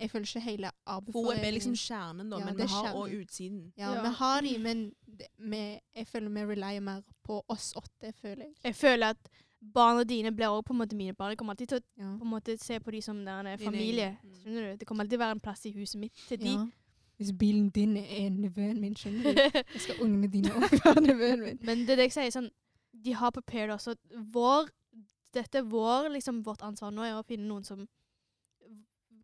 [SPEAKER 1] Jeg føler ikke hele
[SPEAKER 3] Foep
[SPEAKER 1] arbeidsforeningen
[SPEAKER 3] er liksom kjernen, da,
[SPEAKER 1] Ja, det
[SPEAKER 3] men vi
[SPEAKER 1] er
[SPEAKER 3] har òg
[SPEAKER 1] kjernen.
[SPEAKER 3] utsiden.
[SPEAKER 1] Ja,
[SPEAKER 2] Ja.
[SPEAKER 1] vi har de, men det- vi, jeg føler vi relyer mer på oss åtte, føler jeg.
[SPEAKER 2] Jeg føler at barna dine blir òg på en måte mine barn. Jeg kommer alltid til å
[SPEAKER 1] Ja.
[SPEAKER 2] på en måte se på de som der en
[SPEAKER 3] Dine-
[SPEAKER 2] familie.
[SPEAKER 3] Mm.
[SPEAKER 2] Skjønner du? Det kommer alltid være en plass i huset mitt til de.
[SPEAKER 1] Ja. Hvis bilen din er nevøen min, [LAUGHS] skjønner du. Jeg skal ungene dine [LAUGHS] også være nevøen min.
[SPEAKER 2] Men det er det jeg sier, sånn, de har prepared også. Vår, dette er vår, liksom, vårt ansvar nå er å finne noen som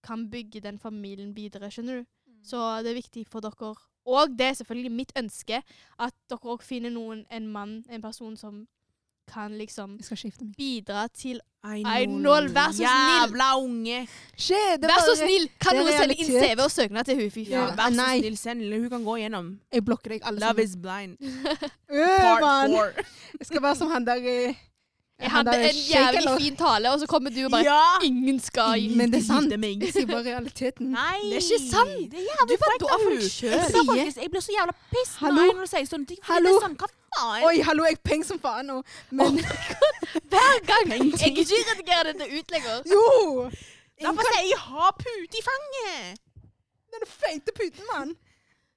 [SPEAKER 2] kan bygge den familien videre, skjønner du?
[SPEAKER 1] Mm.
[SPEAKER 2] Så det er viktig for dere. Og det er selvfølgelig mitt ønske at dere òg finner noen, en mann, en person som kan liksom
[SPEAKER 1] Jeg skal skifte meg.
[SPEAKER 2] bidra til
[SPEAKER 3] Einol,
[SPEAKER 2] Einol, vær så snill!
[SPEAKER 3] Jævla unge!
[SPEAKER 1] Skje, det
[SPEAKER 2] Vær så
[SPEAKER 1] bare-
[SPEAKER 2] snill! Kan
[SPEAKER 1] det er
[SPEAKER 2] noen sende inn
[SPEAKER 1] realitet.
[SPEAKER 2] CV og søknad til hun fy
[SPEAKER 3] Ja,
[SPEAKER 1] Ja,
[SPEAKER 2] faen?
[SPEAKER 3] vær så
[SPEAKER 1] nei.
[SPEAKER 3] snill, send henne. Hun kan gå gjennom.
[SPEAKER 1] Jeg blokker deg alle
[SPEAKER 3] Love
[SPEAKER 1] sammen.
[SPEAKER 3] is blind.
[SPEAKER 1] Øh,
[SPEAKER 3] Part
[SPEAKER 1] mann.
[SPEAKER 3] four.
[SPEAKER 1] Jeg skal være som han der eh,
[SPEAKER 2] Jeg
[SPEAKER 1] han
[SPEAKER 2] hadde
[SPEAKER 1] der
[SPEAKER 2] en
[SPEAKER 1] Shake
[SPEAKER 2] jævlig
[SPEAKER 1] eller-
[SPEAKER 2] fin tale, og så kommer du og bare
[SPEAKER 3] Ja!
[SPEAKER 2] Ingen skal inn.
[SPEAKER 1] Men det er
[SPEAKER 3] Ikke
[SPEAKER 1] sant.
[SPEAKER 3] gifte meg.
[SPEAKER 1] Jeg sier bare realiteten.
[SPEAKER 3] Nei!
[SPEAKER 2] Det er ikke sant.
[SPEAKER 3] Det er jævlig
[SPEAKER 2] Du var
[SPEAKER 3] frekt av
[SPEAKER 2] dum
[SPEAKER 3] hun.
[SPEAKER 2] selv.
[SPEAKER 3] Jeg sa faktisk, jeg blir så jævla piss
[SPEAKER 1] Hallo?
[SPEAKER 3] når hun sier sånn. Det, fordi
[SPEAKER 1] Hallo?
[SPEAKER 3] det er sånn, hva faen?
[SPEAKER 1] Oi, hallo, jeg peng som faen nå. Men
[SPEAKER 2] Hver gang! [LAUGHS] Jeg kan ikke redigere dette ut lenger.
[SPEAKER 1] [LAUGHS] jo!
[SPEAKER 3] Derfor sier jeg 'ha pute i fanget'.
[SPEAKER 1] Den feite puten, mann.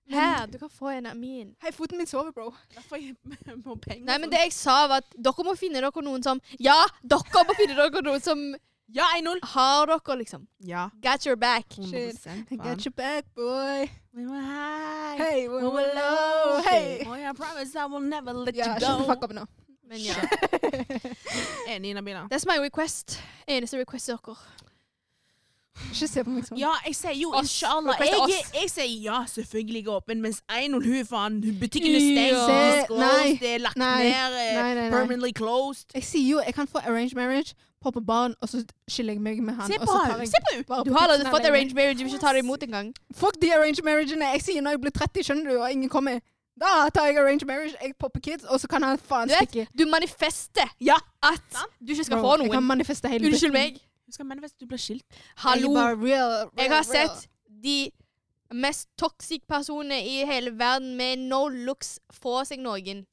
[SPEAKER 2] Her, du kan få en av min.
[SPEAKER 1] Hei, foten min sover, bro.
[SPEAKER 3] Derfor jeg [LAUGHS] må penger.
[SPEAKER 2] Nei, men det jeg sa var at dere må finne dere noen som Ja, dere må finne dere noen som
[SPEAKER 3] Ja, 1-0!
[SPEAKER 2] har dere, liksom.
[SPEAKER 3] Ja.
[SPEAKER 2] Got your back.
[SPEAKER 3] 100
[SPEAKER 1] I
[SPEAKER 3] faen.
[SPEAKER 1] got your back, boy.
[SPEAKER 3] We were high.
[SPEAKER 1] Hey, we
[SPEAKER 3] We
[SPEAKER 1] were
[SPEAKER 3] were
[SPEAKER 1] low.
[SPEAKER 3] low.
[SPEAKER 1] Hey.
[SPEAKER 3] Boy, I promise I will never let
[SPEAKER 1] Ja,
[SPEAKER 3] you
[SPEAKER 1] shut the
[SPEAKER 3] go.
[SPEAKER 1] fuck up
[SPEAKER 2] [LAUGHS]
[SPEAKER 1] nå.
[SPEAKER 2] Men ja.
[SPEAKER 1] [LAUGHS]
[SPEAKER 3] Enig, Nabila.
[SPEAKER 2] That's my request. Eneste request til dere.
[SPEAKER 1] Ikke se på meg sånn.
[SPEAKER 3] Ja, jeg sier jo
[SPEAKER 2] Oss.
[SPEAKER 3] inshallah.
[SPEAKER 2] Request
[SPEAKER 3] Jeg,
[SPEAKER 2] oss.
[SPEAKER 3] jeg, jeg sier ja, selvfølgelig er åpen, mens Einol, hun faen hun- Butikken er
[SPEAKER 2] Ja.
[SPEAKER 1] Se,
[SPEAKER 3] stengt, det er
[SPEAKER 1] nei,
[SPEAKER 3] closed, det er lagt
[SPEAKER 1] nei,
[SPEAKER 3] ned, eh,
[SPEAKER 1] nei, nei, nei.
[SPEAKER 3] permanently closed.
[SPEAKER 1] Jeg sier jo jeg kan få arranged marriage, poppe barn, og så skiller jeg meg med han.
[SPEAKER 3] Se
[SPEAKER 1] og
[SPEAKER 3] på
[SPEAKER 1] så tar
[SPEAKER 3] henne!
[SPEAKER 1] jeg
[SPEAKER 3] Se på henne!
[SPEAKER 1] bare
[SPEAKER 2] Du
[SPEAKER 1] på
[SPEAKER 2] har allerede
[SPEAKER 1] putsen
[SPEAKER 2] fått
[SPEAKER 1] alene.
[SPEAKER 2] arranged marriage, du vil ikke ta det imot engang.
[SPEAKER 1] Fuck de arranged marriagene. Jeg sier når jeg blir 30, skjønner du, og ingen kommer. Da tar jeg arranged marriage, jeg popper kids, og så kan han faen
[SPEAKER 2] Du vet,
[SPEAKER 1] stikke.
[SPEAKER 2] Du manifester
[SPEAKER 3] Ja.
[SPEAKER 2] at
[SPEAKER 3] Sant.
[SPEAKER 2] du ikke skal
[SPEAKER 1] Bro,
[SPEAKER 2] få
[SPEAKER 1] Jeg kan
[SPEAKER 2] noen.
[SPEAKER 1] manifeste hele
[SPEAKER 2] Unnskyld
[SPEAKER 1] dritten.
[SPEAKER 2] meg.
[SPEAKER 3] Du skal manifeste, du blir skilt.
[SPEAKER 2] Hallo.
[SPEAKER 1] Jeg, er bare real, real,
[SPEAKER 2] Jeg
[SPEAKER 1] real.
[SPEAKER 2] har sett de mest toxic personene i hele verden med no looks få seg noen.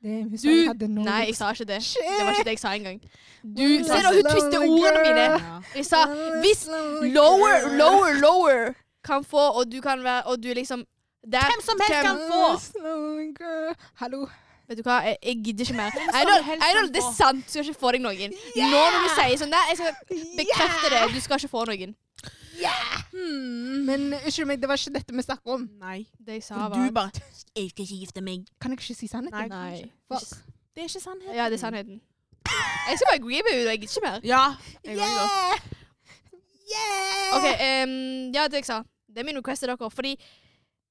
[SPEAKER 1] Damn, hun sa
[SPEAKER 2] Du-
[SPEAKER 1] jeg hadde noe.
[SPEAKER 2] Nei, jeg sa ikke det.
[SPEAKER 1] Shit.
[SPEAKER 2] Det var ikke det jeg sa engang. Du,
[SPEAKER 3] Mm.
[SPEAKER 1] Well,
[SPEAKER 2] se da, hun twister
[SPEAKER 1] slowly,
[SPEAKER 2] ordene mine.
[SPEAKER 1] girl.
[SPEAKER 2] Jeg sa hvis lower, lower, lower kan få, og du kan være, og du liksom der,
[SPEAKER 3] Hvem som helst kan få!
[SPEAKER 1] Slowly girl. Hallo.
[SPEAKER 2] Vet du hva, jeg, jeg gidder ikke mer.
[SPEAKER 3] som
[SPEAKER 2] Einol,
[SPEAKER 3] helst
[SPEAKER 2] Einol,
[SPEAKER 3] kan
[SPEAKER 2] det er
[SPEAKER 3] få.
[SPEAKER 2] sant, du skal ikke få deg noen. Nå når du sier sånn, nei, jeg skal bekrefte det, du skal ikke få noen.
[SPEAKER 1] Hmm, men unnskyld meg, det var ikke dette vi snakket om.
[SPEAKER 3] Nei.
[SPEAKER 2] Det jeg sa
[SPEAKER 3] For
[SPEAKER 2] var
[SPEAKER 3] du bare
[SPEAKER 5] Jeg skal ikke gifte meg.
[SPEAKER 1] Kan jeg ikke si sannheten?
[SPEAKER 2] Nei.
[SPEAKER 1] Fuck.
[SPEAKER 3] Det er ikke sannhet.
[SPEAKER 2] Ja, det er sannheten. Jeg skal bare agree med henne, jeg gidder ikke mer.
[SPEAKER 3] Ja. Jeg går også.
[SPEAKER 2] Ok, ehm, ja, det jeg sa. Det er min request til dere. Fordi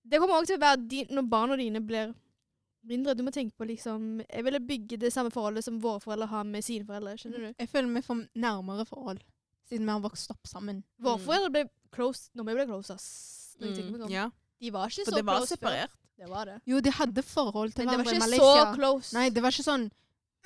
[SPEAKER 2] det kommer også til å være din, når barna dine blir mindre. Du må tenke på liksom Jeg ville bygge det samme forholdet som våre foreldre har med sine foreldre. Skjønner du?
[SPEAKER 1] Jeg føler vi får nærmere forhold, siden vi har vokst opp sammen.
[SPEAKER 2] Våre
[SPEAKER 3] Mm.
[SPEAKER 2] foreldre ble close når vi ble close, ass. Når jeg tenker meg
[SPEAKER 3] Mm,
[SPEAKER 2] om.
[SPEAKER 3] ja.
[SPEAKER 2] De var ikke
[SPEAKER 3] For
[SPEAKER 2] så
[SPEAKER 3] det var
[SPEAKER 2] close før.
[SPEAKER 3] separert.
[SPEAKER 2] Det var det.
[SPEAKER 1] Jo, de hadde forhold til
[SPEAKER 2] Men det var
[SPEAKER 1] hverandre i
[SPEAKER 2] ikke
[SPEAKER 1] Malaysia.
[SPEAKER 2] så close.
[SPEAKER 1] Nei, det var ikke sånn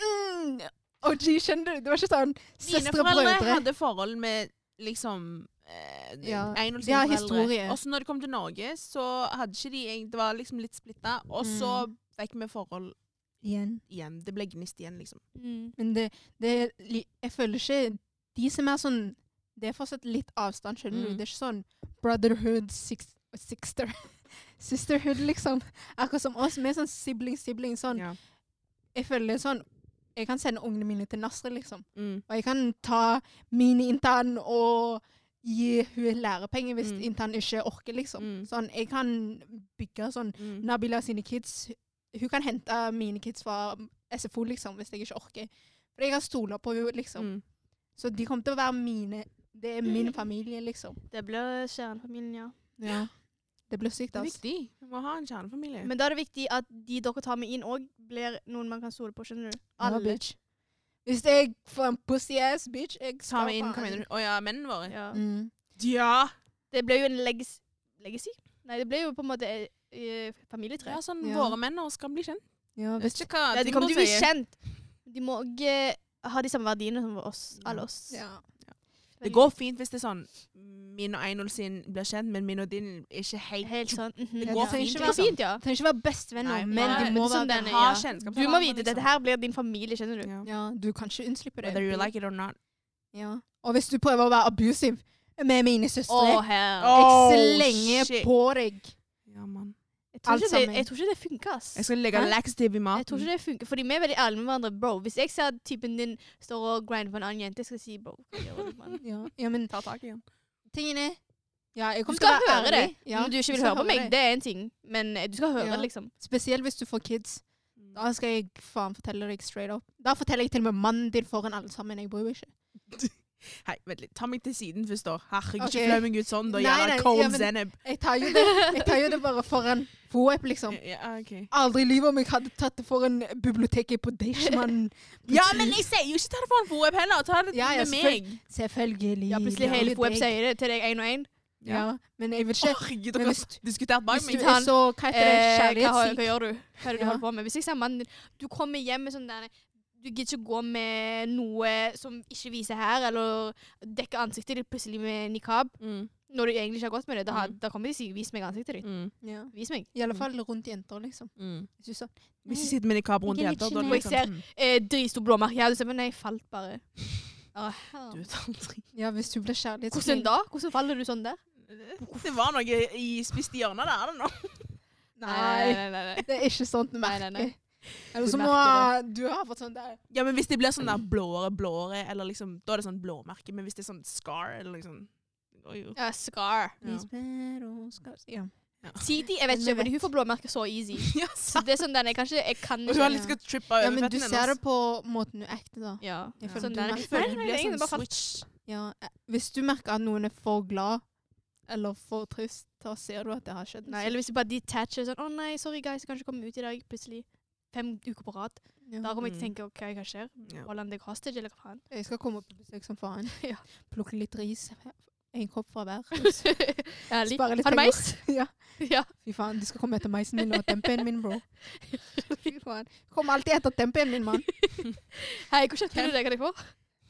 [SPEAKER 1] mm, OG, skjønner du? Det var ikke sånn
[SPEAKER 3] Mine
[SPEAKER 1] søstre og
[SPEAKER 3] foreldre
[SPEAKER 1] brødre.
[SPEAKER 3] hadde forhold med liksom eh,
[SPEAKER 1] Ja,
[SPEAKER 3] Einol
[SPEAKER 1] de
[SPEAKER 3] sine
[SPEAKER 1] har
[SPEAKER 3] foreldre.
[SPEAKER 1] historie.
[SPEAKER 3] Og så når de kom til Norge, så hadde ikke de egentlig- Det var liksom litt splitta. Og så fikk vi forhold
[SPEAKER 1] Mm, Igjen.
[SPEAKER 3] igjen. Det ble gnist igjen, liksom.
[SPEAKER 2] Mm.
[SPEAKER 1] Men det, det er li- Jeg føler ikke De som er sånn Det er fortsatt litt avstand, skjønner du?
[SPEAKER 3] Mm.
[SPEAKER 1] Det er ikke sånn brotherhood, six, sister, [LAUGHS] sisterhood, liksom. Akkurat som oss. Vi er sånn sibling, sibling. Sånn.
[SPEAKER 3] Ja.
[SPEAKER 1] Jeg føler det er sånn Jeg kan sende ungene mine til Nasri, liksom.
[SPEAKER 3] Mm.
[SPEAKER 1] Og jeg kan ta min intern og gi hun lærepenger hvis
[SPEAKER 3] Mm.
[SPEAKER 1] intern ikke orker, liksom.
[SPEAKER 3] Mm.
[SPEAKER 1] Sånn, jeg kan bygge sånn
[SPEAKER 3] Mm.
[SPEAKER 1] Nabila sine kids Hun kan hente mine kids fra SFO, liksom, hvis jeg ikke orker. For jeg har stoler på henne, liksom.
[SPEAKER 3] Mm.
[SPEAKER 1] Så de kommer til å være mine. Det er min familie, liksom.
[SPEAKER 2] Det blir kjernefamilien, ja.
[SPEAKER 1] Ja. Det blir sykt,
[SPEAKER 3] Det er
[SPEAKER 1] altså.
[SPEAKER 3] viktig. Vi må ha en kjernefamilie.
[SPEAKER 2] Men da er det viktig at de dere tar med inn òg, blir noen man kan stole på. Skjønner du?
[SPEAKER 1] Ja, bitch. Hvis jeg får en pussy-ass bitch jeg
[SPEAKER 3] Ta
[SPEAKER 1] skal
[SPEAKER 3] meg inn, hva
[SPEAKER 1] faen-
[SPEAKER 3] mener du? Å ja, mennene våre?
[SPEAKER 2] Ja.
[SPEAKER 1] Mm.
[SPEAKER 3] Ja!
[SPEAKER 2] Det ble jo en legacy. legacy? Nei, det ble jo på en måte eh, familietre.
[SPEAKER 3] Ja, sånn
[SPEAKER 1] Ja.
[SPEAKER 3] Våre menn og skal bli kjent.
[SPEAKER 1] Ja, hvis
[SPEAKER 3] Vet ikke hva
[SPEAKER 2] Nei, de
[SPEAKER 3] Tinder
[SPEAKER 2] kommer til å bli
[SPEAKER 3] sier.
[SPEAKER 2] kjent. De må ikke ha de samme verdiene som oss, alle oss.
[SPEAKER 1] ja.
[SPEAKER 3] Det går fint hvis det er sånn min og Einol sin blir kjent, men min og din er ikke helt,
[SPEAKER 2] Helt sånn. mhm.
[SPEAKER 3] Det
[SPEAKER 1] Ja,
[SPEAKER 3] går
[SPEAKER 1] det trenger
[SPEAKER 3] fint,
[SPEAKER 1] ikke
[SPEAKER 2] Det
[SPEAKER 1] være
[SPEAKER 2] går
[SPEAKER 3] liksom.
[SPEAKER 2] fint, ja.
[SPEAKER 1] Det trenger ikke være bestevenner,
[SPEAKER 3] Nei,
[SPEAKER 1] men
[SPEAKER 2] nei,
[SPEAKER 1] de må
[SPEAKER 2] liksom
[SPEAKER 1] være
[SPEAKER 2] den-
[SPEAKER 1] der.
[SPEAKER 3] Ha
[SPEAKER 2] Ja.
[SPEAKER 3] kjennskap
[SPEAKER 2] Du
[SPEAKER 3] til
[SPEAKER 2] må
[SPEAKER 3] hverandre,
[SPEAKER 2] vite
[SPEAKER 3] liksom.
[SPEAKER 2] dette her blir din familie, skjønner du.
[SPEAKER 3] Ja.
[SPEAKER 1] Ja, du kan ikke unnslippe det.
[SPEAKER 3] Whether you like it or not.
[SPEAKER 1] ja. Og hvis du prøver å være abusive med mine
[SPEAKER 2] Å,
[SPEAKER 1] søstre,
[SPEAKER 2] her.
[SPEAKER 1] jeg
[SPEAKER 3] Å, Oh,
[SPEAKER 1] slenger
[SPEAKER 3] shit.
[SPEAKER 1] på deg.
[SPEAKER 3] Ja, mann.
[SPEAKER 2] Jeg tror
[SPEAKER 1] alt
[SPEAKER 2] ikke det,
[SPEAKER 1] sammen.
[SPEAKER 2] jeg tror ikke det funker, ass.
[SPEAKER 3] Jeg skal legge
[SPEAKER 1] Hæ?
[SPEAKER 3] laxative i maten.
[SPEAKER 2] Jeg tror ikke det funker, fordi vi er veldig ærlige med hverandre. Bro, hvis jeg ser at typen din står og grinder på en annen jente, jeg skal si bro. hva gjør du, mann?
[SPEAKER 1] Ja, ja men
[SPEAKER 3] Ta tak i den.
[SPEAKER 1] tingen er Ja, jeg
[SPEAKER 2] Du
[SPEAKER 1] kommer til å
[SPEAKER 2] skal
[SPEAKER 1] være
[SPEAKER 2] høre det.
[SPEAKER 1] ærlig. Ja,
[SPEAKER 2] Om du ikke
[SPEAKER 1] jeg
[SPEAKER 2] vil
[SPEAKER 1] skal
[SPEAKER 2] høre på meg,
[SPEAKER 1] det.
[SPEAKER 2] det er en ting, men eh, du skal høre,
[SPEAKER 1] Ja.
[SPEAKER 2] det, liksom.
[SPEAKER 1] Spesielt hvis du får kids.
[SPEAKER 2] Mm.
[SPEAKER 1] Da skal jeg faen fortelle deg straight up. Da forteller jeg til og med mannen din foran alle sammen. Jeg bryr meg ikke.
[SPEAKER 3] Hei, vent litt. Ta meg til siden først, da. Herregud,
[SPEAKER 1] Ok.
[SPEAKER 3] ikke flau meg ut sånn, da.
[SPEAKER 1] Nei, nei,
[SPEAKER 3] Jævla cold
[SPEAKER 1] ja, men-
[SPEAKER 3] Zeneb.
[SPEAKER 1] Jeg tar jo det, jeg tar jo det bare foran Foep, liksom.
[SPEAKER 3] Ja, ok.
[SPEAKER 1] Aldri i livet om jeg hadde tatt det foran biblioteket på Deichman.
[SPEAKER 3] ja, men jeg sier jo ikke ta det foran Foeb heller. Ta det
[SPEAKER 1] Ja, ja,
[SPEAKER 3] med meg.
[SPEAKER 1] Selvfølgelig.
[SPEAKER 2] Ja, plutselig
[SPEAKER 1] det er
[SPEAKER 2] hele
[SPEAKER 1] jo
[SPEAKER 2] Foeb
[SPEAKER 1] deg.
[SPEAKER 2] sier det til deg én og én.
[SPEAKER 1] Ja, men jeg vil ikke
[SPEAKER 3] Herregud, [LAUGHS]
[SPEAKER 1] Men
[SPEAKER 3] dere
[SPEAKER 1] hvis-
[SPEAKER 3] har diskutert bak
[SPEAKER 1] Hvis
[SPEAKER 3] meg.
[SPEAKER 1] du
[SPEAKER 2] tar
[SPEAKER 1] er
[SPEAKER 2] den-
[SPEAKER 1] så Hva heter det?
[SPEAKER 2] Eh, hva, har- hva
[SPEAKER 1] Kjærlighetssyk?
[SPEAKER 2] gjør du? Hva er det
[SPEAKER 1] Ja.
[SPEAKER 2] du holder på med? Hvis jeg ser mannen din Du kommer hjem med sånn der Du gidder ikke gå med noe som ikke viser her, eller dekke ansiktet ditt plutselig med nikab
[SPEAKER 3] Mm,
[SPEAKER 2] når du egentlig ikke har gått med det. Da, har-
[SPEAKER 3] Mm.
[SPEAKER 2] da kommer de og sier 'vis meg ansiktet ditt'.
[SPEAKER 3] mm,
[SPEAKER 1] Ja. Mm.
[SPEAKER 2] Vis meg.
[SPEAKER 1] I alle fall rundt jenter, liksom.
[SPEAKER 3] mm.
[SPEAKER 1] Hvis du så
[SPEAKER 3] Hvis jeg sitter med nikab rundt
[SPEAKER 1] Jeg
[SPEAKER 3] hele
[SPEAKER 1] liker
[SPEAKER 3] tatt, da er
[SPEAKER 1] ikke
[SPEAKER 3] det
[SPEAKER 2] meg.
[SPEAKER 3] liksom mm,
[SPEAKER 2] Eh, Dritstor blåmerke. Ja, du ser, men nei, jeg falt bare. Å, hell.
[SPEAKER 3] Du vet aldri.
[SPEAKER 1] Ja, hvis du blir kjærlighetssyk
[SPEAKER 2] Hvordan da? Hvordan faller du sånn der?
[SPEAKER 3] Det var noe i spiste hjørne der, I don't know.
[SPEAKER 6] Nei. nei, nei, nei. Det er ikke sånt Nei, nei, merke. nei. Eller Du så må merker du har fått sånn der.
[SPEAKER 3] Ja, men hvis det blir sånn der blåere, blåere, eller liksom, da er det sånn blåmerke. Men hvis det er sånn scar, eller liksom Oi, jo.
[SPEAKER 2] [LAUGHS]
[SPEAKER 3] [LAUGHS]
[SPEAKER 2] Ja, scar.
[SPEAKER 3] Ja.
[SPEAKER 1] Spero skal- Ja.
[SPEAKER 2] Titi, jeg vet ikke,
[SPEAKER 1] Men
[SPEAKER 2] men
[SPEAKER 1] vet-
[SPEAKER 2] hun får blåmerker så easy. Så det er sånn den jeg kanskje Jeg kan
[SPEAKER 3] Og hun har
[SPEAKER 2] ikke
[SPEAKER 3] litt skal trippe over
[SPEAKER 1] ja, men du
[SPEAKER 3] føttene
[SPEAKER 1] ser
[SPEAKER 3] hennes.
[SPEAKER 1] det på måten du ekter, da.
[SPEAKER 2] Ja.
[SPEAKER 1] Jeg føler
[SPEAKER 2] Sånn
[SPEAKER 1] du
[SPEAKER 2] der.
[SPEAKER 1] merker-
[SPEAKER 2] Nei,
[SPEAKER 3] Føler det
[SPEAKER 2] nei,
[SPEAKER 3] blir
[SPEAKER 2] nei, det
[SPEAKER 3] sånn
[SPEAKER 2] bare falt.
[SPEAKER 3] switch.
[SPEAKER 1] Ja, eh, hvis du merker at noen er for glad eller for trist, da ser du at det har skjedd.
[SPEAKER 2] Nei, eller hvis du bare detacher sånn 'Å nei, sorry guys, jeg kan ikke komme ut i dag.' Plutselig fem uker på rad.
[SPEAKER 1] Ja.
[SPEAKER 2] Da kommer jeg til å
[SPEAKER 3] Mm.
[SPEAKER 2] tenke 'OK, hva skjer?'
[SPEAKER 3] Ja.
[SPEAKER 2] Holland deg hostage, eller hva faen?
[SPEAKER 1] Jeg skal komme på besøk som faen.
[SPEAKER 2] Ja.
[SPEAKER 1] Plukke litt ris. En kopp fra hver.
[SPEAKER 2] Ærlig.
[SPEAKER 1] Spare litt
[SPEAKER 2] Har
[SPEAKER 1] penger.
[SPEAKER 2] du meis?
[SPEAKER 1] Ja.
[SPEAKER 2] [LAUGHS] ja.
[SPEAKER 1] Fy faen, de skal komme etter meisen min og tempeen min, bro. Fy faen. Kommer alltid etter tempeen min, mann.
[SPEAKER 2] Hei, hvor kjøpte du det? Kan jeg få?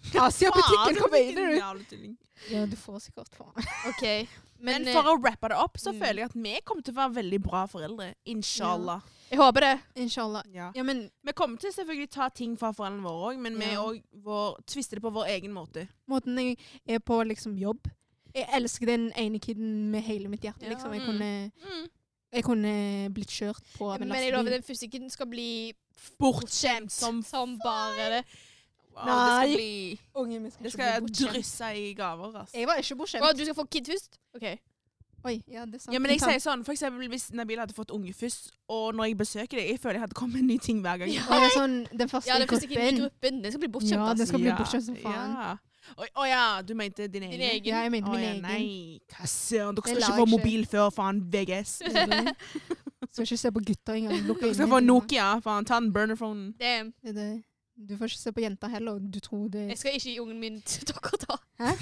[SPEAKER 3] Faen,
[SPEAKER 1] Asia-butikken
[SPEAKER 3] så
[SPEAKER 1] kommer inn,
[SPEAKER 3] butikken,
[SPEAKER 1] du.
[SPEAKER 3] jævla tulling.
[SPEAKER 1] Ja, du får sikkert faen.
[SPEAKER 2] OK.
[SPEAKER 3] Men,
[SPEAKER 2] [LAUGHS]
[SPEAKER 3] eh,
[SPEAKER 2] Men, eh,
[SPEAKER 3] for å rappe det opp, så
[SPEAKER 1] Mm.
[SPEAKER 3] føler jeg at vi kommer til å være veldig bra foreldre. Inshallah.
[SPEAKER 2] eh, jeg håper det.
[SPEAKER 1] Inshallah.
[SPEAKER 3] Ja.
[SPEAKER 1] Ja, men
[SPEAKER 3] Vi kommer til selvfølgelig ta ting fra foreldrene våre òg, men vi
[SPEAKER 1] Ja.
[SPEAKER 3] og vår, tvister det på vår egen måte.
[SPEAKER 1] måten jeg er på liksom jobb Jeg elsker den ene kiden med hele mitt hjerte,
[SPEAKER 2] Ja.
[SPEAKER 1] liksom. Jeg
[SPEAKER 3] Mm.
[SPEAKER 1] kunne, jeg kunne blitt kjørt på av en
[SPEAKER 2] Men jeg lover,
[SPEAKER 1] lastebil.
[SPEAKER 2] den fysikken skal bli
[SPEAKER 3] Bortskjemt som
[SPEAKER 2] som bare det.
[SPEAKER 3] wow, Det skal,
[SPEAKER 1] Nei.
[SPEAKER 3] bli,
[SPEAKER 1] Ungen min skal
[SPEAKER 3] det
[SPEAKER 1] ikke bli
[SPEAKER 3] skal
[SPEAKER 1] bortskjemt.
[SPEAKER 3] drysse i gaver. ass.
[SPEAKER 1] Jeg var ikke
[SPEAKER 2] Å,
[SPEAKER 1] bortskjemt.
[SPEAKER 2] du skal få kid først? OK.
[SPEAKER 1] Oi, ja, det er sant.
[SPEAKER 3] Ja, men jeg
[SPEAKER 1] Kan-
[SPEAKER 3] sier sånn, for eksempel Hvis Nabil hadde fått unge først, og når jeg besøker deg, jeg føler jeg hadde kommet med en ny ting hver gang.
[SPEAKER 1] Og det er sånn, den første
[SPEAKER 2] Ja, den fysikken i
[SPEAKER 1] gruppen.
[SPEAKER 2] gruppen, den skal bli bortskjemt.
[SPEAKER 1] Ja,
[SPEAKER 2] ass.
[SPEAKER 1] den skal bli
[SPEAKER 3] Ja,
[SPEAKER 1] bortskjemt som faen.
[SPEAKER 3] Ja. Å å ja, du mente din egen?
[SPEAKER 2] Din egen.
[SPEAKER 1] Ja, jeg mente
[SPEAKER 3] Å
[SPEAKER 1] min
[SPEAKER 3] ja,
[SPEAKER 1] egen.
[SPEAKER 3] nei, hva søren. Dere
[SPEAKER 1] Det
[SPEAKER 3] skal
[SPEAKER 1] la
[SPEAKER 3] ikke
[SPEAKER 1] jeg
[SPEAKER 3] få
[SPEAKER 1] ikke.
[SPEAKER 3] mobil før faen VGS.
[SPEAKER 1] Egentlig. Skal ikke se på gutter engang. Lukk
[SPEAKER 3] Dere skal
[SPEAKER 1] øynene
[SPEAKER 3] få
[SPEAKER 1] dine.
[SPEAKER 3] Nokia. Faen, ta den burnerphonen.
[SPEAKER 2] Damn.
[SPEAKER 1] Det er det. Du får ikke se på jenter heller. Du tror det
[SPEAKER 2] Jeg skal ikke gi ungen min til dere, da.
[SPEAKER 1] Hæ?
[SPEAKER 2] Jeg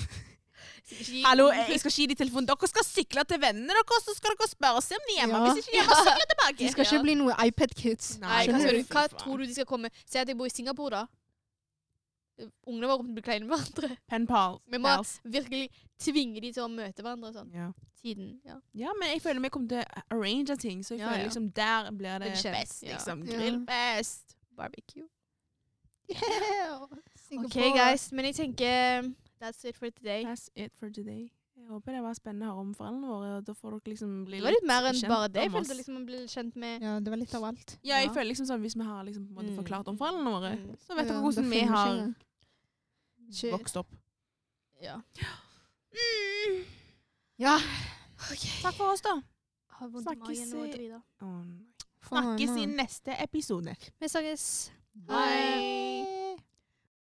[SPEAKER 2] skal ikke gi-
[SPEAKER 3] Hallo, eh, jeg skal ikke gi dem telefonen. Dere skal sykle til vennene deres, og så skal dere spørre og se om de er hjemme.
[SPEAKER 1] Ja.
[SPEAKER 2] [LAUGHS]
[SPEAKER 3] Hvis ikke de er hjemme,
[SPEAKER 2] Ja.
[SPEAKER 3] sykle tilbake.
[SPEAKER 1] De skal ikke bli noe iPad-kids.
[SPEAKER 3] Nei,
[SPEAKER 2] Nei,
[SPEAKER 1] skjønner
[SPEAKER 2] hva,
[SPEAKER 1] du?
[SPEAKER 2] skal du, hva
[SPEAKER 3] Fy faen.
[SPEAKER 2] tror du de skal komme Si at jeg bor i Singapore, da. Ungene våre kommer til å bli kleine med hverandre.
[SPEAKER 3] Pen pal.
[SPEAKER 2] Vi må
[SPEAKER 3] pals.
[SPEAKER 2] virkelig tvinge de til å møte hverandre og sånn.
[SPEAKER 3] Ja.
[SPEAKER 2] Tiden. Ja.
[SPEAKER 3] ja, men jeg føler vi kommer til å arrange ting, så jeg
[SPEAKER 2] Ja,
[SPEAKER 3] føler
[SPEAKER 2] ja.
[SPEAKER 3] liksom der blir det
[SPEAKER 2] Det kjennes,
[SPEAKER 3] fest,
[SPEAKER 2] ja.
[SPEAKER 3] liksom.
[SPEAKER 1] Ja.
[SPEAKER 3] Grillfest.
[SPEAKER 2] Barbecue.
[SPEAKER 1] [LAUGHS] Yeah.
[SPEAKER 2] OK,
[SPEAKER 1] Singapore.
[SPEAKER 2] guys. Men jeg tenker um, That's it for today.
[SPEAKER 3] That's it for today. Jeg håper det var spennende å høre om foreldrene våre, og da får dere liksom bli
[SPEAKER 2] Det var litt mer enn
[SPEAKER 3] kjent
[SPEAKER 2] bare det. Jeg
[SPEAKER 3] om
[SPEAKER 2] følte
[SPEAKER 3] oss.
[SPEAKER 2] liksom man ble kjent med
[SPEAKER 1] Ja, det var litt av alt.
[SPEAKER 3] Ja, jeg
[SPEAKER 2] Ja.
[SPEAKER 3] føler liksom sånn, hvis vi har liksom på en måte
[SPEAKER 2] Mm.
[SPEAKER 3] forklart om foreldrene våre,
[SPEAKER 2] Mm.
[SPEAKER 3] så vet
[SPEAKER 1] Ja,
[SPEAKER 3] dere
[SPEAKER 1] det
[SPEAKER 3] hvordan vi
[SPEAKER 1] finner
[SPEAKER 3] har
[SPEAKER 1] ikke, Shit.
[SPEAKER 3] vokst opp.
[SPEAKER 2] Ja. Mm.
[SPEAKER 1] Ja.
[SPEAKER 3] Takk for oss, da.
[SPEAKER 2] Har vondt i
[SPEAKER 3] Snakkes
[SPEAKER 2] magen og
[SPEAKER 3] i-
[SPEAKER 2] drita.
[SPEAKER 3] Å, nei.
[SPEAKER 1] Faen,
[SPEAKER 3] Snakkes i
[SPEAKER 1] ass.
[SPEAKER 3] neste episode.
[SPEAKER 2] Vi snakkes.
[SPEAKER 3] Bye.